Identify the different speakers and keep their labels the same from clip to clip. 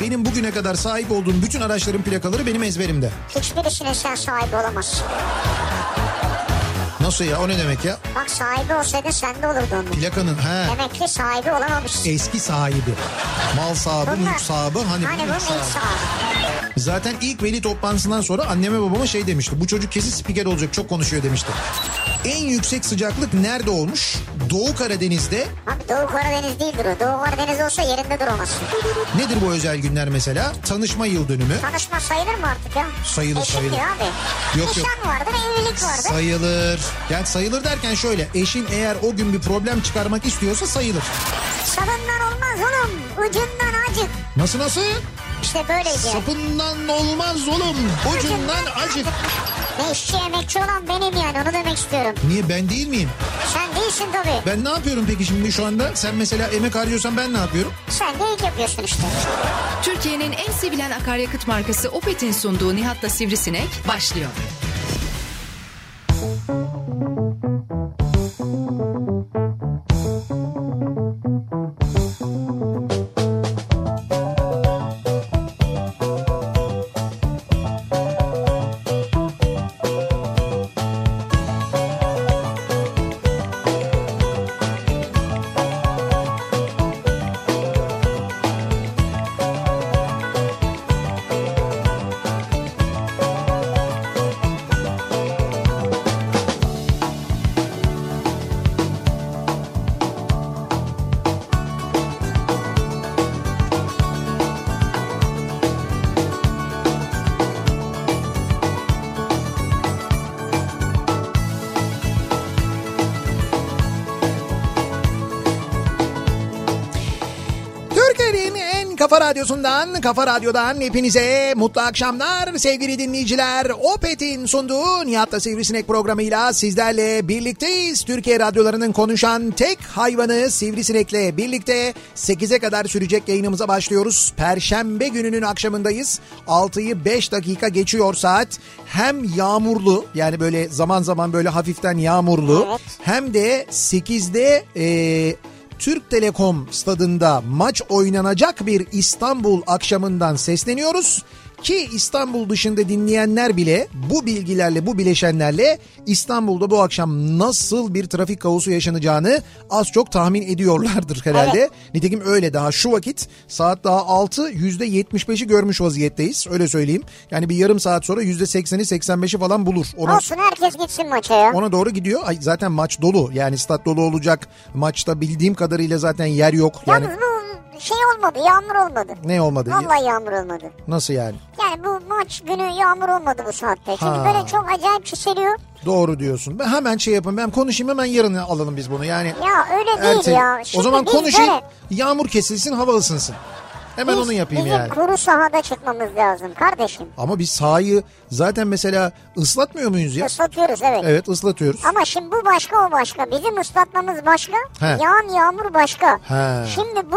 Speaker 1: Benim bugüne kadar sahip olduğum bütün araçların plakaları benim ezberimde.
Speaker 2: Hiçbirisine sen sahibi olamazsın.
Speaker 1: Nasıl ya o ne demek ya?
Speaker 2: Bak sahibi olsaydı sende olurdu onun.
Speaker 1: Plakanın he
Speaker 2: Demek ki sahibi olamamışsın.
Speaker 1: eski sahibi. Mal sahibi,
Speaker 2: Bunlar-
Speaker 1: mülk sahibi E, hani,
Speaker 2: hani
Speaker 1: mülk
Speaker 2: bunun
Speaker 1: sahibi.
Speaker 2: ilk sahibi.
Speaker 1: Zaten ilk veli toplantısından sonra anneme babama şey demişti. Bu çocuk kesin spiker olacak çok konuşuyor demişti. En yüksek sıcaklık nerede olmuş? Doğu Karadeniz'de
Speaker 2: Abi Doğu Karadeniz değildir o. Doğu Karadeniz olsa yerinde duramazsın.
Speaker 1: nedir bu özel günler mesela? Tanışma yıl dönümü.
Speaker 2: Tanışma sayılır mı artık ya?
Speaker 1: Sayılır,
Speaker 2: Eşim
Speaker 1: sayılır.
Speaker 2: diyor abi.
Speaker 1: Yok,
Speaker 2: Nişan
Speaker 1: yok.
Speaker 2: vardır, evlilik vardır.
Speaker 1: Sayılır. Yani sayılır derken şöyle eşin eğer o gün bir problem çıkarmak istiyorsa sayılır.
Speaker 2: Salından olmaz oğlum. Ucundan acık.
Speaker 1: Nasıl nasıl?
Speaker 2: İşte böyleydi. yani.
Speaker 1: Sapından olmaz oğlum. Ucundan acık.
Speaker 2: Ne işçi emekçi olan benim yani onu demek istiyorum.
Speaker 1: Niye ben değil miyim?
Speaker 2: Sen değilsin tabii.
Speaker 1: Ben ne yapıyorum peki şimdi şu anda? Sen mesela emek harcıyorsan ben ne yapıyorum?
Speaker 2: Sen de ilk yapıyorsun işte.
Speaker 3: Türkiye'nin en sevilen akaryakıt markası Opet'in sunduğu Nihat'la Sivrisinek başlıyor.
Speaker 1: Türkiye'nin en kafa radyosundan, kafa radyodan hepinize mutlu akşamlar sevgili dinleyiciler. Opet'in sunduğu Nihat'ta Sivrisinek programıyla sizlerle birlikteyiz. Türkiye radyolarının konuşan tek hayvanı Sivrisinek'le birlikte 8'e kadar sürecek yayınımıza başlıyoruz. Perşembe gününün akşamındayız. 6'yı 5 dakika geçiyor saat. Hem yağmurlu yani böyle zaman zaman böyle hafiften yağmurlu
Speaker 2: Evet.
Speaker 1: hem de 8'de eee Türk Telekom stadında maç oynanacak bir İstanbul akşamından sesleniyoruz. Ki İstanbul dışında dinleyenler bile bu bilgilerle bu bileşenlerle İstanbul'da bu akşam nasıl bir trafik kaosu yaşanacağını az çok tahmin ediyorlardır herhalde. Nitekim öyle daha şu vakit saat daha 6 %75'i görmüş vaziyetteyiz öyle söyleyeyim. Yani bir yarım saat sonra %80'i 85'i falan bulur. Ona
Speaker 2: Olsun herkes gitsin maça ya.
Speaker 1: ona doğru gidiyor. Ay, zaten maç dolu. Yani stat dolu olacak. Maçta bildiğim kadarıyla zaten yer yok. Yani
Speaker 2: Yalnız bu şey olmadı yağmur olmadı.
Speaker 1: ne olmadı?
Speaker 2: Vallahi yağmur olmadı.
Speaker 1: Nasıl yani?
Speaker 2: Yani bu maç günü yağmur olmadı bu saatte. Çünkü
Speaker 1: Ha.
Speaker 2: böyle çok acayip çiseliyor.
Speaker 1: Doğru diyorsun. Ben hemen şey yapayım. Ben konuşayım hemen yarın alalım biz bunu. Yani
Speaker 2: Ya öyle değil
Speaker 1: ertesi-
Speaker 2: ya. Şimdi
Speaker 1: o zaman
Speaker 2: biz
Speaker 1: konuşayım.
Speaker 2: böyle-
Speaker 1: Yağmur kesilsin, hava ısınsın. Hemen
Speaker 2: biz-
Speaker 1: onu yapayım
Speaker 2: bizim
Speaker 1: yani.
Speaker 2: kuru sahada çıkmamız lazım kardeşim.
Speaker 1: Ama biz sahayı zaten mesela ıslatmıyor muyuz ya?
Speaker 2: Islatıyoruz evet.
Speaker 1: Evet, ıslatıyoruz.
Speaker 2: Ama şimdi bu başka o başka. Bizim ıslatmamız başka.
Speaker 1: He.
Speaker 2: Yağan yağmur başka.
Speaker 1: He.
Speaker 2: Şimdi bu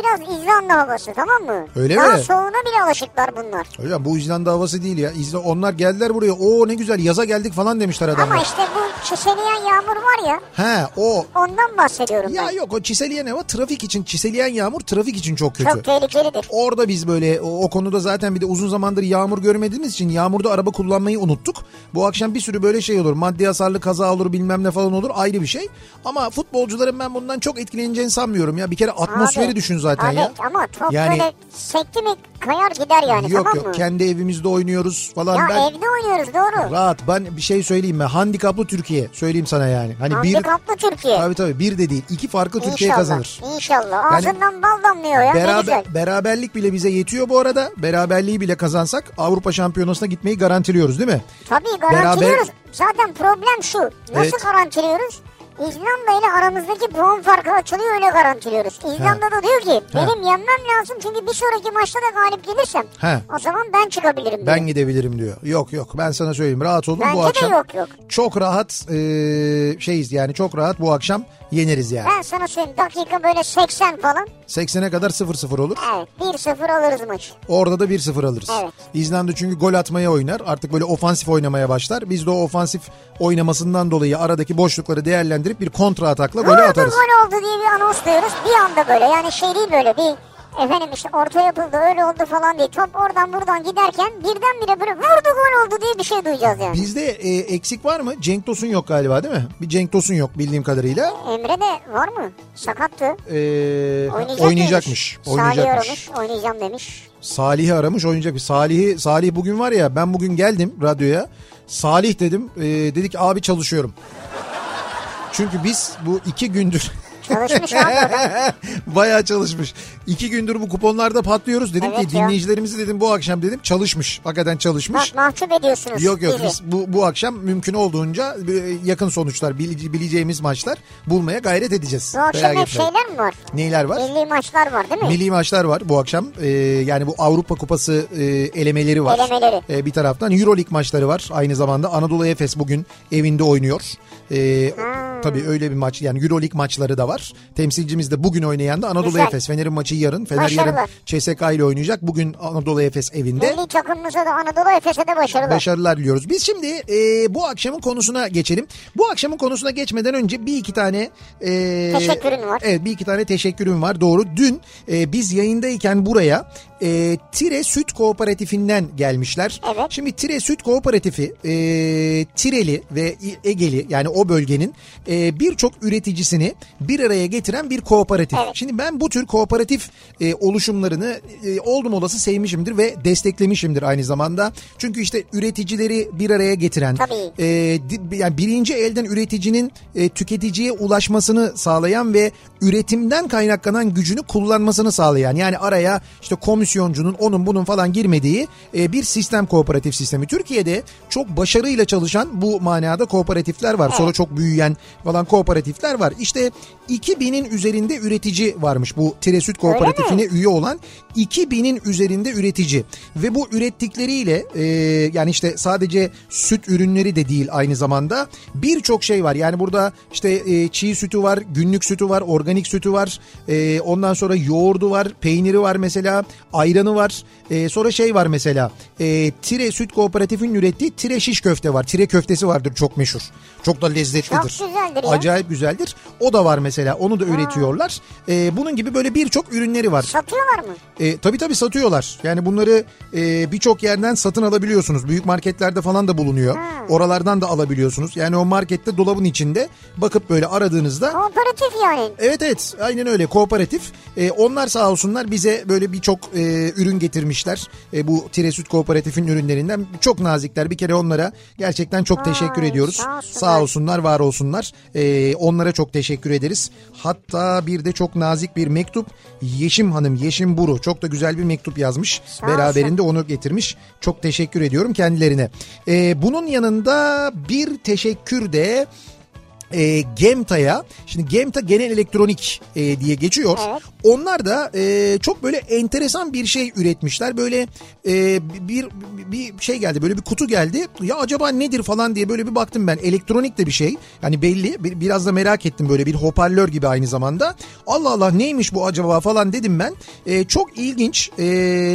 Speaker 2: biraz İzlanda havası tamam mı?
Speaker 1: Öyle
Speaker 2: Daha
Speaker 1: mi?
Speaker 2: soğuğuna bile alışıklar bunlar.
Speaker 1: Hocam bu İzlanda havası değil ya. İzla onlar geldiler buraya. Oo ne güzel yaza geldik falan demişler adamlar.
Speaker 2: Ama işte bu çiseleyen yağmur var ya
Speaker 1: He, o
Speaker 2: ondan bahsediyorum
Speaker 1: Ya
Speaker 2: ben.
Speaker 1: yok o çiseleyen hava trafik için çiseleyen yağmur trafik için çok kötü.
Speaker 2: Çok tehlikelidir.
Speaker 1: Orada biz böyle o, o konuda zaten bir de uzun zamandır yağmur görmediğimiz için yağmurda araba kullanmayı unuttuk. Bu akşam bir sürü böyle şey olur. Maddi hasarlı kaza olur bilmem ne falan olur ayrı bir şey. Ama futbolcuların ben bundan çok etkileneceğini sanmıyorum ya. Bir kere atmosferi
Speaker 2: Abi,
Speaker 1: düşün zaten
Speaker 2: abi,
Speaker 1: ya.
Speaker 2: Ama top
Speaker 1: Yani-
Speaker 2: böyle sekti mi kayar gider yani
Speaker 1: yok
Speaker 2: tamam
Speaker 1: yok
Speaker 2: mı?
Speaker 1: kendi evimizde oynuyoruz falan.
Speaker 2: ya
Speaker 1: ben...
Speaker 2: evde oynuyoruz doğru.
Speaker 1: Rahat ben bir şey söyleyeyim mi? Handikaplı Türkiye söyleyeyim sana yani. Hani bir
Speaker 2: Handikaplı Türkiye.
Speaker 1: tabii tabii bir de değil iki farklı Türkiye
Speaker 2: İnşallah,
Speaker 1: kazanır.
Speaker 2: İnşallah.
Speaker 1: Yani-
Speaker 2: Ağzından bal damlıyor ya ne güzel.
Speaker 1: Beraber, beraberlik bile bize yetiyor bu arada. Beraberliği bile kazansak Avrupa Şampiyonası'na gitmeyi garantiliyoruz değil mi?
Speaker 2: Tabii garantiliyoruz. Zaten problem şu. Nasıl
Speaker 1: Evet.
Speaker 2: garantiliyoruz? İzlanda ile aramızdaki puan farkı açılıyor öyle garantiliyoruz. İzlanda da diyor ki benim yenmem lazım çünkü bir sonraki maçta da galip gelirsem
Speaker 1: He.
Speaker 2: o zaman ben çıkabilirim
Speaker 1: Ben
Speaker 2: diyor.
Speaker 1: gidebilirim diyor. Yok yok ben sana söyleyeyim rahat olun
Speaker 2: Bence
Speaker 1: bu
Speaker 2: de
Speaker 1: akşam.
Speaker 2: yok, yok.
Speaker 1: Çok rahat e, şeyiz yani çok rahat bu akşam yeneriz yani.
Speaker 2: Ben sana söyleyeyim dakika böyle 80 falan.
Speaker 1: 80'e kadar 0-0 olur.
Speaker 2: Evet 1-0 alırız maçı.
Speaker 1: Orada da 1-0 alırız.
Speaker 2: Evet.
Speaker 1: İzlanda çünkü gol atmaya oynar. Artık böyle ofansif oynamaya başlar. Biz de o ofansif oynamasından dolayı aradaki boşlukları değerlendirip bir kontra atakla
Speaker 2: Gol
Speaker 1: golü
Speaker 2: oldu
Speaker 1: atarız.
Speaker 2: gol oldu diye bir anons duyuyoruz. Bir anda böyle yani şey değil böyle bir efendim işte orta yapıldı öyle oldu falan diye top oradan buradan giderken birdenbire böyle vurdu gol oldu diye bir şey duyacağız yani.
Speaker 1: Bizde e, eksik var mı? Cenk Tosun yok galiba değil mi? Bir Cenk Tosun yok bildiğim kadarıyla.
Speaker 2: Emre de var mı? Sakattı.
Speaker 1: E,
Speaker 2: Oynayacak
Speaker 1: oynayacakmış.
Speaker 2: demiş. Salih
Speaker 1: Oynayacakmış.
Speaker 2: aramış oynayacağım demiş.
Speaker 1: Salih'i aramış oynayacak. Salih'i Salih bugün var ya ben bugün geldim radyoya. Salih dedim. E, dedi ki abi çalışıyorum. Çünkü biz bu iki gündür
Speaker 2: Çalışmış abi adam.
Speaker 1: Bayağı çalışmış. İki gündür bu kuponlarda patlıyoruz. Dedim
Speaker 2: Evet
Speaker 1: ki
Speaker 2: ya.
Speaker 1: dinleyicilerimizi dedim bu akşam dedim çalışmış. Hakikaten çalışmış.
Speaker 2: Bak mahcup ediyorsunuz.
Speaker 1: Yok yok
Speaker 2: bizi.
Speaker 1: biz bu, bu akşam mümkün olduğunca e, yakın sonuçlar bile- bileceğimiz maçlar bulmaya gayret edeceğiz.
Speaker 2: Bu akşam
Speaker 1: Merak
Speaker 2: hep
Speaker 1: etmeyin.
Speaker 2: şeyler mi var?
Speaker 1: Neler var?
Speaker 2: Milli maçlar var değil mi?
Speaker 1: Milli maçlar var bu akşam. Ee, yani bu Avrupa Kupası e, elemeleri var.
Speaker 2: Elemeleri.
Speaker 1: Ee, bir taraftan Euroleague maçları var. Aynı zamanda Anadolu Efes bugün evinde oynuyor. Ee, Tabii öyle bir maç yani Euroleague maçları da var. Temsilcimiz de bugün oynayan da Anadolu
Speaker 2: Güzel.
Speaker 1: Efes. Fener'in maçı yarın. Fener yarın
Speaker 2: Başarılı.
Speaker 1: CSK ile oynayacak. Bugün Anadolu Efes evinde.
Speaker 2: Milli takımımıza da Anadolu Efes'e de başarılar.
Speaker 1: Başarılar diliyoruz. Biz şimdi e, bu akşamın konusuna geçelim. Bu akşamın konusuna geçmeden önce bir iki tane... E,
Speaker 2: Teşekkürün var.
Speaker 1: Evet bir iki tane teşekkürüm var doğru. Dün e, biz yayındayken buraya e, Tire Süt Kooperatifinden gelmişler.
Speaker 2: Evet.
Speaker 1: Şimdi Tire Süt Kooperatifi e, Tireli ve Egeli yani o bölgenin e, birçok üreticisini bir araya getiren bir kooperatif.
Speaker 2: Evet.
Speaker 1: Şimdi ben bu tür kooperatif e, oluşumlarını e, oldum olası sevmişimdir ve desteklemişimdir aynı zamanda. Çünkü işte üreticileri bir araya getiren
Speaker 2: Tabii.
Speaker 1: e, di- yani birinci elden üreticinin e, tüketiciye ulaşmasını sağlayan ve üretimden kaynaklanan gücünü kullanmasını sağlayan yani araya işte komisyoncunun onun bunun falan girmediği e, bir sistem kooperatif sistemi. Türkiye'de çok başarıyla çalışan bu manada kooperatifler var. Sonra çok büyüyen falan kooperatifler var. İşte 2000'in üzerinde üretici varmış bu Tiresüt kooperatifine üye olan 2000'in üzerinde üretici ve bu ürettikleriyle e, yani işte sadece süt ürünleri de değil aynı zamanda birçok şey var. Yani burada işte e, çiğ sütü var, günlük sütü var, organik sütü var. e, ondan sonra yoğurdu var, peyniri var mesela, ayranı var. E, sonra şey var mesela. E, tire Süt Kooperatifi'nin ürettiği tire şiş köfte var. Tire köftesi vardır çok meşhur. Çok da lezzetlidir.
Speaker 2: Çok güzeldir ya.
Speaker 1: Acayip güzeldir. O da var mesela. Onu da üretiyorlar. E, bunun gibi böyle birçok ürünleri var.
Speaker 2: Satıyorlar mı?
Speaker 1: E, tabii tabii satıyorlar. Yani bunları e, birçok yerden satın alabiliyorsunuz. Büyük marketlerde falan da bulunuyor. Oralardan da alabiliyorsunuz. Yani o markette dolabın içinde bakıp böyle aradığınızda
Speaker 2: Kooperatif yani.
Speaker 1: Evet evet aynen öyle kooperatif. Ee, onlar sağ olsunlar bize böyle birçok e, ürün getirmişler. E, bu Tire Süt Kooperatif'in ürünlerinden çok nazikler. Bir kere onlara gerçekten çok teşekkür ediyoruz.
Speaker 2: sağ olsunlar.
Speaker 1: Sağ olsunlar var olsunlar. Ee, onlara çok teşekkür ederiz. Hatta bir de çok nazik bir mektup Yeşim Hanım Yeşim Buru çok da güzel bir mektup yazmış.
Speaker 2: Sağ olsun.
Speaker 1: Beraberinde onu getirmiş. Çok teşekkür ediyorum kendilerine. Ee, bunun yanında bir teşekkür de e, Gemta'ya şimdi Gemta genel elektronik e, diye geçiyor.
Speaker 2: Evet.
Speaker 1: Onlar da e, çok böyle enteresan bir şey üretmişler. Böyle e, bir bir şey geldi böyle bir kutu geldi. Ya acaba nedir falan diye böyle bir baktım ben. Elektronik de bir şey. Hani belli Bir- biraz da merak ettim böyle bir hoparlör gibi aynı zamanda. Allah Allah neymiş bu acaba falan dedim ben. E, çok ilginç. E,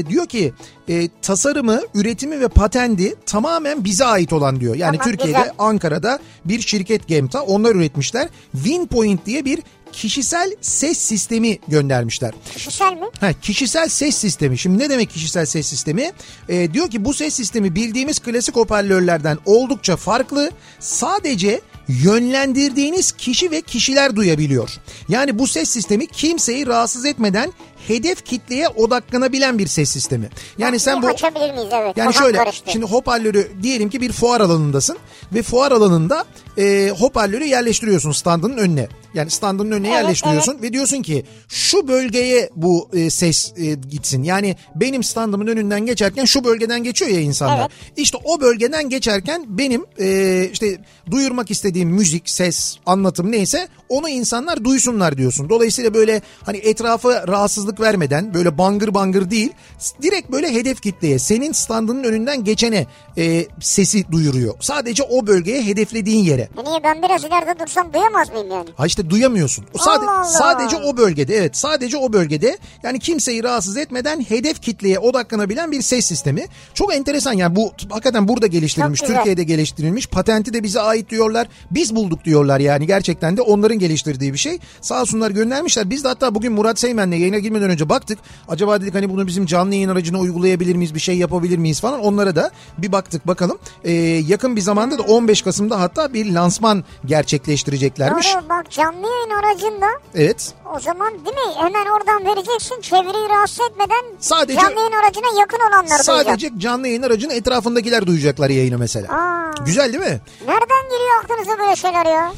Speaker 1: diyor ki e, tasarımı, üretimi ve patendi tamamen bize ait olan diyor. Yani
Speaker 2: Tamam,
Speaker 1: Hani Türkiye'de
Speaker 2: güzel.
Speaker 1: Ankara'da bir şirket Gemta. Onlar üretmişler. Winpoint diye bir kişisel ses sistemi göndermişler.
Speaker 2: Kişisel mi?
Speaker 1: Ha, kişisel ses sistemi. Şimdi ne demek kişisel ses sistemi? Ee, diyor ki bu ses sistemi bildiğimiz klasik hoparlörlerden oldukça farklı. Sadece yönlendirdiğiniz kişi ve kişiler duyabiliyor. Yani bu ses sistemi kimseyi rahatsız etmeden hedef kitleye odaklanabilen bir ses sistemi. Yani sen bu
Speaker 2: Açabilir miyiz evet.
Speaker 1: yani
Speaker 2: Kafam
Speaker 1: şöyle
Speaker 2: karıştı.
Speaker 1: şimdi hoparlörü diyelim ki bir fuar alanındasın ve fuar alanında e, hoparlörü yerleştiriyorsun standın önüne. Yani standın önüne
Speaker 2: Evet,
Speaker 1: yerleştiriyorsun ve diyorsun ki şu bölgeye bu e, ses e, gitsin. Yani benim standımın önünden geçerken şu bölgeden geçiyor ya insanlar.
Speaker 2: Evet.
Speaker 1: İşte o bölgeden geçerken benim e, işte duyurmak istediğim müzik, ses, anlatım neyse onu insanlar duysunlar diyorsun. Dolayısıyla böyle hani etrafa rahatsızlık vermeden böyle bangır bangır değil s- direkt böyle hedef kitleye senin standının önünden geçene e, sesi duyuruyor. Sadece o bölgeye hedeflediğin yere. öyle.
Speaker 2: E niye ben biraz ileride dursam duyamaz mıyım yani?
Speaker 1: Ha işte duyamıyorsun. O sade,
Speaker 2: Allah Allah.
Speaker 1: sadece o bölgede evet sadece o bölgede yani kimseyi rahatsız etmeden hedef kitleye odaklanabilen bir ses sistemi. Çok enteresan yani bu t- hakikaten burada geliştirilmiş
Speaker 2: Çok güzel.
Speaker 1: Türkiye'de geliştirilmiş patenti de bize ait diyorlar. Biz bulduk diyorlar yani gerçekten de onların geliştirdiği bir şey. Sağ olsunlar göndermişler. Biz de hatta bugün Murat Seymen'le yayına girmeden önce baktık. Acaba dedik hani bunu bizim canlı yayın aracına uygulayabilir miyiz bir şey yapabilir miyiz falan onlara da bir baktık bakalım. Ee, yakın bir zamanda da 15 Kasım'da hatta bir lansman gerçekleştireceklermiş.
Speaker 2: Doğru bak canlı yayın aracında
Speaker 1: Evet.
Speaker 2: o zaman değil mi hemen oradan vereceksin çevreyi rahatsız etmeden
Speaker 1: Sadece-
Speaker 2: canlı yayın aracına yakın olanları duyacak.
Speaker 1: Sadece canlı yayın aracının etrafındakiler duyacaklar yayını mesela.
Speaker 2: Aa.
Speaker 1: Güzel değil mi?
Speaker 2: Nereden geliyor aklınıza böyle şeyler ya?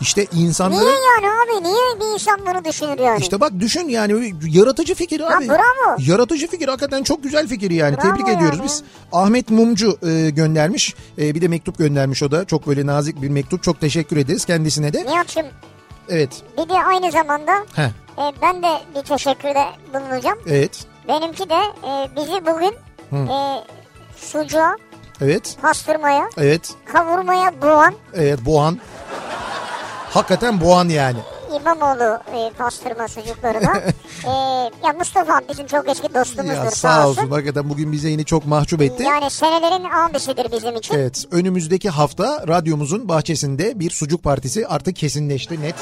Speaker 1: İşte
Speaker 2: Niye
Speaker 1: insanların...
Speaker 2: yani abi niye bir insan bunu düşünür yani?
Speaker 1: İşte bak düşün yani yaratıcı fikir abi.
Speaker 2: bravo.
Speaker 1: Yaratıcı fikir hakikaten çok güzel fikir yani.
Speaker 2: Bravo
Speaker 1: Tebrik ediyoruz
Speaker 2: yani.
Speaker 1: biz. Ahmet Mumcu e, göndermiş. E, bir de mektup göndermiş o da. Çok böyle nazik bir mektup. Çok teşekkür ederiz kendisine de.
Speaker 2: Nihat'cığım
Speaker 1: Evet.
Speaker 2: bir de aynı zamanda
Speaker 1: Heh.
Speaker 2: e, ben de bir teşekkürde bulunacağım.
Speaker 1: Evet.
Speaker 2: Benimki de e, bizi bugün e, sucuğa,
Speaker 1: Evet.
Speaker 2: pastırmaya,
Speaker 1: Evet.
Speaker 2: kavurmaya boğan
Speaker 1: Evet. Boğan. Hakikaten Boğan yani.
Speaker 2: İmamoğlu e, pastırma sucuklarına. e, ya Mustafa abi bizim çok eski dostumuzdur
Speaker 1: Ya
Speaker 2: sağ
Speaker 1: sağ
Speaker 2: olsun.
Speaker 1: olsun. Hakikaten bugün bize yine çok mahcup etti.
Speaker 2: Yani senelerin abisidir bizim için.
Speaker 1: Evet önümüzdeki hafta radyomuzun bahçesinde bir sucuk partisi artık kesinleşti net.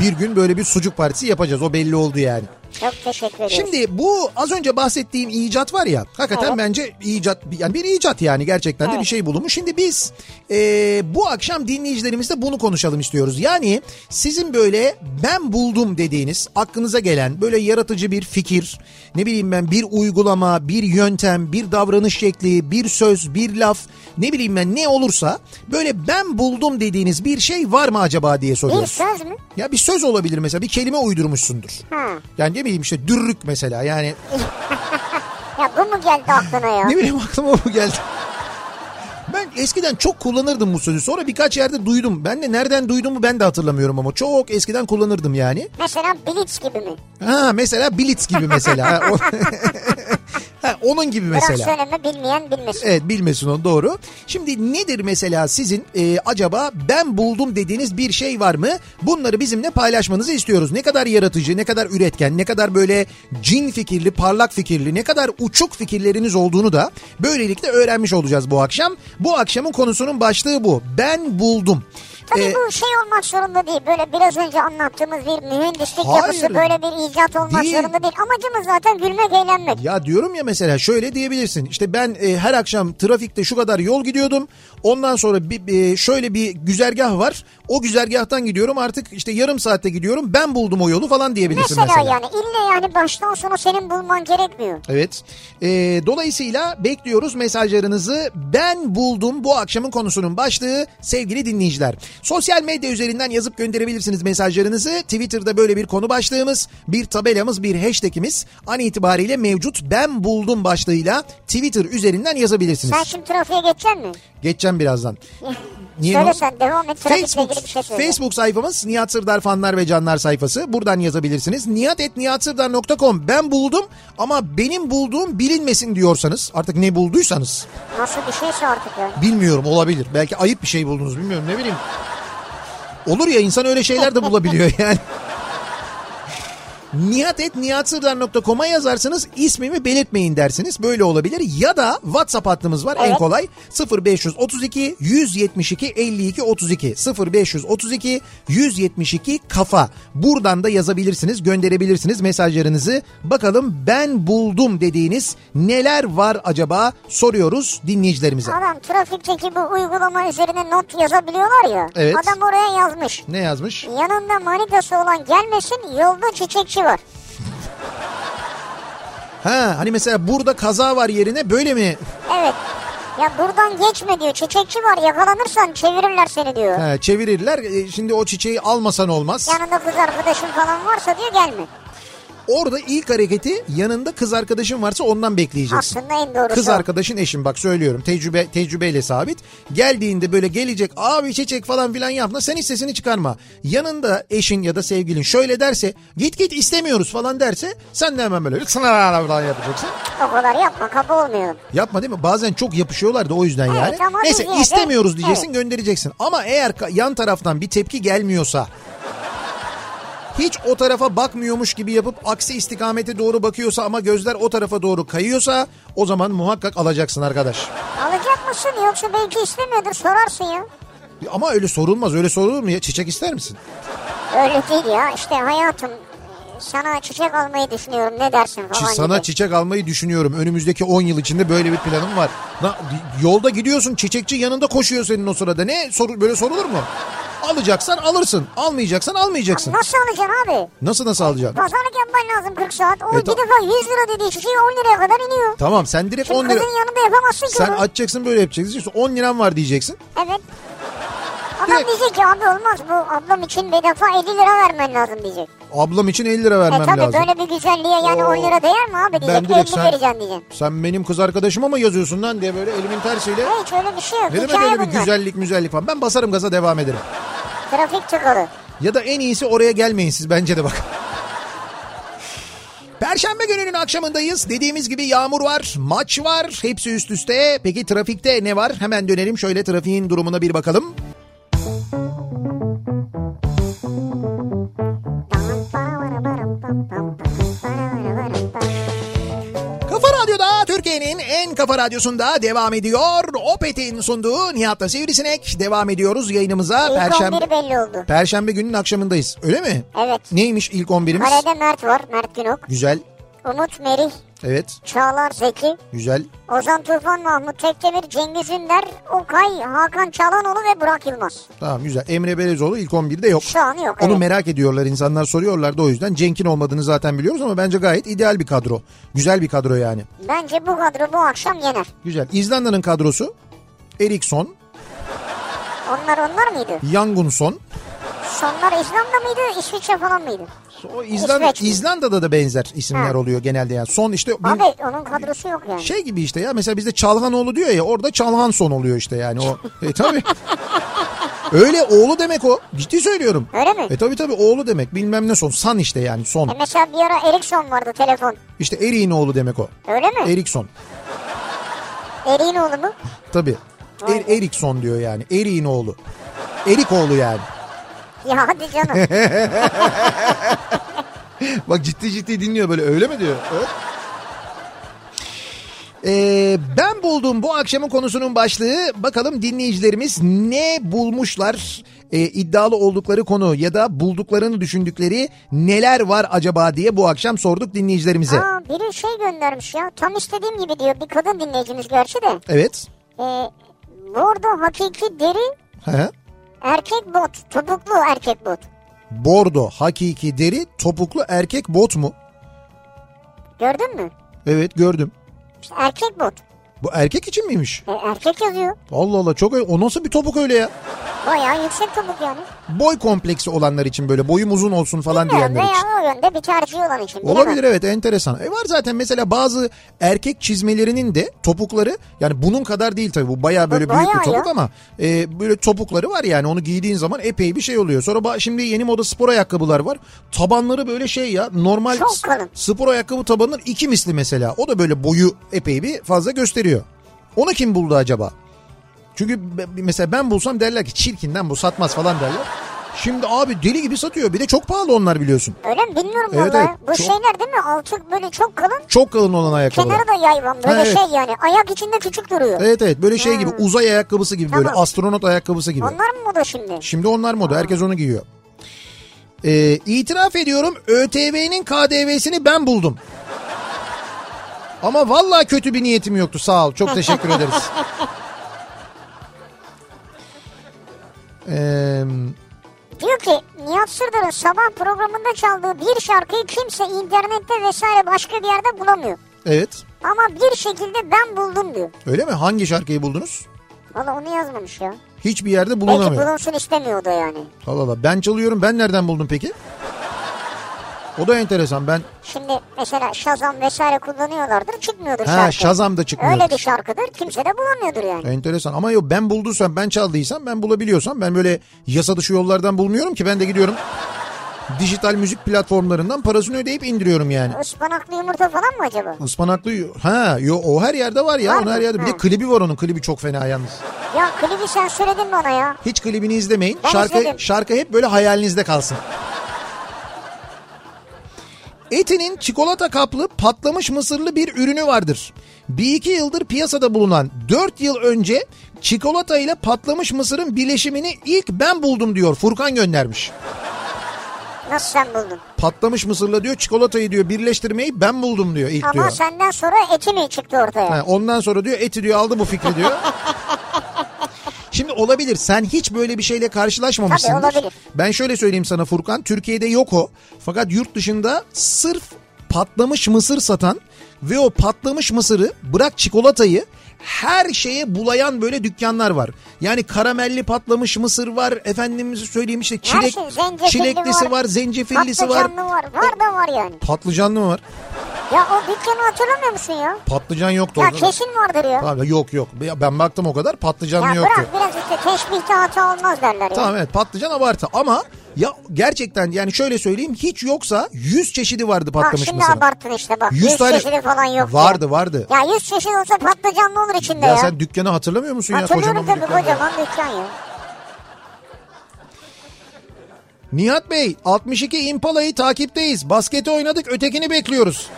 Speaker 1: Bir gün böyle bir sucuk partisi yapacağız o belli oldu yani.
Speaker 2: Çok teşekkür ediyoruz.
Speaker 1: Şimdi bu az önce bahsettiğim icat var ya hakikaten
Speaker 2: Evet.
Speaker 1: bence icat yani bir icat yani gerçekten de bir
Speaker 2: Evet.
Speaker 1: şey bulunmuş. Şimdi biz e, bu akşam dinleyicilerimizle bunu konuşalım istiyoruz. Yani sizin böyle ben buldum dediğiniz aklınıza gelen böyle yaratıcı bir fikir ne bileyim ben bir uygulama bir yöntem bir davranış şekli bir söz bir laf ne bileyim ben ne olursa böyle ben buldum dediğiniz bir şey var mı acaba diye
Speaker 2: Bir
Speaker 1: soruyoruz.
Speaker 2: söz mü?
Speaker 1: Ya bir söz olabilir mesela bir kelime uydurmuşsundur.
Speaker 2: Ha.
Speaker 1: Yani ne bileyim işte dürrük mesela yani
Speaker 2: Ya bu mu geldi aklına ya?
Speaker 1: ne bileyim aklıma bu geldi. Ben eskiden çok kullanırdım bu sözü. Sonra birkaç yerde duydum. Ben de nereden duyduğumu ben de hatırlamıyorum ama çok eskiden kullanırdım yani.
Speaker 2: Mesela Blitz gibi mi?
Speaker 1: Ha mesela Blitz gibi mesela. Ha, o- ha, onun gibi
Speaker 2: Biraz
Speaker 1: mesela. E,
Speaker 2: söyleme bilmeyen bilmesin.
Speaker 1: Evet bilmesin onu doğru. Şimdi nedir mesela sizin e, acaba ben buldum dediğiniz bir şey var mı? Bunları bizimle paylaşmanızı istiyoruz. Ne kadar yaratıcı, ne kadar üretken, ne kadar böyle cin fikirli, parlak fikirli, ne kadar uçuk fikirleriniz olduğunu da böylelikle öğrenmiş olacağız bu akşam. Bu akşamın konusunun başlığı bu. Ben buldum.
Speaker 2: Tabii
Speaker 1: Ee,
Speaker 2: bu şey olmak zorunda değil. Böyle biraz önce anlattığımız bir mühendislik
Speaker 1: Hayır.
Speaker 2: yapısı böyle bir icat olmak
Speaker 1: Değil.
Speaker 2: zorunda değil. Amacımız zaten gülmek, eğlenmek.
Speaker 1: Ya diyorum ya mesela şöyle diyebilirsin. İşte ben e, her akşam trafikte şu kadar yol gidiyordum. Ondan sonra bir, bir- şöyle bir güzergah var. O güzergahtan gidiyorum artık işte yarım saatte gidiyorum. Ben buldum o yolu falan diyebilirsin
Speaker 2: Mesela,
Speaker 1: mesela.
Speaker 2: yani illa yani baştan sona senin bulman gerekmiyor.
Speaker 1: Evet. E, dolayısıyla bekliyoruz mesajlarınızı. Ben buldum bu akşamın konusunun başlığı sevgili dinleyiciler. Sosyal medya üzerinden yazıp gönderebilirsiniz mesajlarınızı. Twitter'da böyle bir konu başlığımız, bir tabelamız, bir hashtagimiz an itibariyle mevcut. Ben buldum başlığıyla Twitter üzerinden yazabilirsiniz.
Speaker 2: Sen şimdi trafiğe geçeceksin mi?
Speaker 1: Geçeceğim birazdan. Niye
Speaker 2: Söyle
Speaker 1: no-
Speaker 2: sen devam et. Trafikle
Speaker 1: Facebook,
Speaker 2: ilgili bir şey söyle.
Speaker 1: Facebook sayfamız Nihat Sırdar fanlar ve canlar sayfası. Buradan yazabilirsiniz. nihat.nihatsırdar.com Ben buldum ama benim bulduğum bilinmesin diyorsanız artık ne bulduysanız
Speaker 2: Nasıl bir şeyse artık yani.
Speaker 1: bilmiyorum olabilir. Belki ayıp bir şey buldunuz bilmiyorum ne bileyim. Olur ya insan öyle şeyler de bulabiliyor yani. Nihat.nihatsırdar.com'a yazarsınız ismimi belirtmeyin dersiniz böyle olabilir ya da WhatsApp hattımız var en
Speaker 2: Evet.
Speaker 1: kolay 0532 172 52 32 0532 172 kafa buradan da yazabilirsiniz gönderebilirsiniz mesajlarınızı bakalım ben buldum dediğiniz neler var acaba soruyoruz dinleyicilerimize.
Speaker 2: Adam trafikteki bu uygulama üzerine not yazabiliyorlar ya.
Speaker 1: Evet.
Speaker 2: Adam oraya yazmış.
Speaker 1: Ne yazmış?
Speaker 2: Yanında manitası olan gelmesin yolda çiçekçi var.
Speaker 1: Ha hani mesela burada kaza var yerine böyle mi?
Speaker 2: Evet. Ya buradan geçme diyor. Çiçekçi var yakalanırsan çevirirler seni diyor.
Speaker 1: Ha, E, çevirirler. E, Şimdi o çiçeği almasan olmaz.
Speaker 2: Yanında kız arkadaşın falan varsa diyor gelme.
Speaker 1: Orada ilk hareketi yanında kız arkadaşın varsa ondan bekleyeceksin.
Speaker 2: Aslında en doğrusu.
Speaker 1: Kız arkadaşın eşin bak söylüyorum tecrübe tecrübeyle sabit. Geldiğinde böyle gelecek abi çiçek falan filan yapma sen hiç sesini çıkarma. Yanında eşin ya da sevgilin şöyle derse git git istemiyoruz falan derse sen de hemen böyle sınır falan yapacaksın.
Speaker 2: O kadar yapma kaba olmuyorum.
Speaker 1: Yapma değil mi? Bazen çok yapışıyorlar da o yüzden yani.
Speaker 2: ama
Speaker 1: Neyse
Speaker 2: biz yine de-
Speaker 1: istemiyoruz diyeceksin
Speaker 2: Evet.
Speaker 1: göndereceksin. Ama eğer ka- yan taraftan bir tepki gelmiyorsa hiç o tarafa bakmıyormuş gibi yapıp aksi istikamete doğru bakıyorsa ama gözler o tarafa doğru kayıyorsa o zaman muhakkak alacaksın arkadaş.
Speaker 2: Alacak mısın yoksa belki istemiyordur sorarsın ya.
Speaker 1: Ama öyle sorulmaz öyle sorulur mu ya çiçek ister misin?
Speaker 2: Öyle değil ya işte hayatım sana çiçek almayı düşünüyorum ne dersin
Speaker 1: Çi-
Speaker 2: falan
Speaker 1: sana
Speaker 2: gibi.
Speaker 1: çiçek almayı düşünüyorum önümüzdeki 10 yıl içinde böyle bir planım var. Na- yolda gidiyorsun çiçekçi yanında koşuyor senin o sırada ne soru böyle sorulur mu? Alacaksan alırsın almayacaksan almayacaksın.
Speaker 2: Nasıl alacaksın abi?
Speaker 1: Nasıl nasıl alacaksın?
Speaker 2: Pazarlık yapman lazım 40 saat. O
Speaker 1: E,
Speaker 2: bir
Speaker 1: ta-
Speaker 2: defa 100 lira dediği çiçeği 10 liraya kadar iniyor.
Speaker 1: Tamam sen direkt
Speaker 2: Şimdi
Speaker 1: 10 lira...
Speaker 2: kızın yanında yapamazsın ki
Speaker 1: Sen
Speaker 2: bunu.
Speaker 1: açacaksın böyle yapacaksın. İşte 10 liram var diyeceksin.
Speaker 2: Evet. Adam
Speaker 1: Direkt-
Speaker 2: diyecek ki abi olmaz bu ablam için bir defa 50 lira vermen lazım diyecek.
Speaker 1: Ablam için 50 lira vermem
Speaker 2: e tabii
Speaker 1: lazım.
Speaker 2: böyle bir güzelliğe yani
Speaker 1: Oo.
Speaker 2: 10 lira değer mi abi
Speaker 1: Ben
Speaker 2: diyecek. 50
Speaker 1: direkt sen,
Speaker 2: vereceksin diyecek.
Speaker 1: sen benim kız arkadaşıma mı yazıyorsun lan diye böyle elimin tersiyle.
Speaker 2: Hiç öyle bir şey yok.
Speaker 1: Ne demek
Speaker 2: Hikaye
Speaker 1: öyle bir
Speaker 2: bunlar.
Speaker 1: güzellik müzellik falan. Ben basarım gaza devam ederim.
Speaker 2: Trafik tıkalı.
Speaker 1: Ya da en iyisi oraya gelmeyin siz bence de bak. Perşembe gününün akşamındayız. Dediğimiz gibi yağmur var, maç var. Hepsi üst üste. Peki trafikte ne var? Hemen dönelim şöyle trafiğin durumuna bir bakalım. Kafa Radyo'da Türkiye'nin en kafa radyosunda devam ediyor. Opet'in sunduğu Nihat'la Sivrisinek. Devam ediyoruz yayınımıza.
Speaker 2: İlk
Speaker 1: Perşembe,
Speaker 2: 11'i belli oldu.
Speaker 1: Perşembe gününün akşamındayız. Öyle mi?
Speaker 2: Evet.
Speaker 1: Neymiş ilk 11'imiz?
Speaker 2: Kalede Mert var. Mert Günok.
Speaker 1: Güzel.
Speaker 2: Umut Merih.
Speaker 1: Evet.
Speaker 2: Çağlar Zeki.
Speaker 1: Güzel.
Speaker 2: Ozan Tufan, Mahmut Tekdemir, Cengiz Ünder, Okay, Hakan Çalanoğlu ve Burak Yılmaz.
Speaker 1: Tamam güzel. Emre Belezoğlu ilk 11'de yok.
Speaker 2: Şu an yok.
Speaker 1: Onu
Speaker 2: evet.
Speaker 1: merak ediyorlar insanlar soruyorlar da o yüzden Cenk'in olmadığını zaten biliyoruz ama bence gayet ideal bir kadro. Güzel bir kadro yani.
Speaker 2: Bence bu kadro bu akşam yener.
Speaker 1: Güzel. İzlanda'nın kadrosu Eriksson,
Speaker 2: Onlar onlar mıydı?
Speaker 1: Yangunson.
Speaker 2: Sonlar İzlanda mıydı? İsviçre falan mıydı?
Speaker 1: O İzlanda,
Speaker 2: İsveç mi?
Speaker 1: İzlanda'da da benzer isimler
Speaker 2: Ha.
Speaker 1: oluyor genelde yani. Son işte bu-
Speaker 2: Abi onun kadrosu yok yani.
Speaker 1: şey gibi işte ya mesela bizde Çalhanoğlu diyor ya orada Çalhanson oluyor işte yani o. E tabii. Öyle oğlu demek o. Ciddi söylüyorum.
Speaker 2: Öyle mi?
Speaker 1: E tabii tabii oğlu demek. Bilmem ne son. San işte yani
Speaker 2: E
Speaker 1: son.
Speaker 2: mesela bir ara Eriksson vardı telefon.
Speaker 1: İşte Erik'in oğlu demek o.
Speaker 2: Öyle mi?
Speaker 1: Erikson.
Speaker 2: Eriğin oğlu mu?
Speaker 1: Tabii. Er, Erikson diyor yani. Erik'in oğlu. Erik oğlu yani.
Speaker 2: Ya hadi canım.
Speaker 1: Bak ciddi ciddi dinliyor böyle öyle mi diyor? Evet. Ee, ben buldum bu akşamın konusunun başlığı. Bakalım dinleyicilerimiz ne bulmuşlar? Ee, iddialı oldukları konu ya da bulduklarını düşündükleri neler var acaba diye bu akşam sorduk dinleyicilerimize.
Speaker 2: Aa, biri şey göndermiş ya. Tam istediğim gibi diyor. Bir kadın dinleyicimiz gerçi de.
Speaker 1: Evet.
Speaker 2: Ee, bordo hakiki deri
Speaker 1: Hı hı.
Speaker 2: erkek bot. Topuklu erkek bot.
Speaker 1: Bordo, hakiki deri, topuklu erkek bot mu?
Speaker 2: Gördün mü?
Speaker 1: Evet gördüm.
Speaker 2: İşte erkek bot.
Speaker 1: Bu erkek için miymiş?
Speaker 2: E, erkek yazıyor.
Speaker 1: Allah Allah çok öyle. O nasıl bir topuk öyle ya?
Speaker 2: Bayağı yüksek topuk yani.
Speaker 1: Boy kompleksi olanlar için böyle boyum uzun olsun falan
Speaker 2: Bilmiyorum
Speaker 1: diyenler için.
Speaker 2: veya o yönde bir tercih olan için. bilemem.
Speaker 1: Olabilir evet enteresan. E var zaten mesela bazı erkek çizmelerinin de topukları yani bunun kadar değil tabii bu bayağı böyle
Speaker 2: Bu
Speaker 1: büyük bir
Speaker 2: bayağı
Speaker 1: topuk
Speaker 2: ya.
Speaker 1: ama e, böyle topukları var yani onu giydiğin zaman epey bir şey oluyor. Sonra ba- şimdi yeni moda spor ayakkabılar var. Tabanları böyle şey ya normal
Speaker 2: Çok
Speaker 1: s-
Speaker 2: kalın.
Speaker 1: spor ayakkabı tabanının iki misli mesela. O da böyle boyu epey bir fazla gösteriyor. Onu kim buldu acaba? Çünkü be- mesela ben bulsam derler ki çirkinden bu satmaz falan derler. Şimdi abi deli gibi satıyor. Bir de çok pahalı onlar biliyorsun.
Speaker 2: Öyle mi bilmiyorum
Speaker 1: Evet,
Speaker 2: vallahi.
Speaker 1: evet.
Speaker 2: Bu
Speaker 1: Çok-
Speaker 2: şeyler değil mi? Altı böyle çok kalın.
Speaker 1: Çok kalın olan ayakkabılar.
Speaker 2: Kenarı da yayvan. Böyle
Speaker 1: Ha, evet.
Speaker 2: şey yani. Ayak içinde küçük duruyor.
Speaker 1: Evet evet böyle şey gibi uzay ayakkabısı gibi böyle
Speaker 2: Hmm. Tamam.
Speaker 1: astronot ayakkabısı gibi.
Speaker 2: Onlar mı moda şimdi?
Speaker 1: Şimdi onlar moda herkes onu giyiyor. Ee, itiraf ediyorum ÖTV'nin KDV'sini ben buldum. Ama vallahi kötü bir niyetim yoktu sağ ol çok teşekkür ederiz. Ee,
Speaker 2: Diyor ki Nihat Sırdar'ın sabah programında çaldığı bir şarkıyı kimse internette vesaire başka bir yerde bulamıyor.
Speaker 1: evet
Speaker 2: Ama bir şekilde ben buldum diyor.
Speaker 1: öyle mi hangi şarkıyı buldunuz?
Speaker 2: Valla onu yazmamış ya.
Speaker 1: Hiçbir yerde
Speaker 2: Belki
Speaker 1: bulunamıyor.
Speaker 2: bulunsun istemiyor o da yani.
Speaker 1: Allah Allah ben çalıyorum ben nereden buldum peki? O da enteresan ben.
Speaker 2: Şimdi mesela Shazam vesaire kullanıyorlardır çıkmıyordur
Speaker 1: Ha,
Speaker 2: şarkı.
Speaker 1: Shazam da çıkmıyordur.
Speaker 2: Öyle bir şarkıdır kimse de bulamıyordur yani.
Speaker 1: Enteresan ama yok ben bulduysam ben çaldıysam ben bulabiliyorsam ben böyle yasa dışı yollardan bulmuyorum ki ben de gidiyorum dijital müzik platformlarından parasını ödeyip indiriyorum yani.
Speaker 2: Ispanaklı yumurta falan mı acaba?
Speaker 1: Ispanaklı yo- ha yo o her yerde var ya
Speaker 2: Var
Speaker 1: onun
Speaker 2: mı?
Speaker 1: her yerde bir de
Speaker 2: Ha.
Speaker 1: klibi var onun klibi çok fena yalnız.
Speaker 2: Ya klibi sen söyledin bana ya.
Speaker 1: Hiç klibini izlemeyin.
Speaker 2: Ben
Speaker 1: şarkı
Speaker 2: izledim.
Speaker 1: şarkı hep böyle hayalinizde kalsın. Eti'nin çikolata kaplı patlamış mısırlı bir ürünü vardır. Bir iki yıldır piyasada bulunan 4 yıl önce çikolata ile patlamış mısırın birleşimini ilk ben buldum diyor Furkan göndermiş.
Speaker 2: Nasıl sen buldun?
Speaker 1: Patlamış mısırla diyor çikolatayı diyor birleştirmeyi ben buldum diyor ilk
Speaker 2: Ama
Speaker 1: diyor.
Speaker 2: senden sonra eti mi çıktı ortaya?
Speaker 1: Ha, ondan sonra diyor eti diyor aldı bu fikri diyor. Şimdi olabilir sen hiç böyle bir şeyle karşılaşmamışsındır.
Speaker 2: Tabii, olabilir.
Speaker 1: Ben şöyle söyleyeyim sana Furkan Türkiye'de yok o. Fakat yurt dışında sırf patlamış mısır satan ve o patlamış mısırı bırak çikolatayı her şeye bulayan böyle dükkanlar var. Yani karamelli patlamış mısır var. Efendimize söyleyeyim işte
Speaker 2: Her
Speaker 1: çilek,
Speaker 2: şey, zencefilli
Speaker 1: çileklisi var,
Speaker 2: var,
Speaker 1: zencefillisi var.
Speaker 2: Patlıcanlı var. Var da var yani.
Speaker 1: Patlıcanlı mı var?
Speaker 2: Ya o dükkanı hatırlamıyor musun ya?
Speaker 1: Patlıcan yoktu.
Speaker 2: Ya
Speaker 1: orada.
Speaker 2: kesin vardır ya.
Speaker 1: Tamam, yok yok ben baktım o kadar patlıcanlı
Speaker 2: Ya
Speaker 1: yoktu.
Speaker 2: bırak biraz işte teşbihte hata olmaz derler ya.
Speaker 1: Tamam evet patlıcan abartı ama ya gerçekten yani şöyle söyleyeyim hiç yoksa 100 çeşidi vardı
Speaker 2: Bak
Speaker 1: patlamış
Speaker 2: şimdi
Speaker 1: mısırın.
Speaker 2: abarttın işte bak. 100, çeşidi falan yok.
Speaker 1: Vardı vardı.
Speaker 2: Ya. ya 100 çeşit olsa patlıcanlı olur içinde
Speaker 1: Ya,
Speaker 2: ya.
Speaker 1: sen dükkanı hatırlamıyor musun ya
Speaker 2: Hatırlıyorum
Speaker 1: kocaman bir
Speaker 2: tabii
Speaker 1: dükkan?
Speaker 2: kocaman dükkan ya.
Speaker 1: Nihat Bey 62 Impala'yı takipteyiz. Basketi oynadık ötekini bekliyoruz.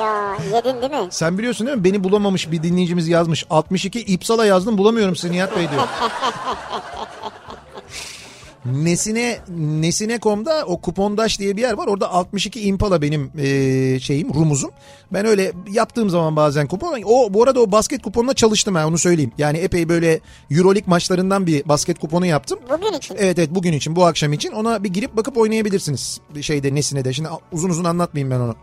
Speaker 2: Ya yedin değil mi?
Speaker 1: Sen biliyorsun değil mi beni bulamamış bir dinleyicimiz yazmış. 62 İpsala yazdım bulamıyorum seni Nihat Bey diyor. Nesine Nesine.com'da o kupondaş diye bir yer var. Orada 62 Impala benim eee, şeyim, rumuzum. Ben öyle yaptığım zaman bazen kupon. O bu arada o basket kuponuna çalıştım ha onu söyleyeyim. Yani epey böyle EuroLeague maçlarından bir basket kuponu yaptım.
Speaker 2: Bugün için.
Speaker 1: Evet evet bugün için bu akşam için ona bir girip bakıp oynayabilirsiniz. Bir Şeyde Nesine'de. Şimdi uzun uzun anlatmayayım ben onu.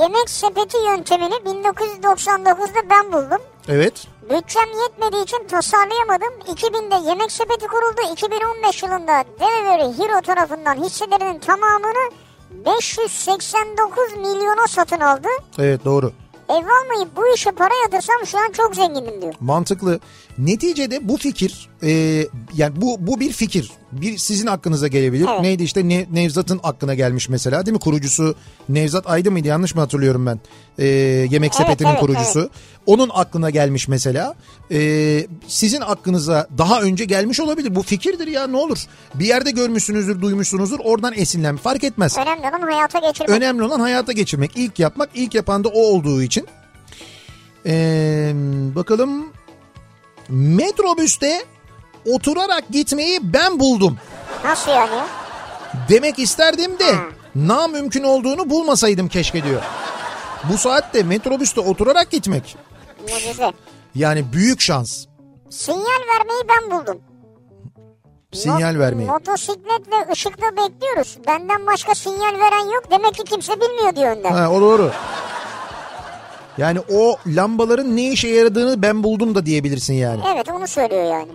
Speaker 2: Yemek sepeti yöntemini 1999'da ben buldum.
Speaker 1: Evet.
Speaker 2: Bütçem yetmediği için tasarlayamadım. 2000'de yemek sepeti kuruldu. 2015 yılında Delivery Hero tarafından hisselerinin tamamını 589 milyona satın aldı.
Speaker 1: Evet doğru.
Speaker 2: Ev almayıp bu işe para yatırsam şu an çok zenginim diyor.
Speaker 1: mantıklı. Neticede bu fikir e, yani bu bu bir fikir. Bir sizin hakkınıza gelebilir.
Speaker 2: Evet.
Speaker 1: Neydi işte Ne- Nevzat'ın hakkına gelmiş mesela değil mi? Kurucusu Nevzat Aydın mıydı? Yanlış mı hatırlıyorum ben? E, yemek sepetinin
Speaker 2: evet,
Speaker 1: kurucusu. Onun aklına gelmiş mesela. E, sizin aklınıza daha önce gelmiş olabilir. Bu fikirdir ya ne olur. Bir yerde görmüşsünüzdür, duymuşsunuzdur. Oradan esinlenme fark etmez.
Speaker 2: Önemli olan hayata geçirmek.
Speaker 1: Önemli olan hayata geçirmek. ilk yapmak, ilk yapan da o olduğu için. Ee, bakalım. Metrobüste oturarak gitmeyi ben buldum.
Speaker 2: Nasıl yani?
Speaker 1: Demek isterdim de na mümkün olduğunu bulmasaydım keşke diyor. Bu saatte metrobüste oturarak gitmek
Speaker 2: Mucize.
Speaker 1: yani büyük şans.
Speaker 2: Sinyal vermeyi ben buldum.
Speaker 1: Sinyal
Speaker 2: Mo-
Speaker 1: vermeyi.
Speaker 2: Motosikletle ışıkta bekliyoruz. Benden başka sinyal veren yok. Demek ki kimse bilmiyor diyor önden.
Speaker 1: Ha, o doğru. Yani o lambaların ne işe yaradığını ben buldum da diyebilirsin yani.
Speaker 2: Evet onu söylüyor yani.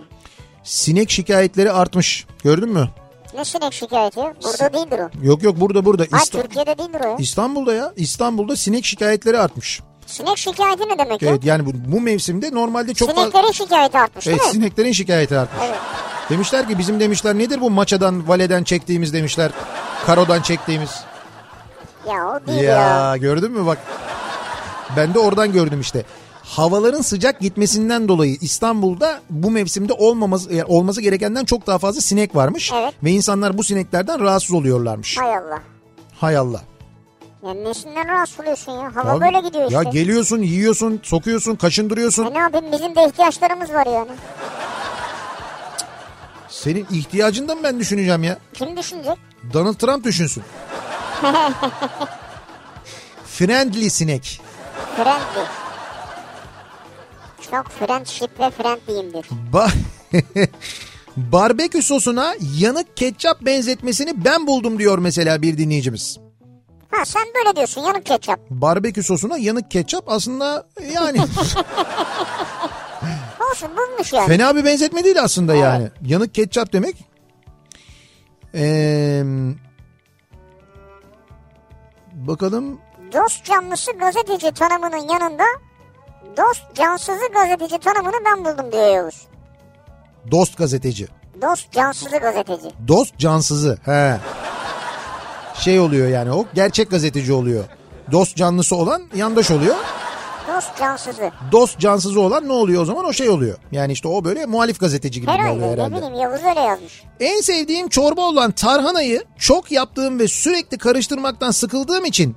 Speaker 1: Sinek şikayetleri artmış. Gördün mü?
Speaker 2: Ne sinek şikayeti? Burada değildir o.
Speaker 1: Yok yok burada burada.
Speaker 2: Hayır
Speaker 1: İsta-
Speaker 2: Türkiye'de değildir o ya.
Speaker 1: İstanbul'da ya İstanbul'da sinek şikayetleri artmış.
Speaker 2: Sinek şikayeti ne demek ya?
Speaker 1: Evet yani bu, bu mevsimde normalde çok fazla
Speaker 2: Sineklerin şikayeti artmış
Speaker 1: evet,
Speaker 2: değil mi?
Speaker 1: sineklerin şikayeti artmış.
Speaker 2: Evet.
Speaker 1: Demişler ki bizim demişler nedir bu maçadan valeden çektiğimiz demişler. Karodan çektiğimiz.
Speaker 2: Ya o
Speaker 1: Ya,
Speaker 2: değil ya.
Speaker 1: gördün mü bak. Ben de oradan gördüm işte. Havaların sıcak gitmesinden dolayı İstanbul'da bu mevsimde olmaması e, olması gerekenden çok daha fazla sinek varmış
Speaker 2: Evet.
Speaker 1: ve insanlar bu sineklerden rahatsız oluyorlarmış.
Speaker 2: Hay Allah.
Speaker 1: Hay Allah.
Speaker 2: Ya nesinden rahatsız oluyorsun ya? Hava
Speaker 1: Abi,
Speaker 2: böyle gidiyor işte.
Speaker 1: Ya geliyorsun, yiyorsun, sokuyorsun, kaşındırıyorsun.
Speaker 2: E ne yapayım bizim de ihtiyaçlarımız var yani.
Speaker 1: Senin ihtiyacını da mı ben düşüneceğim ya?
Speaker 2: Kim düşünecek?
Speaker 1: Donald Trump düşünsün. Friendly sinek.
Speaker 2: Friendly. Çok friendship ve friendly'imdir.
Speaker 1: Ba Barbekü sosuna yanık ketçap benzetmesini ben buldum diyor mesela bir dinleyicimiz.
Speaker 2: Ha sen böyle diyorsun yanık ketçap.
Speaker 1: Barbekü sosuna yanık ketçap aslında yani
Speaker 2: Olsun bulmuş yani.
Speaker 1: fena bir benzetme değil aslında yani. Yanık ketçap demek. Ee, Bakalım
Speaker 2: Dost canlısı gazeteci tanımının yanında dost cansızı gazeteci tanımını ben buldum diyor Yavuz.
Speaker 1: Dost gazeteci.
Speaker 2: Dost cansızı gazeteci.
Speaker 1: Dost cansızı. He. Şey oluyor yani o gerçek gazeteci oluyor. Dost canlısı olan yandaş oluyor.
Speaker 2: Dost cansızı.
Speaker 1: Dost cansızı olan ne oluyor o zaman? O şey oluyor. Yani işte o böyle muhalif gazeteci gibi bir oluyor
Speaker 2: Herhalde, ne
Speaker 1: herhalde.
Speaker 2: bileyim Yavuz öyle yazmış.
Speaker 1: En sevdiğim çorba olan tarhanayı çok yaptığım ve sürekli karıştırmaktan sıkıldığım için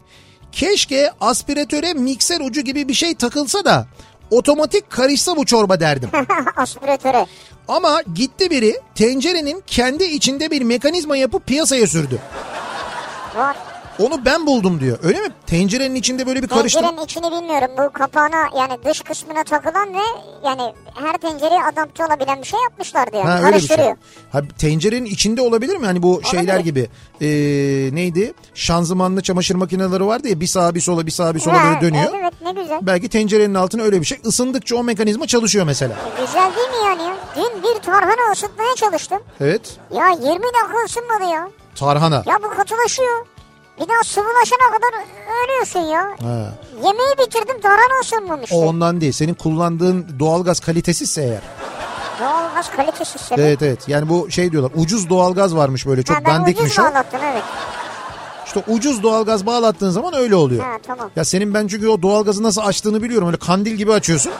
Speaker 1: keşke aspiratöre mikser ucu gibi bir şey takılsa da otomatik karışsa bu çorba derdim.
Speaker 2: Aspiratöre.
Speaker 1: Ama gitti biri tencerenin kendi içinde bir mekanizma yapıp piyasaya sürdü.
Speaker 2: Var.
Speaker 1: Onu ben buldum diyor. Öyle mi? Tencerenin içinde böyle bir karıştırma.
Speaker 2: Tencerenin içini bilmiyorum. Bu kapağına yani dış kısmına takılan ve yani her tencereye adapte olabilen bir şey yapmışlardı yani.
Speaker 1: Ha öyle bir şey.
Speaker 2: Karıştırıyor.
Speaker 1: Ha, tencerenin içinde olabilir mi? Hani bu şeyler gibi. Ee, neydi? Şanzımanlı çamaşır makineleri vardı ya bir sağa bir sola bir sağa bir sola
Speaker 2: Ha,
Speaker 1: böyle dönüyor.
Speaker 2: Evet ne güzel.
Speaker 1: Belki tencerenin altına öyle bir şey. Isındıkça o mekanizma çalışıyor mesela.
Speaker 2: Güzel değil mi yani? ya? Dün bir tarhana ısıtmaya çalıştım.
Speaker 1: Evet.
Speaker 2: Ya 20 dakika ısınmadı ya.
Speaker 1: Tarhana.
Speaker 2: Ya bu katılaşıyor. Bir daha sıvılaşana kadar ölüyorsun ya.
Speaker 1: Ha.
Speaker 2: Yemeği bitirdim tarhana ısınmamıştı.
Speaker 1: O ondan değil. Senin kullandığın doğalgaz kalitesizse eğer.
Speaker 2: Doğalgaz kalitesiz sebebi.
Speaker 1: Evet evet. Yani bu şey diyorlar. Ucuz doğalgaz varmış böyle çok
Speaker 2: Ha, ben
Speaker 1: dandikmiş
Speaker 2: ucuz
Speaker 1: o.
Speaker 2: bağlattım evet.
Speaker 1: İşte ucuz doğalgaz bağlattığın zaman öyle oluyor.
Speaker 2: Ha, tamam.
Speaker 1: Ya senin ben çünkü o doğalgazı nasıl açtığını biliyorum. Öyle kandil gibi açıyorsun.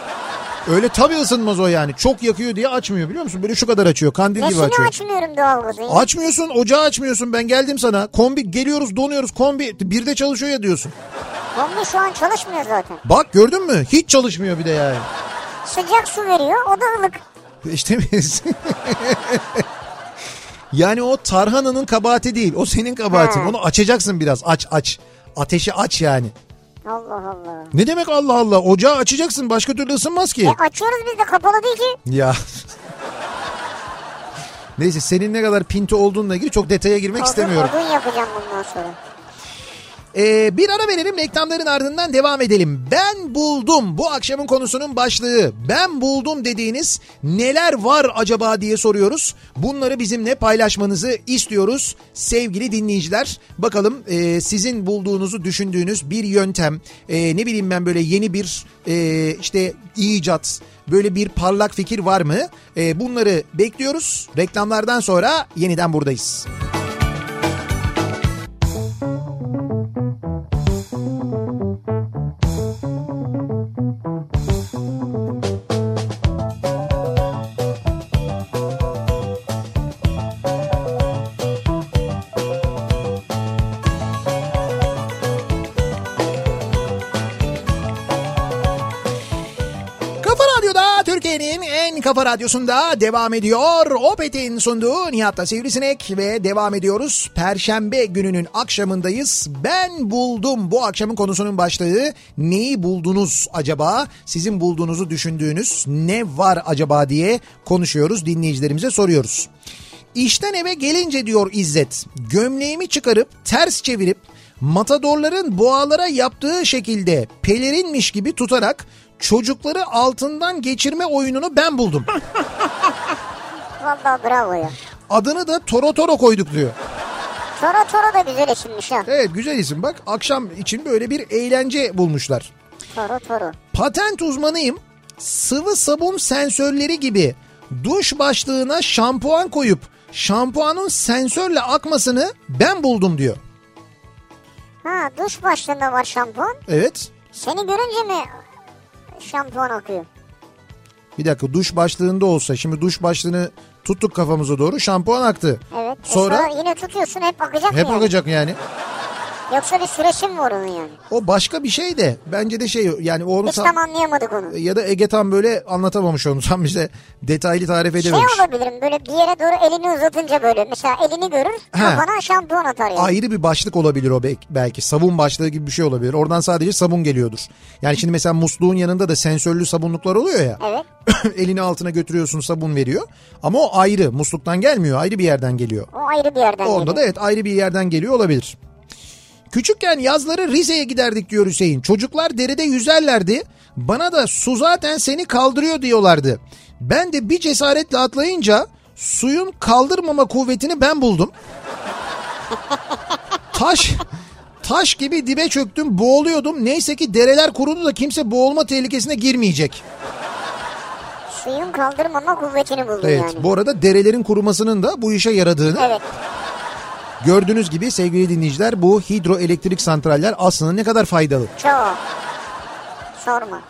Speaker 1: Öyle tabii ısınmaz o yani. Çok yakıyor diye açmıyor biliyor musun? Böyle şu kadar açıyor. Kandil gibi
Speaker 2: Nesini
Speaker 1: açıyor.
Speaker 2: açmıyorum doğalgazı ya?
Speaker 1: Açmıyorsun ocağı açmıyorsun ben geldim sana. Kombi geliyoruz donuyoruz kombi bir de çalışıyor ya diyorsun.
Speaker 2: Kombi şu an çalışmıyor zaten.
Speaker 1: Bak gördün mü hiç çalışmıyor bir de yani.
Speaker 2: Sıcak su veriyor o da ılık.
Speaker 1: İşte biz. yani o tarhananın kabahati değil o senin kabahatin.
Speaker 2: Ha.
Speaker 1: Onu açacaksın biraz aç aç. Ateşi aç yani.
Speaker 2: Allah Allah.
Speaker 1: Ne demek Allah Allah ocağı açacaksın başka türlü ısınmaz ki.
Speaker 2: E açıyoruz biz de kapalı değil ki.
Speaker 1: Ya. Neyse senin ne kadar pinti olduğunla ilgili çok detaya girmek istemiyorum.
Speaker 2: Odun, odun yapacağım bundan sonra.
Speaker 1: Ee, bir ara verelim reklamların ardından devam edelim. Ben buldum bu akşamın konusunun başlığı. Ben buldum dediğiniz neler var acaba diye soruyoruz. Bunları bizimle paylaşmanızı istiyoruz sevgili dinleyiciler. Bakalım e, sizin bulduğunuzu düşündüğünüz bir yöntem. e, ne bileyim ben böyle yeni bir e, işte icat böyle bir parlak fikir var mı? E, bunları bekliyoruz. Reklamlardan sonra yeniden buradayız. Kafa Radyo'da Türkiye'nin en kafa radyosunda devam ediyor. Opet'in sunduğu Nihat'ta Sivrisinek ve devam ediyoruz. Perşembe gününün akşamındayız. Ben buldum bu akşamın konusunun başlığı. Neyi buldunuz acaba? Sizin bulduğunuzu düşündüğünüz ne var acaba diye konuşuyoruz. Dinleyicilerimize soruyoruz. İşten eve gelince diyor İzzet gömleğimi çıkarıp ters çevirip matadorların boğalara yaptığı şekilde pelerinmiş gibi tutarak çocukları altından geçirme oyununu ben buldum.
Speaker 2: Vallahi bravo ya.
Speaker 1: Adını da Toro Toro koyduk diyor.
Speaker 2: Toro Toro da güzel isimmiş ha.
Speaker 1: Evet güzel isim bak akşam için böyle bir eğlence bulmuşlar.
Speaker 2: Toro Toro.
Speaker 1: Patent uzmanıyım. Sıvı sabun sensörleri gibi duş başlığına şampuan koyup şampuanın sensörle akmasını ben buldum diyor.
Speaker 2: Ha duş başlığında var şampuan.
Speaker 1: Evet.
Speaker 2: Seni görünce mi şampuan akıyor?
Speaker 1: Bir dakika duş başlığında olsa şimdi duş başlığını tuttuk kafamıza doğru şampuan aktı.
Speaker 2: Evet. E
Speaker 1: Sonra?
Speaker 2: yine tutuyorsun hep akacak mı
Speaker 1: Hep
Speaker 2: yani?
Speaker 1: akacak yani.
Speaker 2: Yoksa bir süresi mi var onun yani?
Speaker 1: O başka bir şey de bence de şey yani onu
Speaker 2: Hiç
Speaker 1: tam-
Speaker 2: tam anlayamadık onu.
Speaker 1: ya da Ege tam böyle anlatamamış onu tam bize detaylı tarif
Speaker 2: Şey
Speaker 1: edememiş.
Speaker 2: olabilir mi? böyle bir yere doğru elini uzatınca böyle mesela elini görür
Speaker 1: Ha.
Speaker 2: kafana şampuan atar yani.
Speaker 1: Ayrı bir başlık olabilir o bel- belki sabun başlığı gibi bir şey olabilir. Oradan sadece sabun geliyordur. Yani şimdi mesela musluğun yanında da sensörlü sabunluklar oluyor ya.
Speaker 2: Evet.
Speaker 1: elini altına götürüyorsun sabun veriyor. Ama o ayrı musluktan gelmiyor ayrı bir yerden geliyor.
Speaker 2: O ayrı bir yerden
Speaker 1: Onda da evet ayrı bir yerden geliyor olabilir. Küçükken yazları Rize'ye giderdik diyor Hüseyin. Çocuklar derede yüzerlerdi. Bana da su zaten seni kaldırıyor diyorlardı. Ben de bir cesaretle atlayınca suyun kaldırmama kuvvetini ben buldum. Taş Taş gibi dibe çöktüm boğuluyordum. Neyse ki dereler kurudu da kimse boğulma tehlikesine girmeyecek.
Speaker 2: Suyun kaldırmama kuvvetini buldun
Speaker 1: Evet
Speaker 2: yani.
Speaker 1: bu arada derelerin kurumasının da bu işe yaradığını
Speaker 2: Evet.
Speaker 1: gördüğünüz gibi sevgili dinleyiciler bu hidroelektrik santraller aslında ne kadar faydalı.
Speaker 2: Çok. Sorma.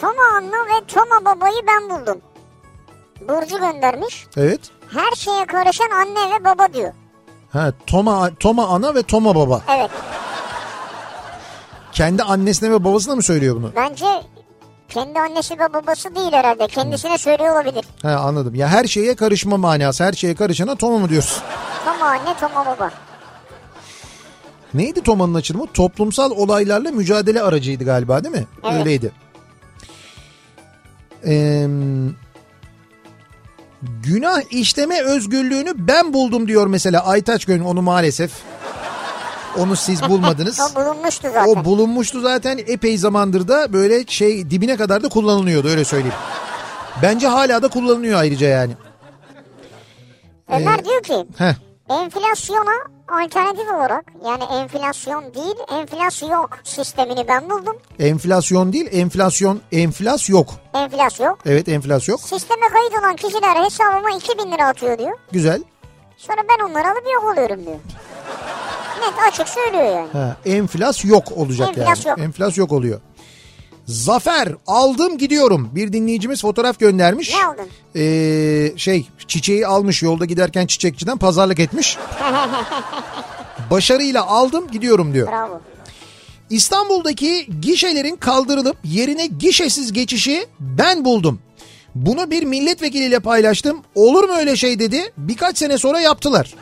Speaker 2: Toma Anna ve Toma Baba'yı ben buldum. Burcu göndermiş.
Speaker 1: Evet.
Speaker 2: Her şeye karışan anne ve baba diyor.
Speaker 1: Ha, Toma, Toma ana ve Toma baba.
Speaker 2: Evet.
Speaker 1: Kendi annesine ve babasına mı söylüyor bunu?
Speaker 2: Bence kendi annesi ve babası değil herhalde. Kendisine söylüyor olabilir.
Speaker 1: He anladım. Ya her şeye karışma manası. Her şeye karışana Toma mı diyorsun?
Speaker 2: Toma anne, Toma baba.
Speaker 1: Neydi Toma'nın açılımı? Toplumsal olaylarla mücadele aracıydı galiba değil mi?
Speaker 2: Evet.
Speaker 1: Öyleydi. Ee, günah işleme özgürlüğünü ben buldum diyor mesela Aytaç Gönül onu maalesef. Onu siz bulmadınız.
Speaker 2: O bulunmuştu zaten.
Speaker 1: O bulunmuştu zaten epey zamandır da böyle şey dibine kadar da kullanılıyordu öyle söyleyeyim. Bence hala da kullanılıyor ayrıca yani.
Speaker 2: Ömer diyor ki
Speaker 1: Heh.
Speaker 2: enflasyona alternatif olarak yani enflasyon değil enflasyon yok sistemini ben buldum.
Speaker 1: Enflasyon değil enflasyon enflas yok.
Speaker 2: Enflasyon yok.
Speaker 1: Evet enflas yok.
Speaker 2: Sisteme kayıt olan kişiler hesabıma 2000 lira atıyor diyor.
Speaker 1: Güzel.
Speaker 2: Sonra ben onları alıp yok oluyorum diyor. Net açık söylüyor yani.
Speaker 1: Ha, enflas yok olacak
Speaker 2: Enflas
Speaker 1: yani.
Speaker 2: yok.
Speaker 1: Enflas yok oluyor. Zafer aldım gidiyorum. Bir dinleyicimiz fotoğraf göndermiş.
Speaker 2: Ne aldın?
Speaker 1: Ee, şey çiçeği almış yolda giderken çiçekçiden pazarlık etmiş. Başarıyla aldım gidiyorum diyor.
Speaker 2: Bravo.
Speaker 1: İstanbul'daki gişelerin kaldırılıp yerine gişesiz geçişi ben buldum. Bunu bir milletvekiliyle paylaştım. Olur mu öyle şey dedi. Birkaç sene sonra yaptılar.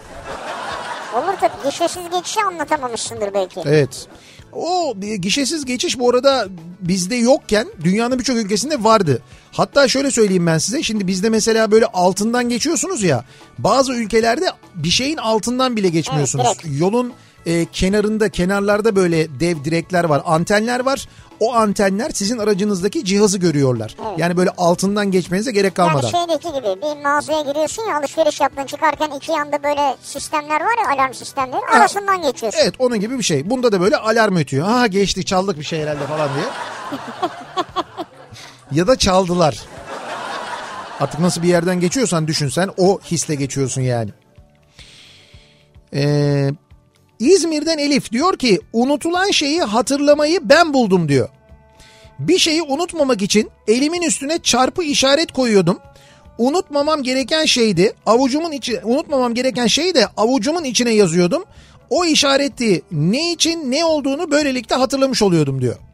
Speaker 2: Olur tabii gişesiz geçişi anlatamamışsındır belki.
Speaker 1: Evet. O e, gişesiz geçiş bu arada bizde yokken dünyanın birçok ülkesinde vardı. Hatta şöyle söyleyeyim ben size. Şimdi bizde mesela böyle altından geçiyorsunuz ya. Bazı ülkelerde bir şeyin altından bile geçmiyorsunuz.
Speaker 2: Evet, direkt.
Speaker 1: Yolun e, kenarında, kenarlarda böyle dev direkler var, antenler var. O antenler sizin aracınızdaki cihazı görüyorlar. Yani böyle altından geçmenize gerek kalmadan.
Speaker 2: Yani şeydeki gibi bir mağazaya giriyorsun ya alışveriş yaptın çıkarken iki yanda böyle sistemler var ya alarm sistemleri arasından geçiyorsun.
Speaker 1: Evet onun gibi bir şey. Bunda da böyle alarm ötüyor. Ha geçti çaldık bir şey herhalde falan diye. ya da çaldılar. Artık nasıl bir yerden geçiyorsan düşünsen o hisle geçiyorsun yani. Ee, İzmir'den Elif diyor ki unutulan şeyi hatırlamayı ben buldum diyor. Bir şeyi unutmamak için elimin üstüne çarpı işaret koyuyordum. Unutmamam gereken şeydi. Avucumun içi unutmamam gereken şeyi de avucumun içine yazıyordum. O işareti ne için ne olduğunu böylelikle hatırlamış oluyordum diyor.
Speaker 2: E,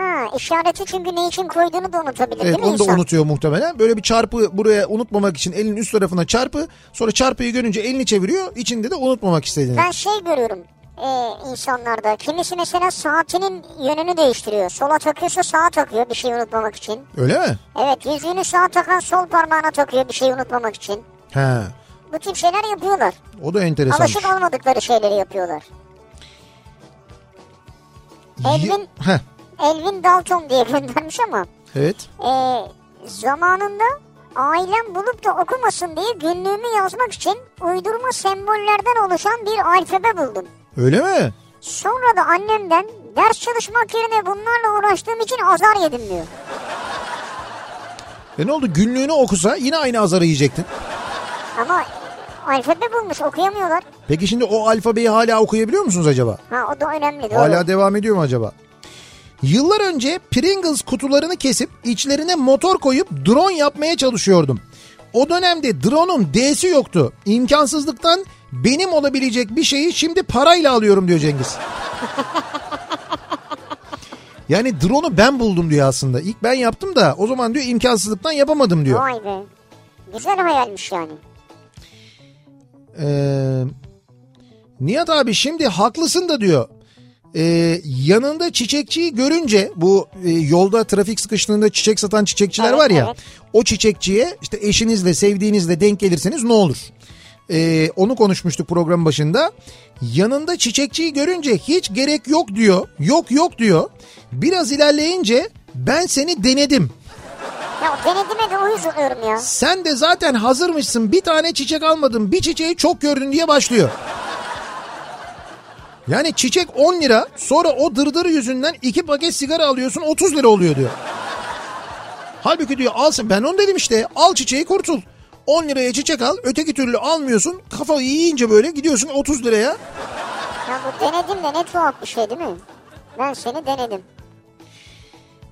Speaker 2: Ha işareti çünkü ne için koyduğunu da unutabilir
Speaker 1: Evet
Speaker 2: değil mi
Speaker 1: onu da
Speaker 2: insan?
Speaker 1: unutuyor muhtemelen. Böyle bir çarpı buraya unutmamak için elin üst tarafına çarpı. Sonra çarpıyı görünce elini çeviriyor. İçinde de unutmamak istediğini.
Speaker 2: Ben şey görüyorum e, insanlarda. Kimisi mesela saatinin yönünü değiştiriyor. Sola takıyorsa sağa takıyor bir şey unutmamak için.
Speaker 1: Öyle mi?
Speaker 2: Evet yüzüğünü sağa takan sol parmağına takıyor bir şey unutmamak için.
Speaker 1: He.
Speaker 2: Bu tip şeyler yapıyorlar.
Speaker 1: O da enteresan.
Speaker 2: Alışık olmadıkları şeyleri yapıyorlar. Elvin-
Speaker 1: Heh,
Speaker 2: Elvin Dalton diye göndermiş ama
Speaker 1: Evet.
Speaker 2: e, zamanında ailem bulup da okumasın diye günlüğümü yazmak için uydurma sembollerden oluşan bir alfabe buldum.
Speaker 1: Öyle mi?
Speaker 2: Sonra da annemden ders çalışmak yerine bunlarla uğraştığım için azar yedim diyor.
Speaker 1: E ne oldu günlüğünü okusa yine aynı azarı yiyecektin.
Speaker 2: Ama alfabe bulmuş okuyamıyorlar.
Speaker 1: Peki şimdi o alfabeyi hala okuyabiliyor musunuz acaba?
Speaker 2: Ha o da önemli doğru.
Speaker 1: Hala devam ediyor mu acaba? Yıllar önce Pringles kutularını kesip içlerine motor koyup drone yapmaya çalışıyordum. O dönemde drone'un D'si yoktu. İmkansızlıktan benim olabilecek bir şeyi şimdi parayla alıyorum diyor Cengiz. Yani drone'u ben buldum diyor aslında. İlk ben yaptım da o zaman diyor imkansızlıktan yapamadım diyor.
Speaker 2: Vay be. Güzel hayalmiş yani.
Speaker 1: Ee, Nihat abi şimdi haklısın da diyor. Ee, yanında çiçekçiyi görünce bu e, yolda trafik sıkıştığında çiçek satan çiçekçiler
Speaker 2: Evet,
Speaker 1: var ya.
Speaker 2: evet.
Speaker 1: O çiçekçiye işte eşinizle sevdiğinizle denk gelirseniz ne olur? Ee, onu konuşmuştuk program başında. Yanında çiçekçiyi görünce hiç gerek yok diyor. Yok yok diyor. Biraz ilerleyince ben seni denedim.
Speaker 2: Ya denedime de uyuz oluyorum ya.
Speaker 1: Sen de zaten hazırmışsın bir tane çiçek almadın bir çiçeği çok gördün diye başlıyor. Yani çiçek 10 lira sonra o dırdır yüzünden 2 paket sigara alıyorsun 30 lira oluyor diyor. Halbuki diyor alsın ben onu dedim işte al çiçeği kurtul. 10 liraya çiçek al öteki türlü almıyorsun kafayı yiyince böyle gidiyorsun 30 liraya.
Speaker 2: Ya bu denedim de ne tuhaf bir şey değil mi? Ben seni denedim.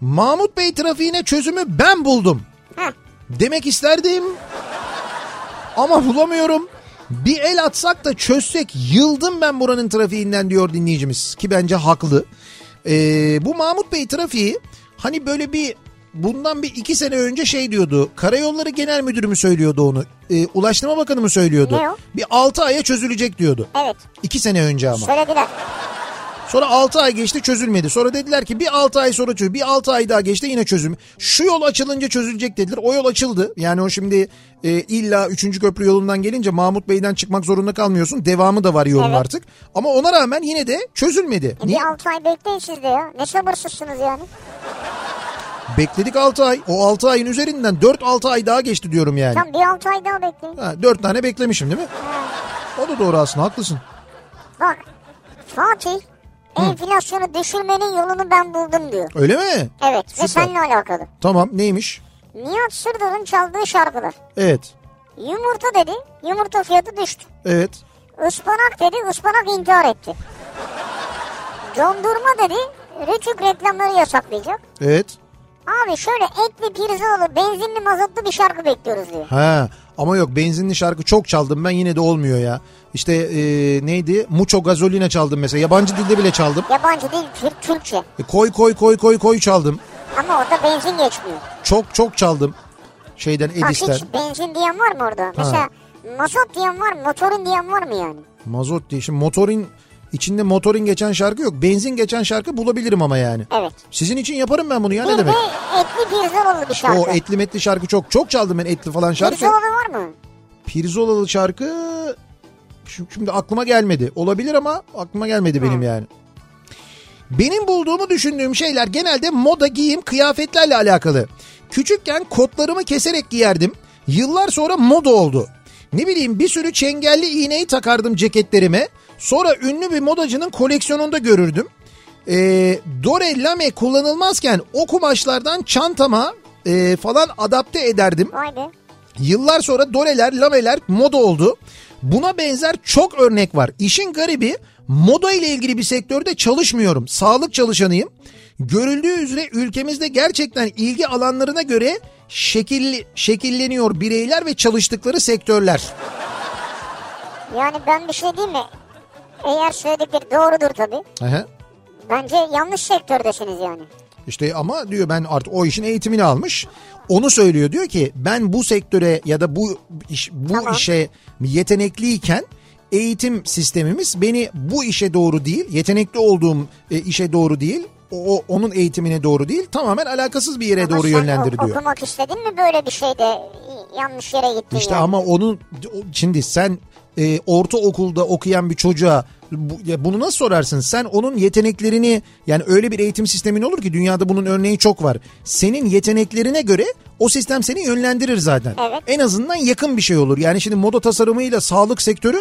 Speaker 1: Mahmut Bey trafiğine çözümü ben buldum.
Speaker 2: Heh.
Speaker 1: Demek isterdim. Ama bulamıyorum. Bir el atsak da çözsek yıldım ben buranın trafiğinden diyor dinleyicimiz. Ki bence haklı. Ee, bu Mahmut Bey trafiği hani böyle bir bundan bir iki sene önce şey diyordu. Karayolları Genel Müdürü mü söylüyordu onu? Ee, Ulaştırma Bakanı mı söylüyordu?
Speaker 2: Ne o?
Speaker 1: Bir altı aya çözülecek diyordu.
Speaker 2: Evet.
Speaker 1: İki sene önce ama.
Speaker 2: Söylediler.
Speaker 1: Sonra 6 ay geçti çözülmedi. Sonra dediler ki bir 6 ay sonra çözül. Bir 6 ay daha geçti yine çözüm. Şu yol açılınca çözülecek dediler. O yol açıldı. Yani o şimdi e, illa 3. köprü yolundan gelince Mahmut Bey'den çıkmak zorunda kalmıyorsun. Devamı da var yolun
Speaker 2: Evet.
Speaker 1: artık. Ama ona rağmen yine de çözülmedi.
Speaker 2: E
Speaker 1: Niye?
Speaker 2: bir 6 ay bekleyin siz de ya. Ne sabırsızsınız yani.
Speaker 1: Bekledik 6 ay. O 6 ayın üzerinden 4-6 ay daha geçti diyorum yani.
Speaker 2: Tam bir 6 ay daha bekleyin.
Speaker 1: Ha, 4 tane beklemişim değil mi? O da doğru aslında haklısın.
Speaker 2: Bak Fatih enflasyonu düşürmenin yolunu ben buldum diyor.
Speaker 1: Öyle mi?
Speaker 2: Evet
Speaker 1: Süper.
Speaker 2: ve seninle alakalı.
Speaker 1: Tamam neymiş?
Speaker 2: Nihat Sırdar'ın çaldığı şarkılar.
Speaker 1: Evet.
Speaker 2: Yumurta dedi, yumurta fiyatı düştü.
Speaker 1: Evet.
Speaker 2: Ispanak dedi, ıspanak intihar etti. Dondurma dedi, Rütük reklamları yasaklayacak.
Speaker 1: Evet.
Speaker 2: Abi şöyle etli pirzoğlu, benzinli mazotlu bir şarkı bekliyoruz diyor.
Speaker 1: Ha ama yok benzinli şarkı çok çaldım ben yine de olmuyor ya. İşte e, neydi? Mucho Gazolina çaldım mesela. Yabancı dilde bile çaldım.
Speaker 2: Yabancı değil, Türk, Türkçe.
Speaker 1: E, koy koy koy koy koy çaldım.
Speaker 2: Ama orada benzin geçmiyor.
Speaker 1: Çok çok çaldım. Şeyden
Speaker 2: Bak
Speaker 1: Edis'ten.
Speaker 2: hiç benzin diyen var mı orada? Mesela mazot diyen var mı, motorun diyen var mı yani?
Speaker 1: Mazot diye. Şimdi motorin içinde motorin geçen şarkı yok. Benzin geçen şarkı bulabilirim ama yani.
Speaker 2: Evet.
Speaker 1: Sizin için yaparım ben bunu ya ne
Speaker 2: Bir de
Speaker 1: demek?
Speaker 2: etli pirzoğlu bir şarkı.
Speaker 1: O etli metli şarkı çok. Çok çaldım ben etli falan şarkı.
Speaker 2: Pirzoğlu var mı?
Speaker 1: Pirzolalı şarkı şu- şimdi aklıma gelmedi. Olabilir ama aklıma gelmedi benim yani. Benim bulduğumu düşündüğüm şeyler genelde moda, giyim, kıyafetlerle alakalı. Küçükken kotlarımı keserek giyerdim. Yıllar sonra moda oldu. Ne bileyim bir sürü çengelli iğneyi takardım ceketlerime. Sonra ünlü bir modacının koleksiyonunda görürdüm. Ee, Dore lame kullanılmazken o kumaşlardan çantama e, falan adapte ederdim.
Speaker 2: Vay be.
Speaker 1: Yıllar sonra doleler, lameler moda oldu. Buna benzer çok örnek var. İşin garibi moda ile ilgili bir sektörde çalışmıyorum. Sağlık çalışanıyım. Görüldüğü üzere ülkemizde gerçekten ilgi alanlarına göre şekilli, şekilleniyor bireyler ve çalıştıkları sektörler.
Speaker 2: Yani ben bir şey diyeyim mi? Eğer söyledikleri doğrudur tabii.
Speaker 1: Aha.
Speaker 2: Bence yanlış sektördesiniz yani.
Speaker 1: İşte ama diyor ben artık o işin eğitimini almış. Onu söylüyor diyor ki ben bu sektöre ya da bu iş, bu
Speaker 2: Tamam.
Speaker 1: işe yetenekliyken eğitim sistemimiz beni bu işe doğru değil, yetenekli olduğum e, işe doğru değil, o, o- onun eğitimine doğru değil, tamamen alakasız bir yere
Speaker 2: Ama
Speaker 1: doğru
Speaker 2: sen
Speaker 1: yönlendir
Speaker 2: ok-
Speaker 1: diyor.
Speaker 2: Okumak istedin mi böyle bir şeyde yanlış yere gittin
Speaker 1: İşte
Speaker 2: yani.
Speaker 1: ama onun o- şimdi sen e, ortaokulda okuyan bir çocuğa bu- ya bunu nasıl sorarsın? Sen onun yeteneklerini yani öyle bir eğitim sistemin olur ki dünyada bunun örneği çok var. Senin yeteneklerine göre o sistem seni yönlendirir zaten.
Speaker 2: Evet.
Speaker 1: En azından yakın bir şey olur. Yani şimdi moda tasarımıyla sağlık sektörü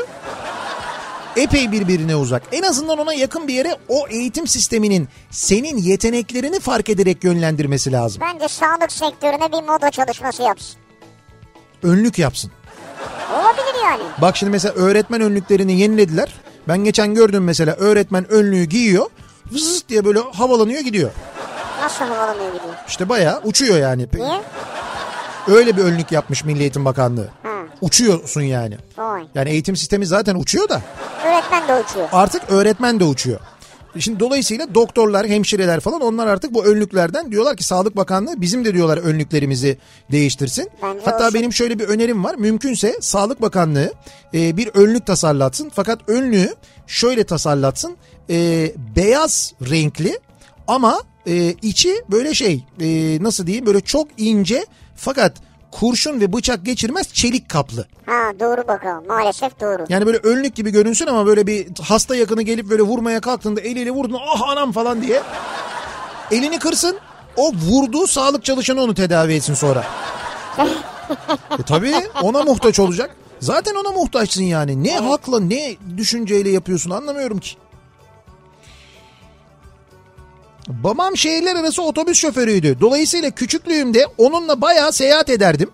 Speaker 1: epey birbirine uzak. En azından ona yakın bir yere o eğitim sisteminin senin yeteneklerini fark ederek yönlendirmesi lazım.
Speaker 2: Bence sağlık sektörüne bir moda çalışması yapsın.
Speaker 1: Önlük yapsın.
Speaker 2: Olabilir yani.
Speaker 1: Bak şimdi mesela öğretmen önlüklerini yenilediler. Ben geçen gördüm mesela öğretmen önlüğü giyiyor. Vızız diye böyle havalanıyor gidiyor.
Speaker 2: Nasıl havalanıyor gidiyor?
Speaker 1: İşte bayağı uçuyor yani.
Speaker 2: Niye?
Speaker 1: Öyle bir önlük yapmış Milli Eğitim Bakanlığı.
Speaker 2: Ha.
Speaker 1: Uçuyorsun yani.
Speaker 2: Vay.
Speaker 1: Yani eğitim sistemi zaten uçuyor da
Speaker 2: Öğretmen de uçuyor.
Speaker 1: artık öğretmen de uçuyor. Şimdi dolayısıyla doktorlar, hemşireler falan onlar artık bu önlüklerden diyorlar ki Sağlık Bakanlığı bizim de diyorlar önlüklerimizi değiştirsin.
Speaker 2: Bence
Speaker 1: Hatta
Speaker 2: olsun.
Speaker 1: benim şöyle bir önerim var. Mümkünse Sağlık Bakanlığı e, bir önlük tasarlatsın. Fakat önlüğü şöyle tasarlatsın. E, beyaz renkli ama e, içi böyle şey e, nasıl diyeyim böyle çok ince fakat kurşun ve bıçak geçirmez çelik kaplı.
Speaker 2: Ha doğru bakalım. Maalesef doğru.
Speaker 1: Yani böyle önlük gibi görünsün ama böyle bir hasta yakını gelip böyle vurmaya kalktığında eliyle vurdun ah anam falan diye. Elini kırsın o vurduğu sağlık çalışanı onu tedavi etsin sonra. e tabii ona muhtaç olacak. Zaten ona muhtaçsın yani. Ne hakla ne düşünceyle yapıyorsun anlamıyorum ki. Babam şehirler arası otobüs şoförüydü. Dolayısıyla küçüklüğümde onunla bayağı seyahat ederdim.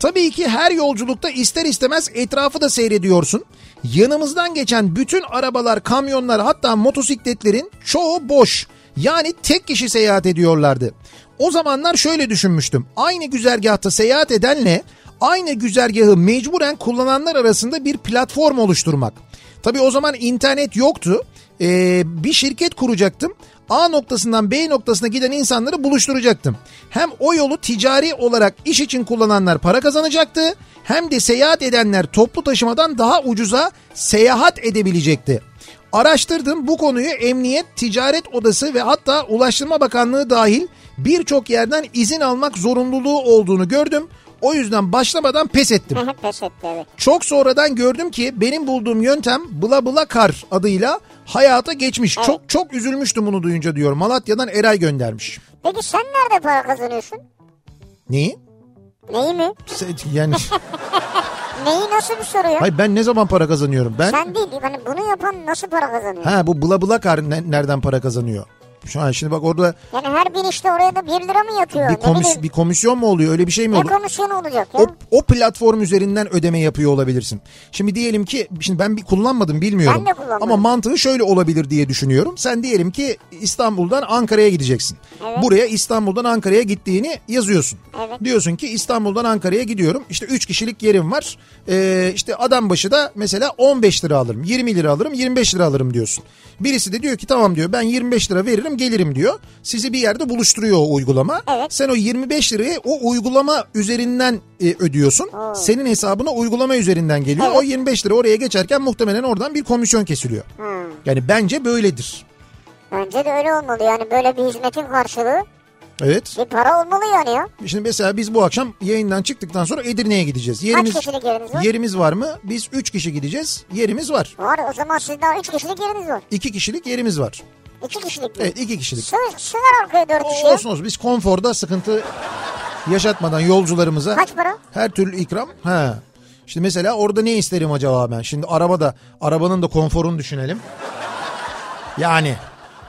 Speaker 1: Tabii ki her yolculukta ister istemez etrafı da seyrediyorsun. Yanımızdan geçen bütün arabalar, kamyonlar hatta motosikletlerin çoğu boş. Yani tek kişi seyahat ediyorlardı. O zamanlar şöyle düşünmüştüm. Aynı güzergahta seyahat edenle aynı güzergahı mecburen kullananlar arasında bir platform oluşturmak. Tabii o zaman internet yoktu. Ee, bir şirket kuracaktım. A noktasından B noktasına giden insanları buluşturacaktım. Hem o yolu ticari olarak iş için kullananlar para kazanacaktı hem de seyahat edenler toplu taşımadan daha ucuza seyahat edebilecekti. Araştırdım bu konuyu Emniyet, Ticaret Odası ve hatta Ulaştırma Bakanlığı dahil birçok yerden izin almak zorunluluğu olduğunu gördüm. O yüzden başlamadan pes ettim.
Speaker 2: Pes etti evet.
Speaker 1: Çok sonradan gördüm ki benim bulduğum yöntem Bla Bla Kar adıyla hayata geçmiş. Çok çok üzülmüştüm bunu duyunca diyor. Malatya'dan Eray göndermiş.
Speaker 2: Peki sen nerede para kazanıyorsun?
Speaker 1: Neyi?
Speaker 2: Neyi mi?
Speaker 1: Se- Yani
Speaker 2: Neyi nasıl bir soru ya?
Speaker 1: hayır ben ne zaman para kazanıyorum? Ben
Speaker 2: Sen değil yani bunu yapan nasıl para kazanıyor?
Speaker 1: ha bu Bla Bla Kar ne- nereden para kazanıyor? Şu an şimdi bak orada
Speaker 2: Yani her binişte oraya da 1 lira mı yatıyor?
Speaker 1: bir,
Speaker 2: ne
Speaker 1: komis,
Speaker 2: bileyim,
Speaker 1: bir komisyon mu oluyor? Öyle bir şey mi
Speaker 2: ne
Speaker 1: oluyor?
Speaker 2: komisyonu olacak ya?
Speaker 1: o, o platform üzerinden ödeme yapıyor olabilirsin. Şimdi diyelim ki şimdi ben bir kullanmadım bilmiyorum.
Speaker 2: Ben de kullanmadım.
Speaker 1: Ama mantığı şöyle olabilir diye düşünüyorum. Sen diyelim ki İstanbul'dan Ankara'ya gideceksin. Buraya İstanbul'dan Ankara'ya gittiğini yazıyorsun.
Speaker 2: Evet.
Speaker 1: Diyorsun ki İstanbul'dan Ankara'ya gidiyorum. İşte 3 kişilik yerim var. Ee, işte adam başı da mesela 15 lira alırım, 20 lira alırım, 25 lira alırım diyorsun. Birisi de diyor ki tamam diyor ben 25 lira veririm gelirim diyor. Sizi bir yerde buluşturuyor o uygulama.
Speaker 2: Evet.
Speaker 1: Sen o 25 lirayı o uygulama üzerinden e, ödüyorsun. Senin hesabına uygulama üzerinden geliyor. O 25 lira oraya geçerken muhtemelen oradan bir komisyon kesiliyor. Yani bence böyledir.
Speaker 2: Bence de öyle olmalı yani böyle bir hizmetin karşılığı
Speaker 1: Evet.
Speaker 2: bir para olmalı yani ya.
Speaker 1: Şimdi mesela biz bu akşam yayından çıktıktan sonra Edirne'ye gideceğiz.
Speaker 2: Kaç kişilik yeriniz var?
Speaker 1: Yerimiz var mı? Biz 3 kişi gideceğiz. Yerimiz var.
Speaker 2: Var o zaman sizin daha 3 kişilik yeriniz var.
Speaker 1: 2 kişilik yerimiz var.
Speaker 2: 2 kişilik mi?
Speaker 1: Evet 2 kişilik.
Speaker 2: Sığ, sığar arkaya 4 kişi
Speaker 1: O,
Speaker 2: ya.
Speaker 1: E- olsun olsun biz konforda sıkıntı yaşatmadan yolcularımıza
Speaker 2: Kaç para?
Speaker 1: her türlü ikram. Ha. Şimdi mesela orada ne isterim acaba ben? Şimdi arabada arabanın da konforunu düşünelim. Yani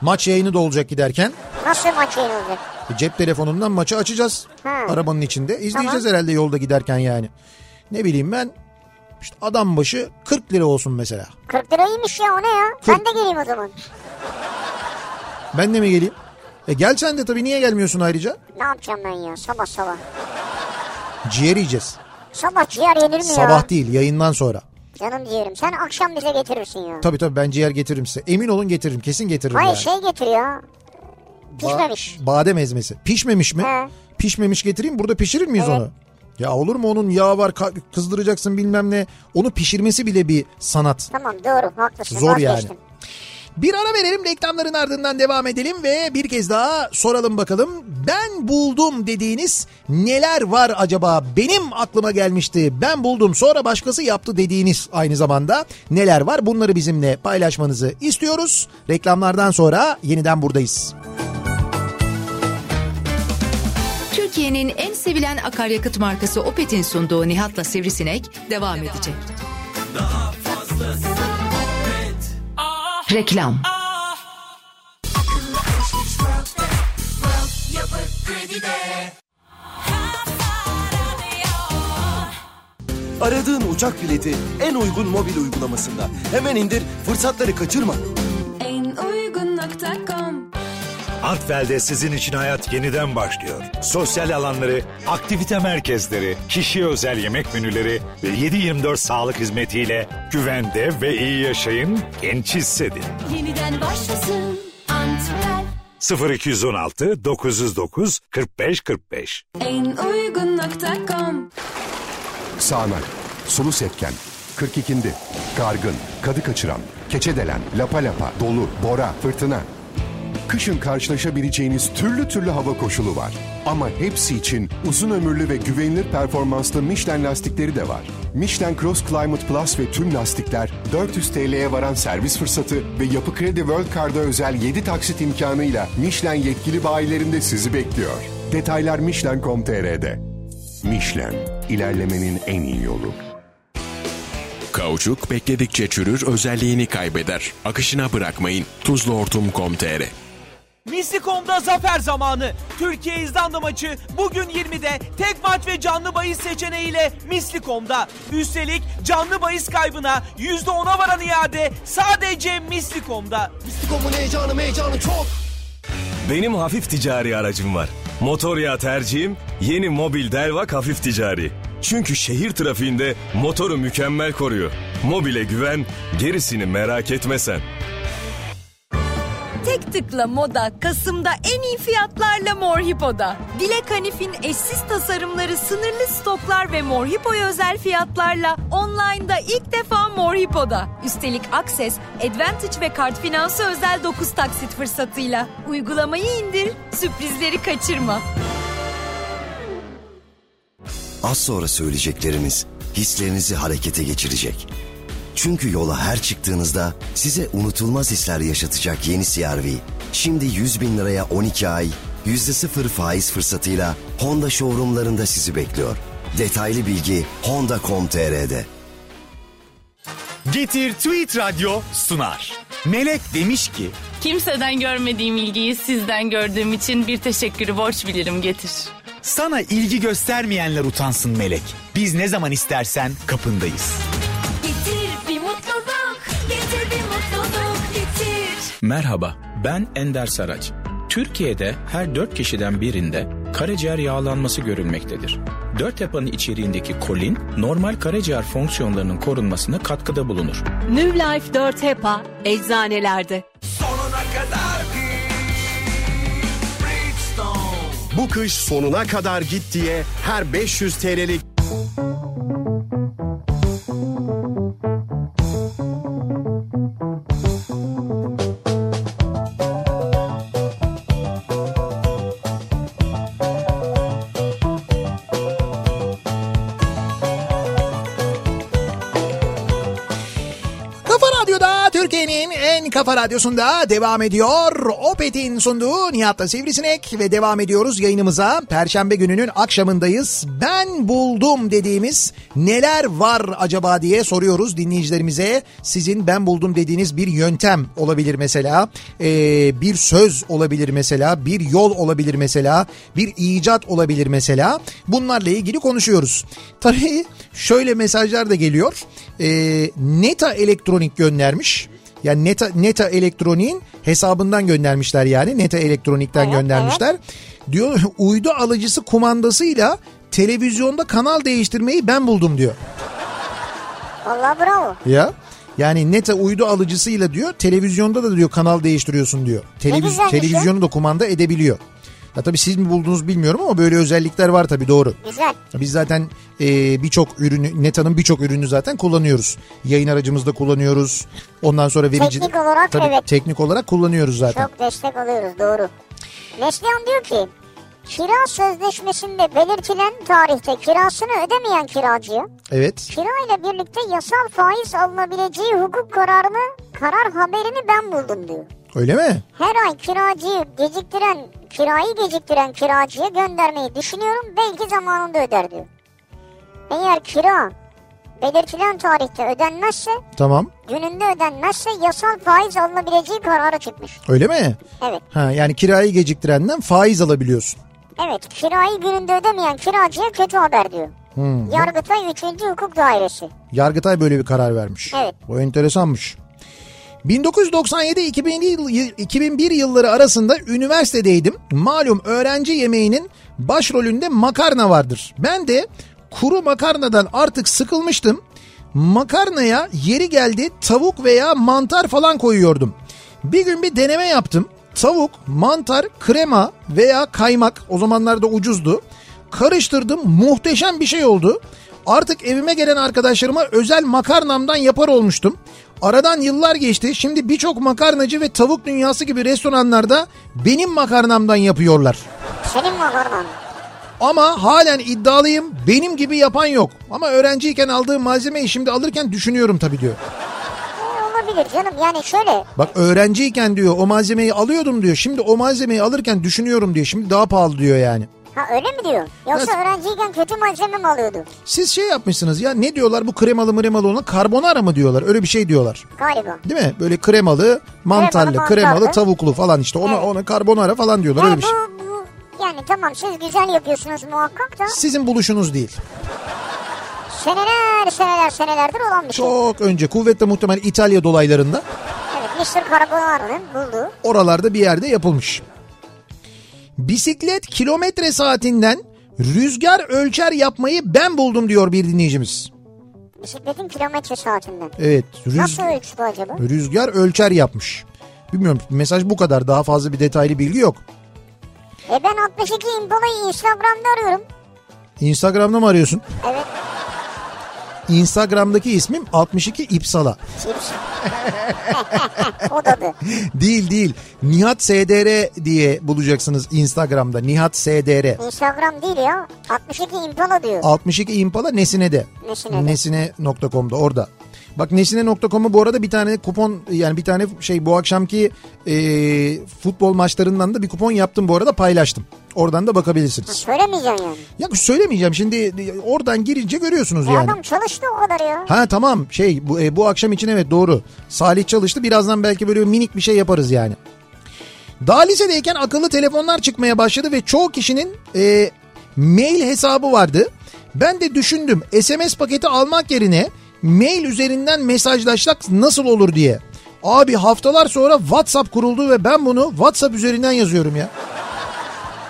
Speaker 1: maç yayını da olacak giderken
Speaker 2: Nasıl maç yayın olacak?
Speaker 1: cep telefonundan maçı açacağız.
Speaker 2: Ha.
Speaker 1: Arabanın içinde izleyeceğiz herhalde yolda giderken yani. Ne bileyim ben işte adam başı 40 lira olsun mesela.
Speaker 2: 40 lira iyiymiş ya o ne ya? Ben de geleyim o zaman.
Speaker 1: Ben de mi geleyim? E gel sen de tabii niye gelmiyorsun ayrıca?
Speaker 2: Ne yapacağım ben ya sabah sabah.
Speaker 1: Ciğer yiyeceğiz.
Speaker 2: Sabah ciğer yenir mi ya?
Speaker 1: Sabah değil yayından sonra.
Speaker 2: Canım ciğerim sen akşam bize getirirsin ya.
Speaker 1: Tabii tabii ben ciğer getiririm size. Emin olun getiririm kesin getiririm
Speaker 2: Hayır
Speaker 1: yani.
Speaker 2: şey getir ya. Pişmemiş.
Speaker 1: Ba- badem ezmesi. Pişmemiş mi?
Speaker 2: He.
Speaker 1: Pişmemiş getireyim burada pişirir miyiz onu? Ya olur mu onun yağı var ka- kızdıracaksın bilmem ne. Onu pişirmesi bile bir sanat.
Speaker 2: Tamam doğru haklısın.
Speaker 1: Zor yani.
Speaker 2: vazgeçtim.
Speaker 1: Bir ara verelim reklamların ardından devam edelim ve bir kez daha soralım bakalım. Ben buldum dediğiniz neler var acaba? Benim aklıma gelmişti. Ben buldum sonra başkası yaptı dediğiniz aynı zamanda neler var? Bunları bizimle paylaşmanızı istiyoruz. Reklamlardan sonra yeniden buradayız.
Speaker 3: Türkiye'nin en sevilen akaryakıt markası Opet'in sunduğu Nihat'la Sivrisinek devam edecek. Reklam.
Speaker 4: Aradığın uçak bileti en uygun mobil uygulamasında. Hemen indir, fırsatları kaçırma.
Speaker 5: en uygun.com
Speaker 6: Artfel'de sizin için hayat yeniden başlıyor. Sosyal alanları, aktivite merkezleri, kişiye özel yemek menüleri ve 7-24 sağlık hizmetiyle güvende ve iyi yaşayın, genç hissedin.
Speaker 5: Yeniden başlasın Antral
Speaker 6: 0216 909 45 45
Speaker 5: en uygun.com
Speaker 7: Sağanak, sulu sepken, 42'ndi, kargın, kadı kaçıran, keçe delen, lapa lapa, dolu, bora, fırtına. Kışın karşılaşabileceğiniz türlü türlü hava koşulu var. Ama hepsi için uzun ömürlü ve güvenilir performanslı Michelin lastikleri de var. Michelin Cross Climate Plus ve tüm lastikler 400 TL'ye varan servis fırsatı ve Yapı Kredi World Card'a özel 7 taksit imkanıyla Michelin yetkili bayilerinde sizi bekliyor. Detaylar Michelin.com.tr'de. Michelin, ilerlemenin en iyi yolu.
Speaker 8: Kauçuk bekledikçe çürür özelliğini kaybeder. Akışına bırakmayın. Tuzluortum.com.tr Mistikom'da zafer zamanı. Türkiye İzlanda maçı bugün 20'de tek maç ve canlı bahis seçeneğiyle Mislikom'da. Üstelik canlı bahis kaybına %10'a varan iade sadece Mislikom'da.
Speaker 4: Mistikom'un heyecanı meyecanı çok.
Speaker 9: Benim hafif ticari aracım var. Motor yağı tercihim yeni mobil Delvak hafif ticari. Çünkü şehir trafiğinde motoru mükemmel koruyor. Mobile güven, gerisini merak etme sen.
Speaker 10: Tek tıkla moda Kasım'da en iyi fiyatlarla Mor Hippo'da. Dilek Hanif'in eşsiz tasarımları, sınırlı stoklar ve Mor Hippo'ya özel fiyatlarla online'da ilk defa Mor Hippo'da. Üstelik Access, Advantage ve kart finansı özel 9 taksit fırsatıyla. Uygulamayı indir, sürprizleri kaçırma.
Speaker 11: Az sonra söyleyeceklerimiz hislerinizi harekete geçirecek. Çünkü yola her çıktığınızda size unutulmaz hisler yaşatacak yeni CR-V. Şimdi 100 bin liraya 12 ay, %0 faiz fırsatıyla Honda showroomlarında sizi bekliyor. Detaylı bilgi honda.com.tr'de.
Speaker 12: Getir Tweet Radyo sunar. Melek demiş ki...
Speaker 13: Kimseden görmediğim ilgiyi sizden gördüğüm için bir teşekkürü borç bilirim Getir.
Speaker 12: Sana ilgi göstermeyenler utansın Melek. Biz ne zaman istersen kapındayız.
Speaker 5: Getir bir mutluluk, getir bir mutluluk, getir.
Speaker 14: Merhaba, ben Ender Saraç. Türkiye'de her 4 kişiden birinde karaciğer yağlanması görülmektedir. Dört yapanın içeriğindeki kolin normal karaciğer fonksiyonlarının korunmasına katkıda bulunur.
Speaker 10: New Life 4 HEPA eczanelerde.
Speaker 15: Bu kış sonuna kadar git diye her 500 TL'lik
Speaker 1: Kafa Radyo'da Türkiye'nin en kafa radyosunda devam ediyor. Opet'in sunduğu Nihat'la Sivrisinek ve devam ediyoruz yayınımıza. Perşembe gününün akşamındayız. Ben buldum dediğimiz neler var acaba diye soruyoruz dinleyicilerimize. Sizin ben buldum dediğiniz bir yöntem olabilir mesela. Ee, bir söz olabilir mesela. Bir yol olabilir mesela. Bir icat olabilir mesela. Bunlarla ilgili konuşuyoruz. Tabii şöyle mesajlar da geliyor. Ee, Neta Elektronik göndermiş. Yani Neta, Neta Elektronik'in hesabından göndermişler yani. Neta Elektronik'ten göndermişler. Diyor uydu alıcısı kumandasıyla televizyonda kanal değiştirmeyi ben buldum diyor.
Speaker 2: Valla bravo.
Speaker 1: Ya yani neta uydu alıcısıyla diyor televizyonda da diyor kanal değiştiriyorsun diyor.
Speaker 2: güzel bir şey.
Speaker 1: televizyonu da kumanda edebiliyor. Ya tabii siz mi buldunuz bilmiyorum ama böyle özellikler var tabii doğru.
Speaker 2: Güzel.
Speaker 1: Biz zaten e, birçok ürünü Neta'nın birçok ürünü zaten kullanıyoruz. Yayın aracımızda kullanıyoruz. Ondan sonra verici
Speaker 2: Teknik olarak
Speaker 1: tabii,
Speaker 2: evet.
Speaker 1: teknik olarak kullanıyoruz zaten.
Speaker 2: Çok destek alıyoruz doğru. Neslihan diyor ki kira sözleşmesinde belirtilen tarihte kirasını ödemeyen kiracıya
Speaker 1: Evet.
Speaker 2: kira ile birlikte yasal faiz alınabileceği hukuk kararını karar haberini ben buldum diyor.
Speaker 1: Öyle mi?
Speaker 2: Her ay kiracıyı geciktiren kirayı geciktiren kiracıya göndermeyi düşünüyorum belki zamanında öder diyor. Eğer kira belirtilen tarihte ödenmezse
Speaker 1: Tamam.
Speaker 2: gününde ödenmezse yasal faiz alınabileceği kararı çıkmış.
Speaker 1: Öyle mi?
Speaker 2: Evet.
Speaker 1: Ha yani kirayı geciktirenden faiz alabiliyorsun.
Speaker 2: Evet kirayı gününde ödemeyen kiracıya kötü haber diyor.
Speaker 1: Hmm.
Speaker 2: Yargıtay 3. Hukuk Dairesi.
Speaker 1: Yargıtay böyle bir karar vermiş.
Speaker 2: Evet.
Speaker 1: Bu enteresanmış. 1997-2001 yıl- 2001 yılları arasında üniversitedeydim. Malum öğrenci yemeğinin başrolünde makarna vardır. Ben de kuru makarnadan artık sıkılmıştım. Makarnaya yeri geldi tavuk veya mantar falan koyuyordum. Bir gün bir deneme yaptım. Tavuk, mantar, krema veya kaymak o zamanlarda ucuzdu. Karıştırdım muhteşem bir şey oldu. Artık evime gelen arkadaşlarıma özel makarnamdan yapar olmuştum. Aradan yıllar geçti. Şimdi birçok makarnacı ve tavuk dünyası gibi restoranlarda benim makarnamdan yapıyorlar.
Speaker 2: Senin makarnan.
Speaker 1: Ama halen iddialıyım. Benim gibi yapan yok. Ama öğrenciyken aldığım malzemeyi şimdi alırken düşünüyorum tabii diyor.
Speaker 2: E, olabilir canım yani şöyle
Speaker 1: Bak öğrenciyken diyor o malzemeyi alıyordum diyor. Şimdi o malzemeyi alırken düşünüyorum diyor. Şimdi daha pahalı diyor yani.
Speaker 2: Ha öyle mi diyor? Yoksa öğrenciyken kötü malzeme mi alıyordu?
Speaker 1: Siz şey yapmışsınız ya ne diyorlar bu kremalı mremalı olan karbonara mı diyorlar öyle bir şey diyorlar.
Speaker 2: Galiba.
Speaker 1: Değil mi? Böyle kremalı, mantarlı,
Speaker 2: Kremalı,
Speaker 1: kremalı,
Speaker 2: mantarlı.
Speaker 1: tavuklu falan işte ona ona karbonara falan diyorlar öyle
Speaker 2: Ya
Speaker 1: bir şey.
Speaker 2: bu, bu, yani tamam siz güzel yapıyorsunuz muhakkak da
Speaker 1: Sizin buluşunuz değil.
Speaker 2: seneler seneler senelerdir olan bir şey.
Speaker 1: Çok önce kuvvetle muhtemel İtalya dolaylarında
Speaker 2: Evet Mr. Carbonara'nın bulduğu.
Speaker 1: oralarda bir yerde yapılmış. Bisiklet kilometre saatinden rüzgar ölçer yapmayı ben buldum diyor bir dinleyicimiz.
Speaker 2: Bisikletin kilometre saatinden.
Speaker 1: Evet.
Speaker 2: Nasıl ölçtü acaba?
Speaker 1: Rüzgar ölçer yapmış. Bilmiyorum mesaj bu kadar daha fazla bir detaylı bilgi yok.
Speaker 2: E ben 62 Impala'yı Instagram'da arıyorum.
Speaker 1: Instagram'da mı arıyorsun?
Speaker 2: Evet.
Speaker 1: Instagram'daki ismim 62 İpsala.
Speaker 2: Chips. o da bu.
Speaker 1: değil değil. Nihat SDR diye bulacaksınız Instagram'da. Nihat SDR.
Speaker 2: Instagram değil ya. 62 Impala diyor.
Speaker 1: 62 Impala Nesine de.
Speaker 2: Nesine de.
Speaker 1: Nesine.com'da orada. Bak nesine.com'u bu arada bir tane kupon yani bir tane şey bu akşamki e, futbol maçlarından da bir kupon yaptım bu arada paylaştım. Oradan da
Speaker 2: Ha,
Speaker 1: bakabilirsiniz.
Speaker 2: Söylemeyeceksin yani.
Speaker 1: Ya söylemeyeceğim şimdi e, oradan girince görüyorsunuz
Speaker 2: E
Speaker 1: yani.
Speaker 2: Adam çalıştı o kadar ya.
Speaker 1: Ha tamam şey bu, e, bu akşam için evet doğru. Salih çalıştı birazdan belki böyle minik bir şey yaparız yani. Daha lisedeyken akıllı telefonlar çıkmaya başladı ve çoğu kişinin e, mail hesabı vardı. Ben de düşündüm SMS paketi almak yerine mail üzerinden mesajlaşsak nasıl olur diye. Abi haftalar sonra WhatsApp kuruldu ve ben bunu WhatsApp üzerinden yazıyorum ya.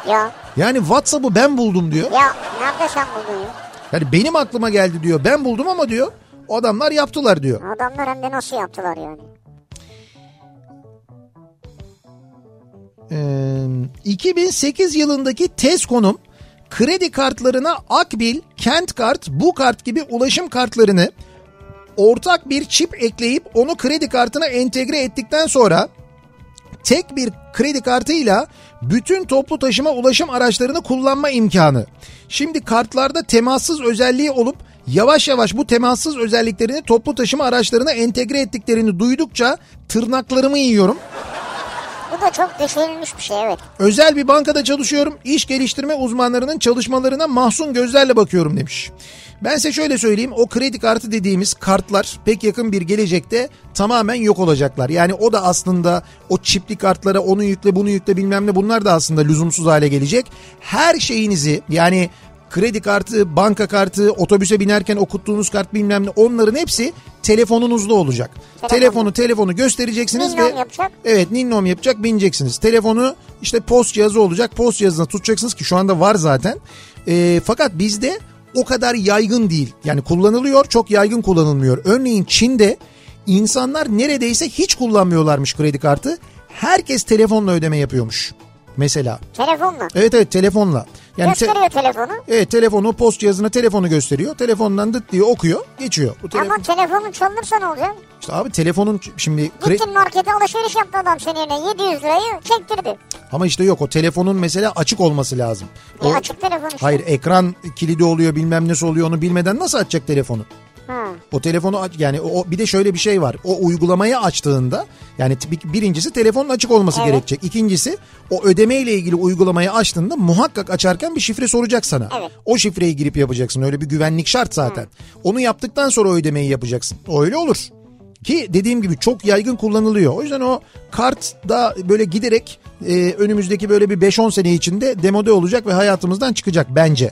Speaker 2: Ya.
Speaker 1: Yani WhatsApp'ı ben buldum diyor.
Speaker 2: Ya nerede sen buldun ya?
Speaker 1: Yani benim aklıma geldi diyor. Ben buldum ama diyor. Adamlar yaptılar diyor.
Speaker 2: Adamlar hem de nasıl yaptılar yani?
Speaker 1: Ee, 2008 yılındaki tez konum kredi kartlarına Akbil, Kentkart, Bukart gibi ulaşım kartlarını ortak bir çip ekleyip onu kredi kartına entegre ettikten sonra tek bir kredi kartıyla bütün toplu taşıma ulaşım araçlarını kullanma imkanı. Şimdi kartlarda temassız özelliği olup yavaş yavaş bu temassız özelliklerini toplu taşıma araçlarına entegre ettiklerini duydukça tırnaklarımı yiyorum.
Speaker 2: Bu da çok düşünülmüş bir şey evet.
Speaker 1: Özel bir bankada çalışıyorum. İş geliştirme uzmanlarının çalışmalarına mahzun gözlerle bakıyorum demiş. Ben size şöyle söyleyeyim. O kredi kartı dediğimiz kartlar pek yakın bir gelecekte tamamen yok olacaklar. Yani o da aslında o çipli kartlara onu yükle bunu yükle bilmem ne bunlar da aslında lüzumsuz hale gelecek. Her şeyinizi yani kredi kartı, banka kartı, otobüse binerken okuttuğunuz kart bilmem ne onların hepsi telefonunuzda olacak. Telefonu telefonu göstereceksiniz
Speaker 2: Minyon
Speaker 1: ve
Speaker 2: yapacak.
Speaker 1: Evet ninnom yapacak bineceksiniz. Telefonu işte post cihazı olacak. Post cihazına tutacaksınız ki şu anda var zaten. Ee, fakat bizde o kadar yaygın değil. Yani kullanılıyor çok yaygın kullanılmıyor. Örneğin Çin'de insanlar neredeyse hiç kullanmıyorlarmış kredi kartı. Herkes telefonla ödeme yapıyormuş. Mesela.
Speaker 2: Telefonla.
Speaker 1: Evet evet telefonla. te-
Speaker 2: Gösteriyor telefonu.
Speaker 1: Evet telefonu post cihazına telefonu gösteriyor. Telefondan dıt diye okuyor geçiyor. Bu telefon-
Speaker 2: Ama telefonun çalınırsa ne olacak?
Speaker 1: İşte abi telefonun ç- şimdi kre-
Speaker 2: Gittin markete alışveriş yaptı adam senin yerine 700 lirayı çektirdi.
Speaker 1: ama işte yok o telefonun mesela açık olması lazım.
Speaker 2: E,
Speaker 1: O-
Speaker 2: açık telefon işte.
Speaker 1: Hayır ekran kilidi oluyor bilmem nesi oluyor onu bilmeden nasıl açacak telefonu?
Speaker 2: Ha.
Speaker 1: O telefonu aç yani o bir de şöyle bir şey var. O uygulamayı açtığında yani t- bir- birincisi telefonun açık olması
Speaker 2: Evet.
Speaker 1: gerekecek. İkincisi o ödeme ile ilgili uygulamayı açtığında muhakkak açarken bir şifre soracak sana.
Speaker 2: Evet.
Speaker 1: O şifreyi girip yapacaksın. Öyle bir güvenlik şart zaten. Onu yaptıktan sonra o ödemeyi yapacaksın. O Öyle olur. Ki dediğim gibi çok yaygın kullanılıyor. O yüzden o kart da böyle giderek e, önümüzdeki böyle bir 5-10 sene içinde demode olacak ve hayatımızdan çıkacak bence.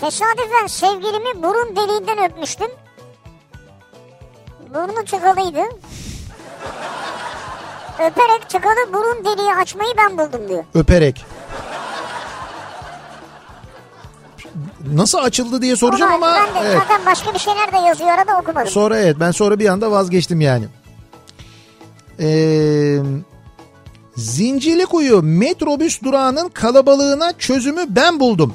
Speaker 2: Tesadüfen sevgilimi burun deliğinden öpmüştüm. Burnu tıkalıydı. Öperek tıkalı burun deliği açmayı ben buldum diyor.
Speaker 1: Öperek. Nasıl açıldı diye soracağım
Speaker 2: Ama
Speaker 1: ama
Speaker 2: ben de
Speaker 1: evet.
Speaker 2: zaten başka bir şeyler de yazıyor arada okumadım.
Speaker 1: sonra evet ben sonra bir anda vazgeçtim yani. Ee, Zincirlikuyu metrobüs durağının kalabalığına çözümü ben buldum.